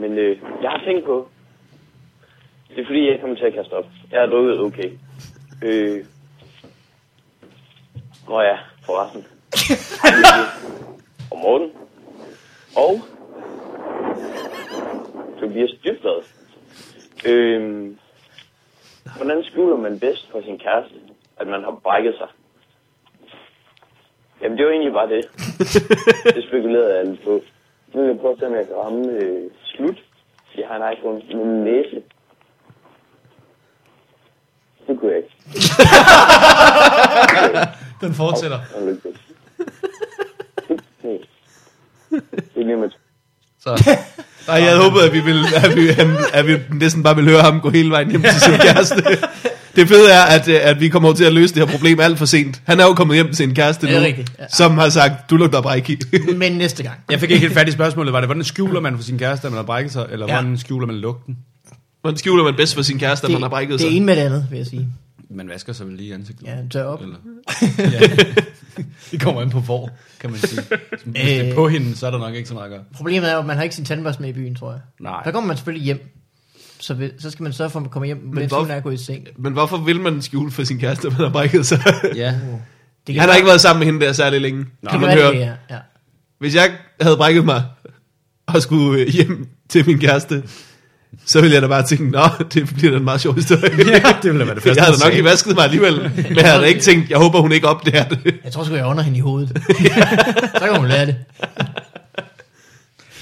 Speaker 5: Men øh, jeg har tænkt på, det er fordi, jeg kommer til at kaste op. Jeg har drukket okay. Øh. Nå ja, forresten. Hej, Mikkel. Og Morten. Og Tobias Dyrflad. Øh. Hvordan skjuler man bedst for sin kæreste, at man har brækket sig? Jamen, det var egentlig bare det. Det spekulerede jeg lidt på. Nu vil jeg prøve at se, om jeg kan ramme øh, slut. Jeg har en iPhone med en næse. Det kunne jeg ikke.
Speaker 3: Den fortsætter.
Speaker 5: Og lykke til. Nej. Det er lige med
Speaker 1: Nej, jeg havde håbet, at vi, ville, at, vi, han, at vi næsten bare ville høre ham gå hele vejen hjem til sin kæreste. Det fede er, at, øh, at vi kommer over til at løse det her problem alt for sent. Han er jo kommet hjem til sin kæreste
Speaker 2: Ja, det er
Speaker 1: nu,
Speaker 2: rigtigt, ja.
Speaker 1: som har sagt, du lugter af bræk i.
Speaker 2: Men næste gang.
Speaker 3: Jeg fik ikke helt fat i spørgsmålet. Var det, hvordan skjuler man for sin kæreste, at man har brækket sig? Eller
Speaker 2: Ja.
Speaker 3: ja. hvordan skjuler man lugten?
Speaker 1: Hvordan skjuler man bedst for sin kæreste, at man har brækket
Speaker 2: det,
Speaker 1: sig?
Speaker 2: det er en med det andet, vil jeg sige.
Speaker 3: Man vasker sig vel lige i ansigtet.
Speaker 2: Ja, tør op.
Speaker 3: Eller? Ja. det kommer an på hvor, kan man sige. Hvis det er på hende, så er der nok ikke så meget at gøre.
Speaker 2: Problemet er jo, at man har ikke sin tandbørste med i byen, tror jeg.
Speaker 3: Nej.
Speaker 2: Der kommer man selvfølgelig hjem. Så, vil, så skal man sørge for, at man kommer hjem, mens
Speaker 1: hvor-
Speaker 2: hun er gået i seng.
Speaker 1: Men hvorfor vil man skjule for sin kæreste, at man har brækket sig?
Speaker 3: Ja.
Speaker 2: Det
Speaker 1: Han har ikke været sammen med hende der særlig længe.
Speaker 2: det
Speaker 1: kan
Speaker 2: kan
Speaker 1: man
Speaker 2: være, det
Speaker 1: høre.
Speaker 2: er. Ja.
Speaker 1: Hvis jeg havde brækket mig og skulle øh, hjem til min kæreste, så ville jeg da bare tænke, nå, det bliver da en meget sjov historie.
Speaker 3: Ja, det ville da være det første,
Speaker 1: jeg havde
Speaker 3: han
Speaker 1: da nok
Speaker 3: sagde.
Speaker 1: ikke vasket mig alligevel, men jeg havde da ikke tænkt, jeg håber, hun ikke opdager det.
Speaker 2: Jeg tror sgu, jeg under hende i hovedet. så kan hun lære det.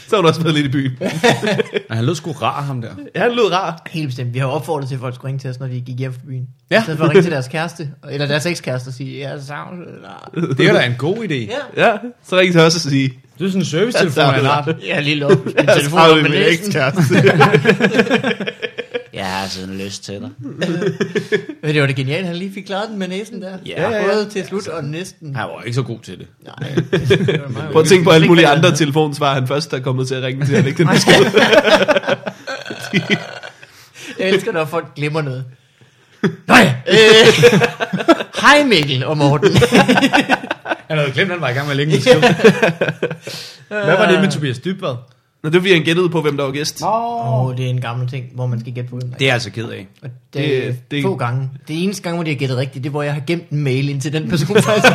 Speaker 1: Så var hun også med lidt i byen.
Speaker 3: Men han lød sgu rar, ham der.
Speaker 1: Ja, han lød rar.
Speaker 2: Helt bestemt. Vi har jo opfordret til, at folk skulle ringe til os, når de gik hjem fra byen.
Speaker 3: Ja.
Speaker 2: Ja. I stedet for at ringe til deres kæreste, eller deres ekskæreste og sige, jeg savner dig."
Speaker 3: Det er da en god idé.
Speaker 2: Ja.
Speaker 1: Ja, så ringte jeg også og sige,
Speaker 3: Det er sådan en servicetelefon,
Speaker 1: Ja,
Speaker 3: han har.
Speaker 2: Jeg har lige lukket Altså, min
Speaker 1: jeg
Speaker 2: telefon op
Speaker 1: savner
Speaker 2: med
Speaker 1: min
Speaker 2: næsen.
Speaker 1: ekskæreste.
Speaker 6: Jeg har sådan lyst til dig.
Speaker 2: Men det var det genialt, han lige fik klaret den med næsen der.
Speaker 6: Ja, ja, ja.
Speaker 2: Både til slut og næsten.
Speaker 3: Han var ikke så god til det.
Speaker 2: Nej, det var meget
Speaker 1: Prøv at tænke på alle
Speaker 2: Ikke
Speaker 1: mulige
Speaker 2: hvad
Speaker 1: andre
Speaker 2: han hedder.
Speaker 1: telefonsvar, han først er kommet til at ringe til at lægge den besked.
Speaker 2: Jeg elsker, når folk glemmer noget. Nå ja, øh, hej Mikkel og Morten.
Speaker 3: Han havde glemt, at han var i gang med at lægge en besked. Hvad var det med Tobias Dybvad?
Speaker 1: Nå, det var fordi, han gættede på, hvem der var gæst.
Speaker 2: Åh, oh, det er en gammel ting, hvor man skal gætte på hvem der
Speaker 3: Det er jeg altså ked af.
Speaker 2: Og det,
Speaker 1: Det-
Speaker 2: det,
Speaker 1: det-
Speaker 2: det, få gange. Det eneste gang, hvor de har gættet rigtigt, det er, hvor jeg har gemt en mail ind til den person. faktisk.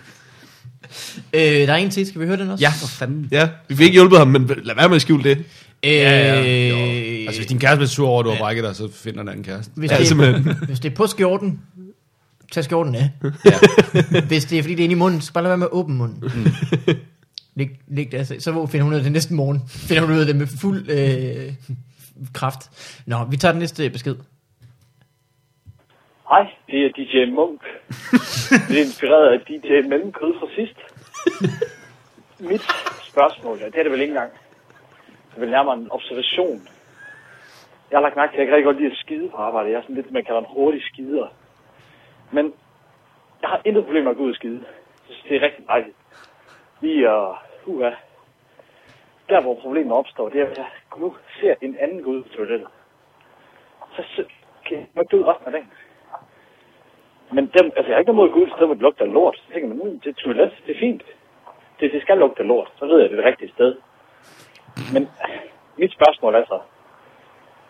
Speaker 2: øh, der er en til, skal vi høre den også?
Speaker 3: Ja, for fanden.
Speaker 1: Ja, vi fik ikke hjulpet ham, men lad være med at skjule det.
Speaker 2: Øh,
Speaker 3: Ja, ja, jo. Altså, hvis din kæreste bliver sur over, at du har brækket dig, så finder den anden kæreste.
Speaker 2: hvis,
Speaker 1: Ja,
Speaker 2: det,
Speaker 1: simpelthen.
Speaker 2: er, hvis det er på skjorten, tag skjorten af. Ja. hvis det er, fordi det er inde i munden, så bare lad være med at åbne munden. Mm. Læg, læg det, altså, så hvor finder hun ud af det næste morgen. Finder hun ud af det med fuld øh, kraft. Nå, vi tager den næste besked.
Speaker 5: Hej, det er DJ Munk. Det er inspireret af DJ Mellemkød fra sidst. Mit spørgsmål, ja, det er det vel ikke engang. Det er vel nærmere en observation. Jeg har lagt mærke til, at jeg kan rigtig godt lide at skide på arbejde. Jeg er sådan lidt, man kalder en hurtig skider. Men jeg har intet problem med at gå ud og skide. Jeg synes, det er rigtig dejligt. Lige at, uh, der hvor problemet opstår, det er, at jeg nu ser en anden gå ud på toilettet. Så, så kan jeg godt gå ud resten af dagen. Men dem, altså, jeg har ikke noget mod at gå ud et sted, hvor det lugter af lort. Så tænker man, mm, det er toilet, det er fint. Det, det skal lugte af lort, så ved jeg, det er det rigtige sted. Men øh, mit spørgsmål er så,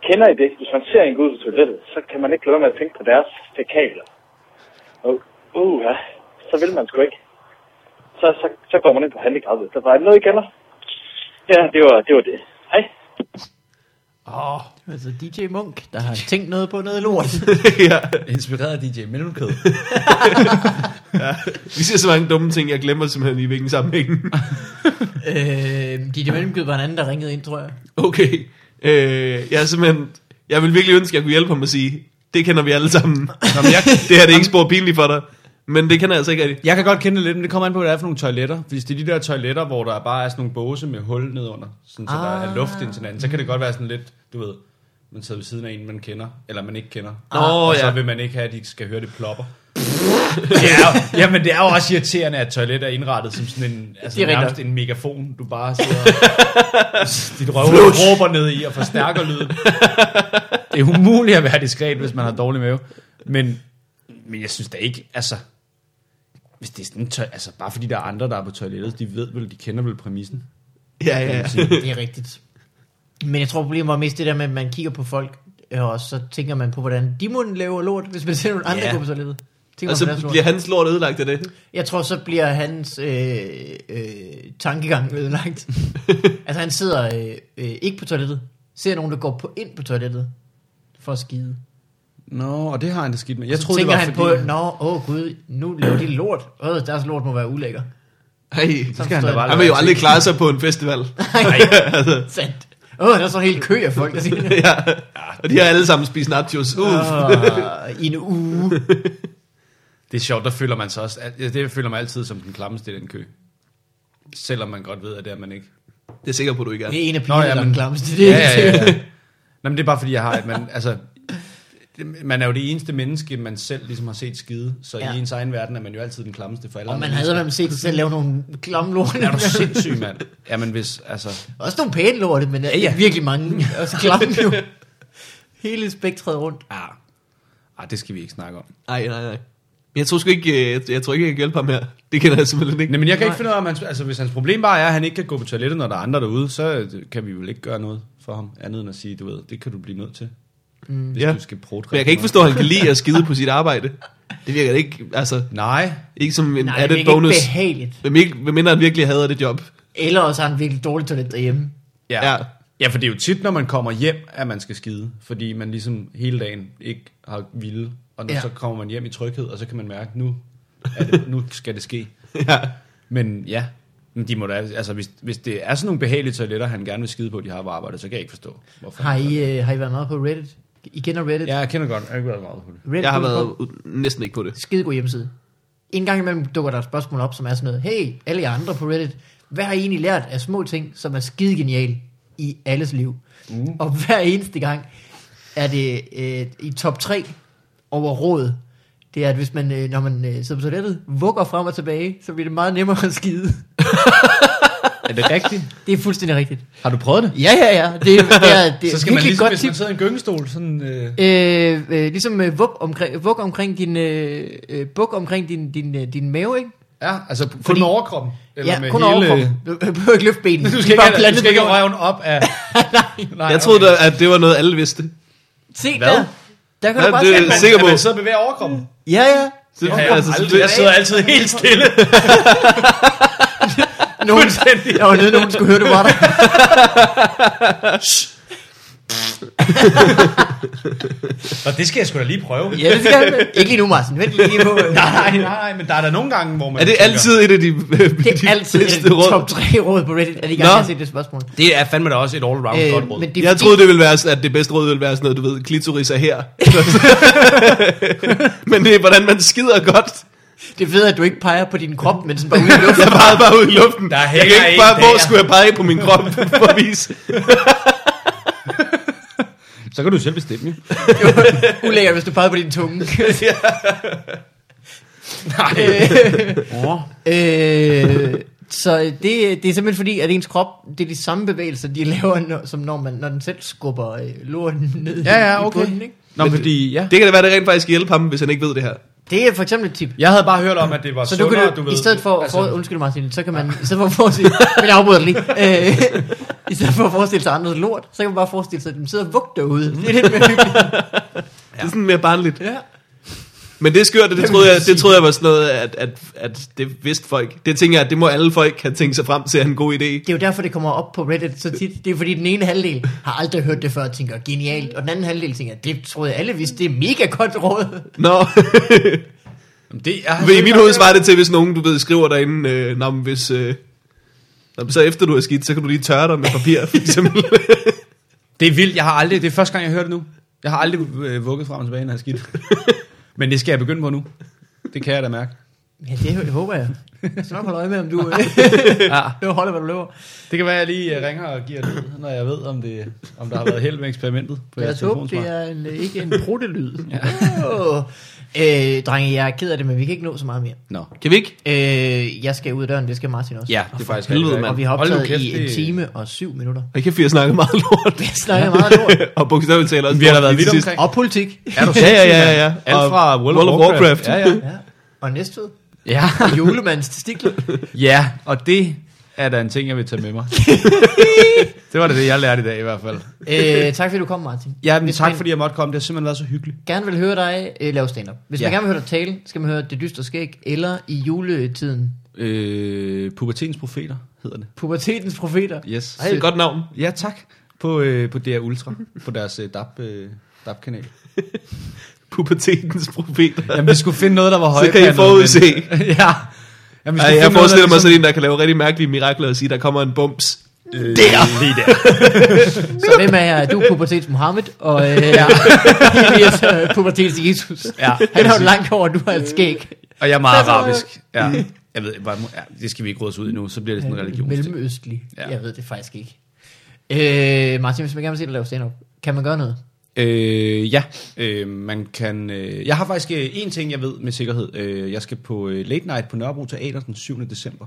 Speaker 5: kender I det? Hvis man ser en gå ud på toilettet, så kan man ikke lade være med at tænke på deres fækaler. Og uh, ja, så vil man sgu ikke. Så, så, så går man ind på handicappet. Der var noget, I kender? Ja, det var det. Var det. Hej.
Speaker 2: Altså DJ Munk, der har tænkt noget på noget lort.
Speaker 1: ja.
Speaker 3: Inspireret af DJ Mellemkød.
Speaker 1: Vi siger så mange dumme ting, jeg glemmer simpelthen i hvilken sammenhæng.
Speaker 2: Øh, Ditte Mellemgød var en anden, der ringede ind, tror jeg.
Speaker 1: okay. Øh, jeg er simpelthen... Jeg vil virkelig ønske, at jeg kunne hjælpe ham og sige, det kender vi alle sammen. Jamen, jeg, det her det er ikke spor pinligt for dig. Men det kender jeg altså ikke rigtigt.
Speaker 3: Jeg kan godt kende det lidt, men det kommer an på, hvad det er for nogle toiletter. Hvis det er de der toiletter, hvor der bare er sådan nogle båse med hul nedunder, sådan, så ah. der er luft ind til hinanden, så kan det godt være sådan lidt, du ved, man sidder ved siden af en, man kender, eller man ikke kender.
Speaker 1: Nå,
Speaker 3: og så
Speaker 1: ja.
Speaker 3: vil man ikke have, at de skal høre det plopper. det er, jo- jamen, det er jo også irriterende, at toilet er indrettet som sådan en, altså
Speaker 2: Det er rigtigt.
Speaker 3: nærmest en megafon, du bare sidder dit røvhul råber ned i og forstærker lyden. Det er umuligt at være diskret, hvis man har dårlig mave. Men, men jeg synes da ikke, altså, hvis det er sådan tøj, altså bare fordi der er andre, der er på toilettet, de ved vel, de kender vel præmissen.
Speaker 1: Ja, ja, ja.
Speaker 2: Det er rigtigt. Men jeg tror, problemet var mest det der med, at man kigger på folk, øh, og så tænker man på, hvordan de må lave lort, hvis man ser nogle andre
Speaker 1: Ja.
Speaker 2: yeah. på toilettet. Tænker
Speaker 1: Og
Speaker 2: altså, man på
Speaker 1: så
Speaker 2: deres
Speaker 1: bliver
Speaker 2: lort.
Speaker 1: hans lort ødelagt af det.
Speaker 2: Jeg tror, så bliver hans øh, øh, tankegang ødelagt. altså han sidder øh, øh, ikke på toilettet, ser nogen, der går på ind på toilettet for at skide.
Speaker 3: Nå, og det har han det skidt med. Jeg
Speaker 2: så
Speaker 3: troede, det
Speaker 2: tænker
Speaker 3: var
Speaker 2: han
Speaker 3: fordi,
Speaker 2: på, nå, åh oh, gud, nu laver de lort. Øh, deres lort må være ulækker.
Speaker 1: Hey,
Speaker 2: skal han da bare
Speaker 1: han vil jo aldrig klare sig på en festival.
Speaker 2: Sandt. Åh, oh, der er så en hel kø af folk, der siger det.
Speaker 1: ja. Og de har alle sammen spist nachos. Uff.
Speaker 2: Åh, I en uge.
Speaker 3: Det er sjovt, der føler man sig også, ja, det føler man altid som den klammeste i den kø. Selvom man godt ved, at det er man ikke.
Speaker 1: Det er sikker på, du ikke er.
Speaker 2: Det er en af
Speaker 3: Nå,
Speaker 2: pigerne,
Speaker 3: ja,
Speaker 2: der er
Speaker 3: men-
Speaker 2: den klammeste. Det er
Speaker 3: ja,
Speaker 2: ikke
Speaker 3: ja, ja, ja. Nå, men det er bare fordi, jeg har, at man, altså, det- man er jo det eneste menneske, man selv ligesom har set skide, så ja.
Speaker 2: Ja.
Speaker 3: i ens egen verden er man jo altid den klammeste for alle
Speaker 2: Og man
Speaker 3: andre
Speaker 2: havde
Speaker 3: mennesker.
Speaker 2: man set sig selv lave nogle klamme lort.
Speaker 3: Er du sindssyg, mand? Jamen hvis, altså,
Speaker 2: Også nogle pæne lorte, men ja,
Speaker 3: ja.
Speaker 2: ja. virkelig mange. Også klamme jo. Hele spektret rundt.
Speaker 3: ja. Ah, det skal vi ikke snakke om.
Speaker 1: Nej, nej, nej. Men jeg tror sgu ikke, øh, jeg, jeg tror ikke, jeg kan hjælpe ham her. Det kender jeg simpelthen ikke.
Speaker 3: Nej, men jeg kan ikke finde ud af, om hans, altså, hvis hans problem bare er, at han ikke kan gå på toilettet, når der er andre derude, så øh, kan vi vel ikke gøre noget for ham, andet end at sige, du ved, det kan du blive nødt til, mm. hvis
Speaker 1: Ja.
Speaker 3: ja. du skal prøve
Speaker 1: Men jeg kan ikke forstå, at han kan lide at skide på sit arbejde. Det virker da ikke, altså,
Speaker 3: Nej,
Speaker 1: ikke som en
Speaker 2: Nej,
Speaker 1: added
Speaker 2: det er ikke
Speaker 1: bonus.
Speaker 2: behageligt.
Speaker 1: Hvem, ikke, hvem mindre han virkelig hader det job.
Speaker 2: Eller også har han virkelig dårligt toilet derhjemme.
Speaker 3: ja. ja. Ja, for det er jo tit, når man kommer hjem, at man skal skide, fordi man ligesom hele dagen ikke har ville, og når
Speaker 2: Ja.
Speaker 3: ja. så kommer man hjem i tryghed, og så kan man mærke, nu, er det, nu skal det ske.
Speaker 1: ja.
Speaker 3: Men ja, men de må da, altså, hvis, hvis det er sådan nogle behagelige toiletter, han gerne vil skide på, de har på arbejde, så kan jeg ikke forstå, hvorfor.
Speaker 2: Har I, øh, har I været meget på Reddit? I kender Reddit?
Speaker 3: Ja, jeg kender godt, jeg har ikke været meget på det.
Speaker 2: Reddit
Speaker 1: Jeg har
Speaker 2: er
Speaker 1: været
Speaker 2: en
Speaker 1: u- næsten ikke på det.
Speaker 2: Skidegod hjemmeside. En gang imellem dukker der et spørgsmål op, som er sådan noget, hey, alle jer andre på Reddit, hvad har I egentlig lært af små ting, som er skide genial i alles liv? Mm. Og hver eneste gang er det øh, i top 3 over råd, det er, at hvis man, øh, når man øh, sidder på toilettet, vugger frem og tilbage, så bliver det meget nemmere at skide.
Speaker 3: Er det rigtigt?
Speaker 2: Det er fuldstændig rigtigt.
Speaker 3: Har du prøvet det?
Speaker 2: Ja, ja, ja. Det, er- det er, det er
Speaker 3: så skal man
Speaker 2: virkelig
Speaker 3: ligesom,
Speaker 2: godt
Speaker 3: hvis man
Speaker 2: tip.
Speaker 3: sidder i en gyngestol, sådan... Øh...
Speaker 2: Øh, øh, ligesom øh, vug omkring, vug omkring din, øh, øh, buk omkring din, din, øh, din mave, ikke?
Speaker 3: Ja, altså kun
Speaker 2: Fordi-
Speaker 3: med overkroppen.
Speaker 2: ja, kun hele... overkroppen. Du du behøver ikke løfte benene.
Speaker 3: Du
Speaker 2: De
Speaker 3: skal
Speaker 2: er bare
Speaker 3: ikke, du
Speaker 2: plantet
Speaker 3: skal ikke
Speaker 2: på jorden.
Speaker 3: røven op af... Nej,
Speaker 1: Jeg troede, da, at det var noget, alle vidste.
Speaker 2: Se
Speaker 3: Hvad?
Speaker 2: der. Der kan
Speaker 1: Hvad
Speaker 2: du bare
Speaker 1: er
Speaker 2: det...
Speaker 1: det? sikker på.
Speaker 3: sidder og bevæger overkroppen.
Speaker 2: Ja, ja.
Speaker 1: Det,
Speaker 3: Mm. Ja, altså, aldrig, jeg sidder altid helt stille.
Speaker 2: Nogen,
Speaker 3: Fuldstændig.
Speaker 2: jeg var nødt, nogen skulle høre, du var der.
Speaker 3: Og det skal jeg sgu da lige prøve.
Speaker 2: Ja, det skal jeg. Ikke lige nu, Martin. Vent lige på. øh,
Speaker 3: Nej, nej, men der er der nogle gange, hvor man...
Speaker 1: er det
Speaker 3: tænker,
Speaker 1: altid et af de,
Speaker 2: Det
Speaker 1: de
Speaker 2: er altid
Speaker 1: bedste
Speaker 2: et
Speaker 1: råd?
Speaker 2: top 3 råd på Reddit, at I gerne
Speaker 1: Nå.
Speaker 2: har set det spørgsmål.
Speaker 3: Det er fandme da også et all-round
Speaker 2: Øh,
Speaker 3: godt råd.
Speaker 2: men det er
Speaker 1: Jeg
Speaker 2: fordi-
Speaker 1: troede, det ville være, sådan- at det bedste råd ville være sådan noget, du ved, klitoris er her. Men det er, hvordan man skider godt.
Speaker 2: Det er fedt, at du ikke peger på din krop, men sådan bare ude i luften.
Speaker 1: Jeg pegede bare ud i luften.
Speaker 3: Der
Speaker 1: jeg
Speaker 3: hænger
Speaker 1: kan ikke
Speaker 3: en
Speaker 1: bare, hvor
Speaker 3: der.
Speaker 1: skulle jeg pege på min krop for at vise.
Speaker 3: Så kan du selv bestemme, jo.
Speaker 2: Det var ulækkert, hvis du pegede på din tunge.
Speaker 3: Nej.
Speaker 2: oh. øh, så det, det er simpelthen fordi, at ens krop, det er de samme bevægelser, de laver, når, som når, man, når den selv skubber øh, lorten ned
Speaker 3: Ja, ja,
Speaker 2: i
Speaker 3: okay.
Speaker 2: bunden. Ikke?
Speaker 3: Nå, men fordi, ja.
Speaker 1: Det kan da være, det rent faktisk hjælper ham, hvis han ikke ved det her.
Speaker 2: Det er for eksempel et tip.
Speaker 3: Jeg havde bare hørt om, at det var
Speaker 2: Så du
Speaker 3: sundere,
Speaker 2: kan
Speaker 3: du
Speaker 2: du,
Speaker 3: ved.
Speaker 2: i stedet for, altså, for undskyld Martin, så kan man, i stedet for at forestille, men jeg afbryder dig lige, øh, i stedet for at forestille sig andres lort, så kan man bare forestille sig, at de sidder og vugter derude. Det er lidt mere hyggeligt.
Speaker 1: Det er sådan mere barnligt.
Speaker 2: Ja.
Speaker 1: Men det er skørt, og det troede jeg, det troede jeg var sådan noget, at, at, at det vidste folk. Det tænker jeg, at det må alle folk have tænkt sig frem til, er en god idé.
Speaker 2: Det er jo derfor, det kommer op på Reddit så tit. Det er fordi, den ene halvdel har aldrig hørt det før og tænker, genialt. Og den anden halvdel tænker, det troede jeg alle vidste, det er mega godt råd.
Speaker 1: Nå,
Speaker 3: Det, jeg har
Speaker 1: Men i
Speaker 3: selv
Speaker 1: mit
Speaker 3: bare
Speaker 1: hoved
Speaker 3: hørt-
Speaker 1: svarer det til, hvis nogen, du ved, skriver derinde, øh, "Nå, men hvis... Øh, nå, men så efter du har skidt, så kan du lige tørre dig med papir, for eksempel.
Speaker 3: Det er vildt, jeg har aldrig, det er første gang, jeg hører det nu. Jeg har aldrig øh, vugget frem og tilbage, når jeg har skidt. Men det skal jeg begynde på nu. Det kan jeg da mærke.
Speaker 2: Ja, det håber jeg. Jeg skal nok holde øje med, om du,
Speaker 3: Ja.
Speaker 2: du holder, hvad du løber.
Speaker 3: Det kan være, at jeg lige øh, ringer og giver det, ud, når jeg ved, om, det, om der har været held med eksperimentet på
Speaker 2: Lad
Speaker 3: jeres
Speaker 2: os håbe, det
Speaker 3: telefonsvar.
Speaker 2: er en, øh, ikke en pruttelyd. Åh. øh, drenge, jeg er ked af det, men vi kan ikke nå så meget mere.
Speaker 3: Nå.
Speaker 1: Kan vi ikke?
Speaker 2: Øh, jeg skal ud af døren, det skal Martin også.
Speaker 3: Ja, det er faktisk
Speaker 1: helvede,
Speaker 3: rigtig
Speaker 1: mand.
Speaker 2: Og vi har
Speaker 3: Hold nu
Speaker 2: optaget
Speaker 3: kæft,
Speaker 2: i en
Speaker 3: det-
Speaker 2: time og syv minutter.
Speaker 1: Jeg kan fire snakke meget lort.
Speaker 2: Jeg snakker meget lort.
Speaker 1: og bogstaveligt taler også.
Speaker 3: Vi har da
Speaker 1: lort
Speaker 3: været
Speaker 1: lige
Speaker 3: vidt
Speaker 1: til sidst.
Speaker 3: omkring.
Speaker 2: Og politik.
Speaker 3: Er du
Speaker 1: Ja, ja, ja, ja.
Speaker 3: sindssyg, mand? Alt
Speaker 1: Og
Speaker 3: fra World,
Speaker 1: World
Speaker 3: of
Speaker 1: of
Speaker 3: Warcraft.
Speaker 1: Warcraft.
Speaker 3: Ja, ja.
Speaker 2: Ja. Og næstved.
Speaker 3: ja.
Speaker 2: Og julemandens testikler.
Speaker 3: ja, og det er da en ting, jeg vil tage med mig. det var da det, jeg lærte i dag i hvert fald.
Speaker 2: øh, tak fordi du kom, Martin.
Speaker 3: Ja, men
Speaker 2: Hvis
Speaker 3: tak
Speaker 2: man-
Speaker 3: fordi jeg måtte komme. Det har simpelthen været så hyggeligt.
Speaker 2: gerne vil høre dig øh, lave stand-up. Hvis ja. man
Speaker 3: Ja.
Speaker 2: gerne vil høre dig tale, skal man høre Det Dystre Skæg, eller i juletiden,
Speaker 3: Øh, pubertens profeter hedder det.
Speaker 2: Pubertetens Profeter.
Speaker 3: Yes.
Speaker 1: Ej, et godt navn.
Speaker 3: Ja, tak. På, øh, på DR Ultra. på deres øh, DAP, øh, DAP-kanal.
Speaker 1: Pubertetens profeter.
Speaker 3: Jamen, vi skulle finde noget, der var
Speaker 1: Så
Speaker 3: højt.
Speaker 1: kan I forudse.
Speaker 3: ja. Jamen, vi
Speaker 1: Ej,
Speaker 3: skulle
Speaker 1: jeg
Speaker 3: finde noget, der
Speaker 1: forestiller mig
Speaker 3: ligesom-
Speaker 1: sådan en, der kan lave rigtig mærkelige mirakler og sige, der kommer en bums.
Speaker 2: Så hvem er jeg? Du er Pubertets Mohammed, og øh, ja. Elias er Pubertets Jesus.
Speaker 3: Ja, Øh,
Speaker 2: Han har jo langt over, du har et skæg.
Speaker 3: Og jeg er meget
Speaker 2: Så tror jeg-
Speaker 3: arabisk. Ja. Jeg ved, bare, ja, det skal vi ikke rådes ud i nu, så bliver det sådan en religion.
Speaker 2: Mellemøstlig. Ja.
Speaker 3: Ja.
Speaker 2: Jeg ved det faktisk ikke. Øh, Martin, hvis man gerne vil se dig lave stand-up, kan man gøre noget?
Speaker 3: Øh, ja, øh, man kan... Øh, jeg har faktisk øh, en ting, jeg ved med sikkerhed. Øh, jeg skal på øh, Late Night på Nørrebro Teater den 7. december.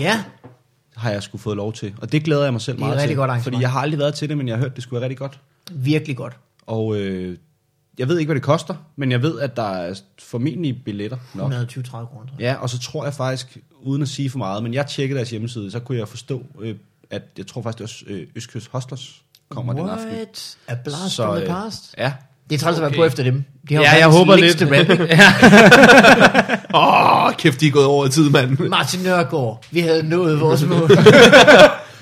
Speaker 2: Ja,
Speaker 3: Har jeg sgu fået lov til. Og det glæder jeg mig selv
Speaker 2: Det er et
Speaker 3: meget
Speaker 2: rigtig
Speaker 3: til.
Speaker 2: godt arrangement.
Speaker 3: fordi jeg har aldrig været til det, men jeg har hørt, det skulle være rigtig godt.
Speaker 2: virkelig godt.
Speaker 3: Og øh, jeg ved ikke, hvad det koster, men jeg ved, at der er formentlig billetter
Speaker 2: 120-30
Speaker 3: nok.
Speaker 2: kroner. tror jeg.
Speaker 3: Ja, og så tror jeg faktisk, uden at sige for meget, men jeg tjekkede deres hjemmeside, så kunne jeg forstå, øh, at jeg tror faktisk, også øh, Østkyst Hostlers kommer den aften.
Speaker 2: What? A blast så, from the past.
Speaker 3: Ja.
Speaker 2: Det er træls at være
Speaker 3: øh, Okay.
Speaker 2: på efter dem. De har
Speaker 3: Ja,
Speaker 2: jo
Speaker 3: jeg
Speaker 2: verdens
Speaker 3: håber
Speaker 2: længste
Speaker 3: lidt.
Speaker 2: rap.
Speaker 1: Åh, oh, kæft, de er gået over i tid, mand.
Speaker 2: Martin Nørgaard, vi havde nået vores mål.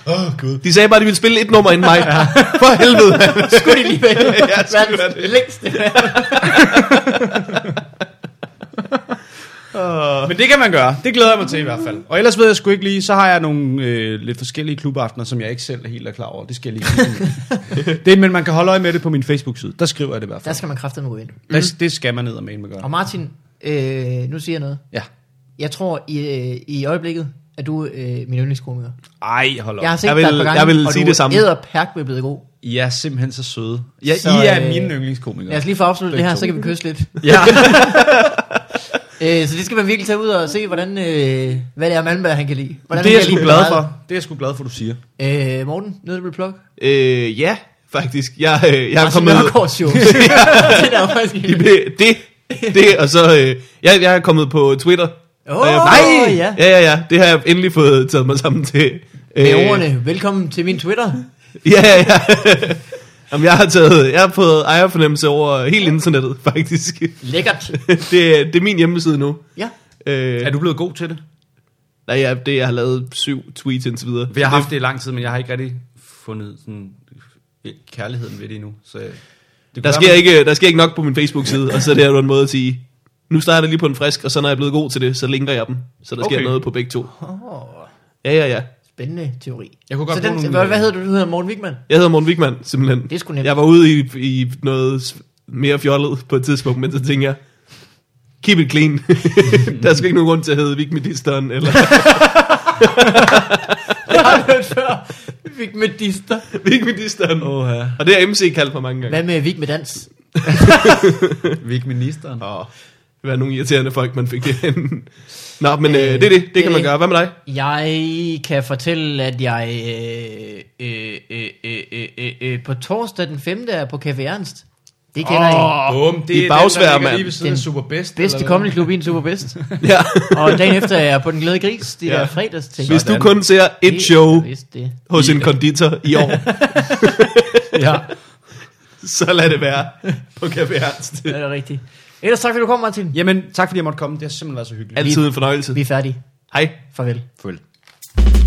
Speaker 3: Åh, oh, Gud.
Speaker 1: De sagde bare, at de ville spille et nummer inden mig. Ja. For helvede.
Speaker 2: Skulle de lige være
Speaker 1: Ja, skulle være det.
Speaker 2: verdens længste?
Speaker 3: Men det kan man gøre. Det glæder jeg mig til i hvert fald. Og ellers ved jeg sgu ikke lige, så har jeg nogle øh, lidt forskellige klubaftener, som jeg ikke selv er helt er klar over. Det skal jeg lige kigge på. det, Men man kan holde øje med det på min Facebook-side. Der skriver jeg det i hvert
Speaker 2: Der
Speaker 3: fald.
Speaker 2: skal man kraftedeme gå ind.
Speaker 3: Der, mm. Det skal man ned og med med
Speaker 2: Og
Speaker 3: gøre.
Speaker 2: Martin, øh, nu siger jeg noget.
Speaker 3: Ja.
Speaker 2: Jeg tror, i, øh, i øjeblikket er du øh, min yndlingskomiker.
Speaker 3: Ej, hold op.
Speaker 2: Jeg har set
Speaker 1: Jeg vil-
Speaker 2: dig et par gange,
Speaker 1: jeg vil
Speaker 2: og
Speaker 1: sige
Speaker 2: du
Speaker 1: det samme.
Speaker 2: æder perk med blevet god.
Speaker 3: I er simpelthen så søde. Ja,
Speaker 2: Så,
Speaker 3: så, I er
Speaker 2: øh,
Speaker 3: øh, mine yndlingskomikere.
Speaker 2: Lad os lige få afsluttet det
Speaker 3: Begge
Speaker 2: her,
Speaker 3: to.
Speaker 2: så kan vi kysse lidt.
Speaker 3: Ja.
Speaker 2: Øh, så det skal man virkelig tage ud og se, hvordan, øh, hvad det er, Malmberg han kan lide. Hvordan
Speaker 3: det er jeg
Speaker 2: han
Speaker 3: sgu
Speaker 2: kan lide
Speaker 3: glad for. Det er jeg sgu glad for, du siger.
Speaker 2: meget. Øh, Morten, noget du vil plukke?
Speaker 1: øh, ja, faktisk. Jeg, øh, jeg er
Speaker 2: Martin
Speaker 1: kommet...
Speaker 2: Nørgaard show. det er jo faktisk...
Speaker 1: Det, det, det, og så... Øh, jeg, jeg er kommet på Twitter.
Speaker 2: Åh,
Speaker 1: Og jeg-
Speaker 2: nej!
Speaker 1: Ja, ja, ja. Det har jeg endelig fået taget mig sammen til. Øh,
Speaker 2: Med ordene, velkommen til min Twitter.
Speaker 1: Ja, ja, ja. Jamen, jeg har taget, jeg har fået ejerfornemmelse over hele internettet, faktisk.
Speaker 2: Lækkert.
Speaker 1: det, er- det er min hjemmeside nu.
Speaker 2: Ja.
Speaker 1: Øh,
Speaker 3: Er du blevet god til det?
Speaker 1: Nej, ja, det, jeg har lavet syv tweets indtil videre.
Speaker 3: Jeg har haft det i lang tid, men jeg har ikke rigtig fundet sådan, øh, kærligheden ved det endnu. Så øh, det kunne
Speaker 1: Der
Speaker 3: være,
Speaker 1: sker,
Speaker 3: man-
Speaker 1: ikke, der sker ikke nok på min Facebook-side, og så er det her jo en måde at sige, nu starter jeg lige på en frisk, og så når jeg er blevet god til det, så linker jeg dem. Så der okay.
Speaker 3: Okay.
Speaker 1: sker noget på begge to.
Speaker 2: Oh,
Speaker 1: Ja, ja, ja.
Speaker 2: spændende teori.
Speaker 3: Jeg kunne godt
Speaker 2: så
Speaker 3: bruge
Speaker 2: den,
Speaker 3: nogle-
Speaker 2: hvad, hvad hedder du? Du hedder Morten Wigman.
Speaker 1: Jeg hedder Morten Wigman, simpelthen.
Speaker 2: Det er sgu nemt.
Speaker 1: Jeg var ude i, i noget s- mere fjollet på et tidspunkt, men så tænkte jeg, keep it clean. der er sgu ikke nogen grund til at hedde Vigmedisteren, eller
Speaker 2: Jeg har hørt før. Vi fik med dister.
Speaker 1: Vigmedisteren.
Speaker 3: Åh, ja.
Speaker 1: Og det har MC kaldt for mange gange.
Speaker 2: Hvad med Vig med dans?
Speaker 3: Vik ministeren.
Speaker 1: Åh, det var nogle irriterende folk, man fik det hen. Nå, men øh, det er det. Det kan man
Speaker 2: øh.
Speaker 1: gøre. Hvad med dig?
Speaker 2: Jeg kan fortælle, at jeg øh, øh, øh, øh, øh, øh, øh, på torsdag den 5. er på Café Ernst. Det kender oh, I.
Speaker 3: Bum, det
Speaker 1: I
Speaker 3: er
Speaker 1: bagsvær,
Speaker 3: den, der ligger
Speaker 1: mand.
Speaker 3: lige ved siden af
Speaker 2: Den
Speaker 3: Superbest.
Speaker 2: Bedste kommende klub i en superbedst.
Speaker 1: Ja.
Speaker 2: Og dagen efter er jeg på Den Glæde Gris. Det er
Speaker 1: Ja.
Speaker 2: ja. fredags til.
Speaker 1: Hvis du
Speaker 3: Sådan.
Speaker 1: kun ser et show
Speaker 2: Det.
Speaker 1: hos en konditor i år,
Speaker 3: Ja.
Speaker 1: så lad det være på Café Ernst.
Speaker 2: Ja, det er rigtigt. Ellers tak, fordi du kom, Martin.
Speaker 3: Jamen, tak fordi jeg måtte komme. Det har simpelthen været så hyggeligt.
Speaker 1: Altid en fornøjelse.
Speaker 2: Vi er færdige.
Speaker 1: Hej.
Speaker 2: Farvel.
Speaker 3: Følg.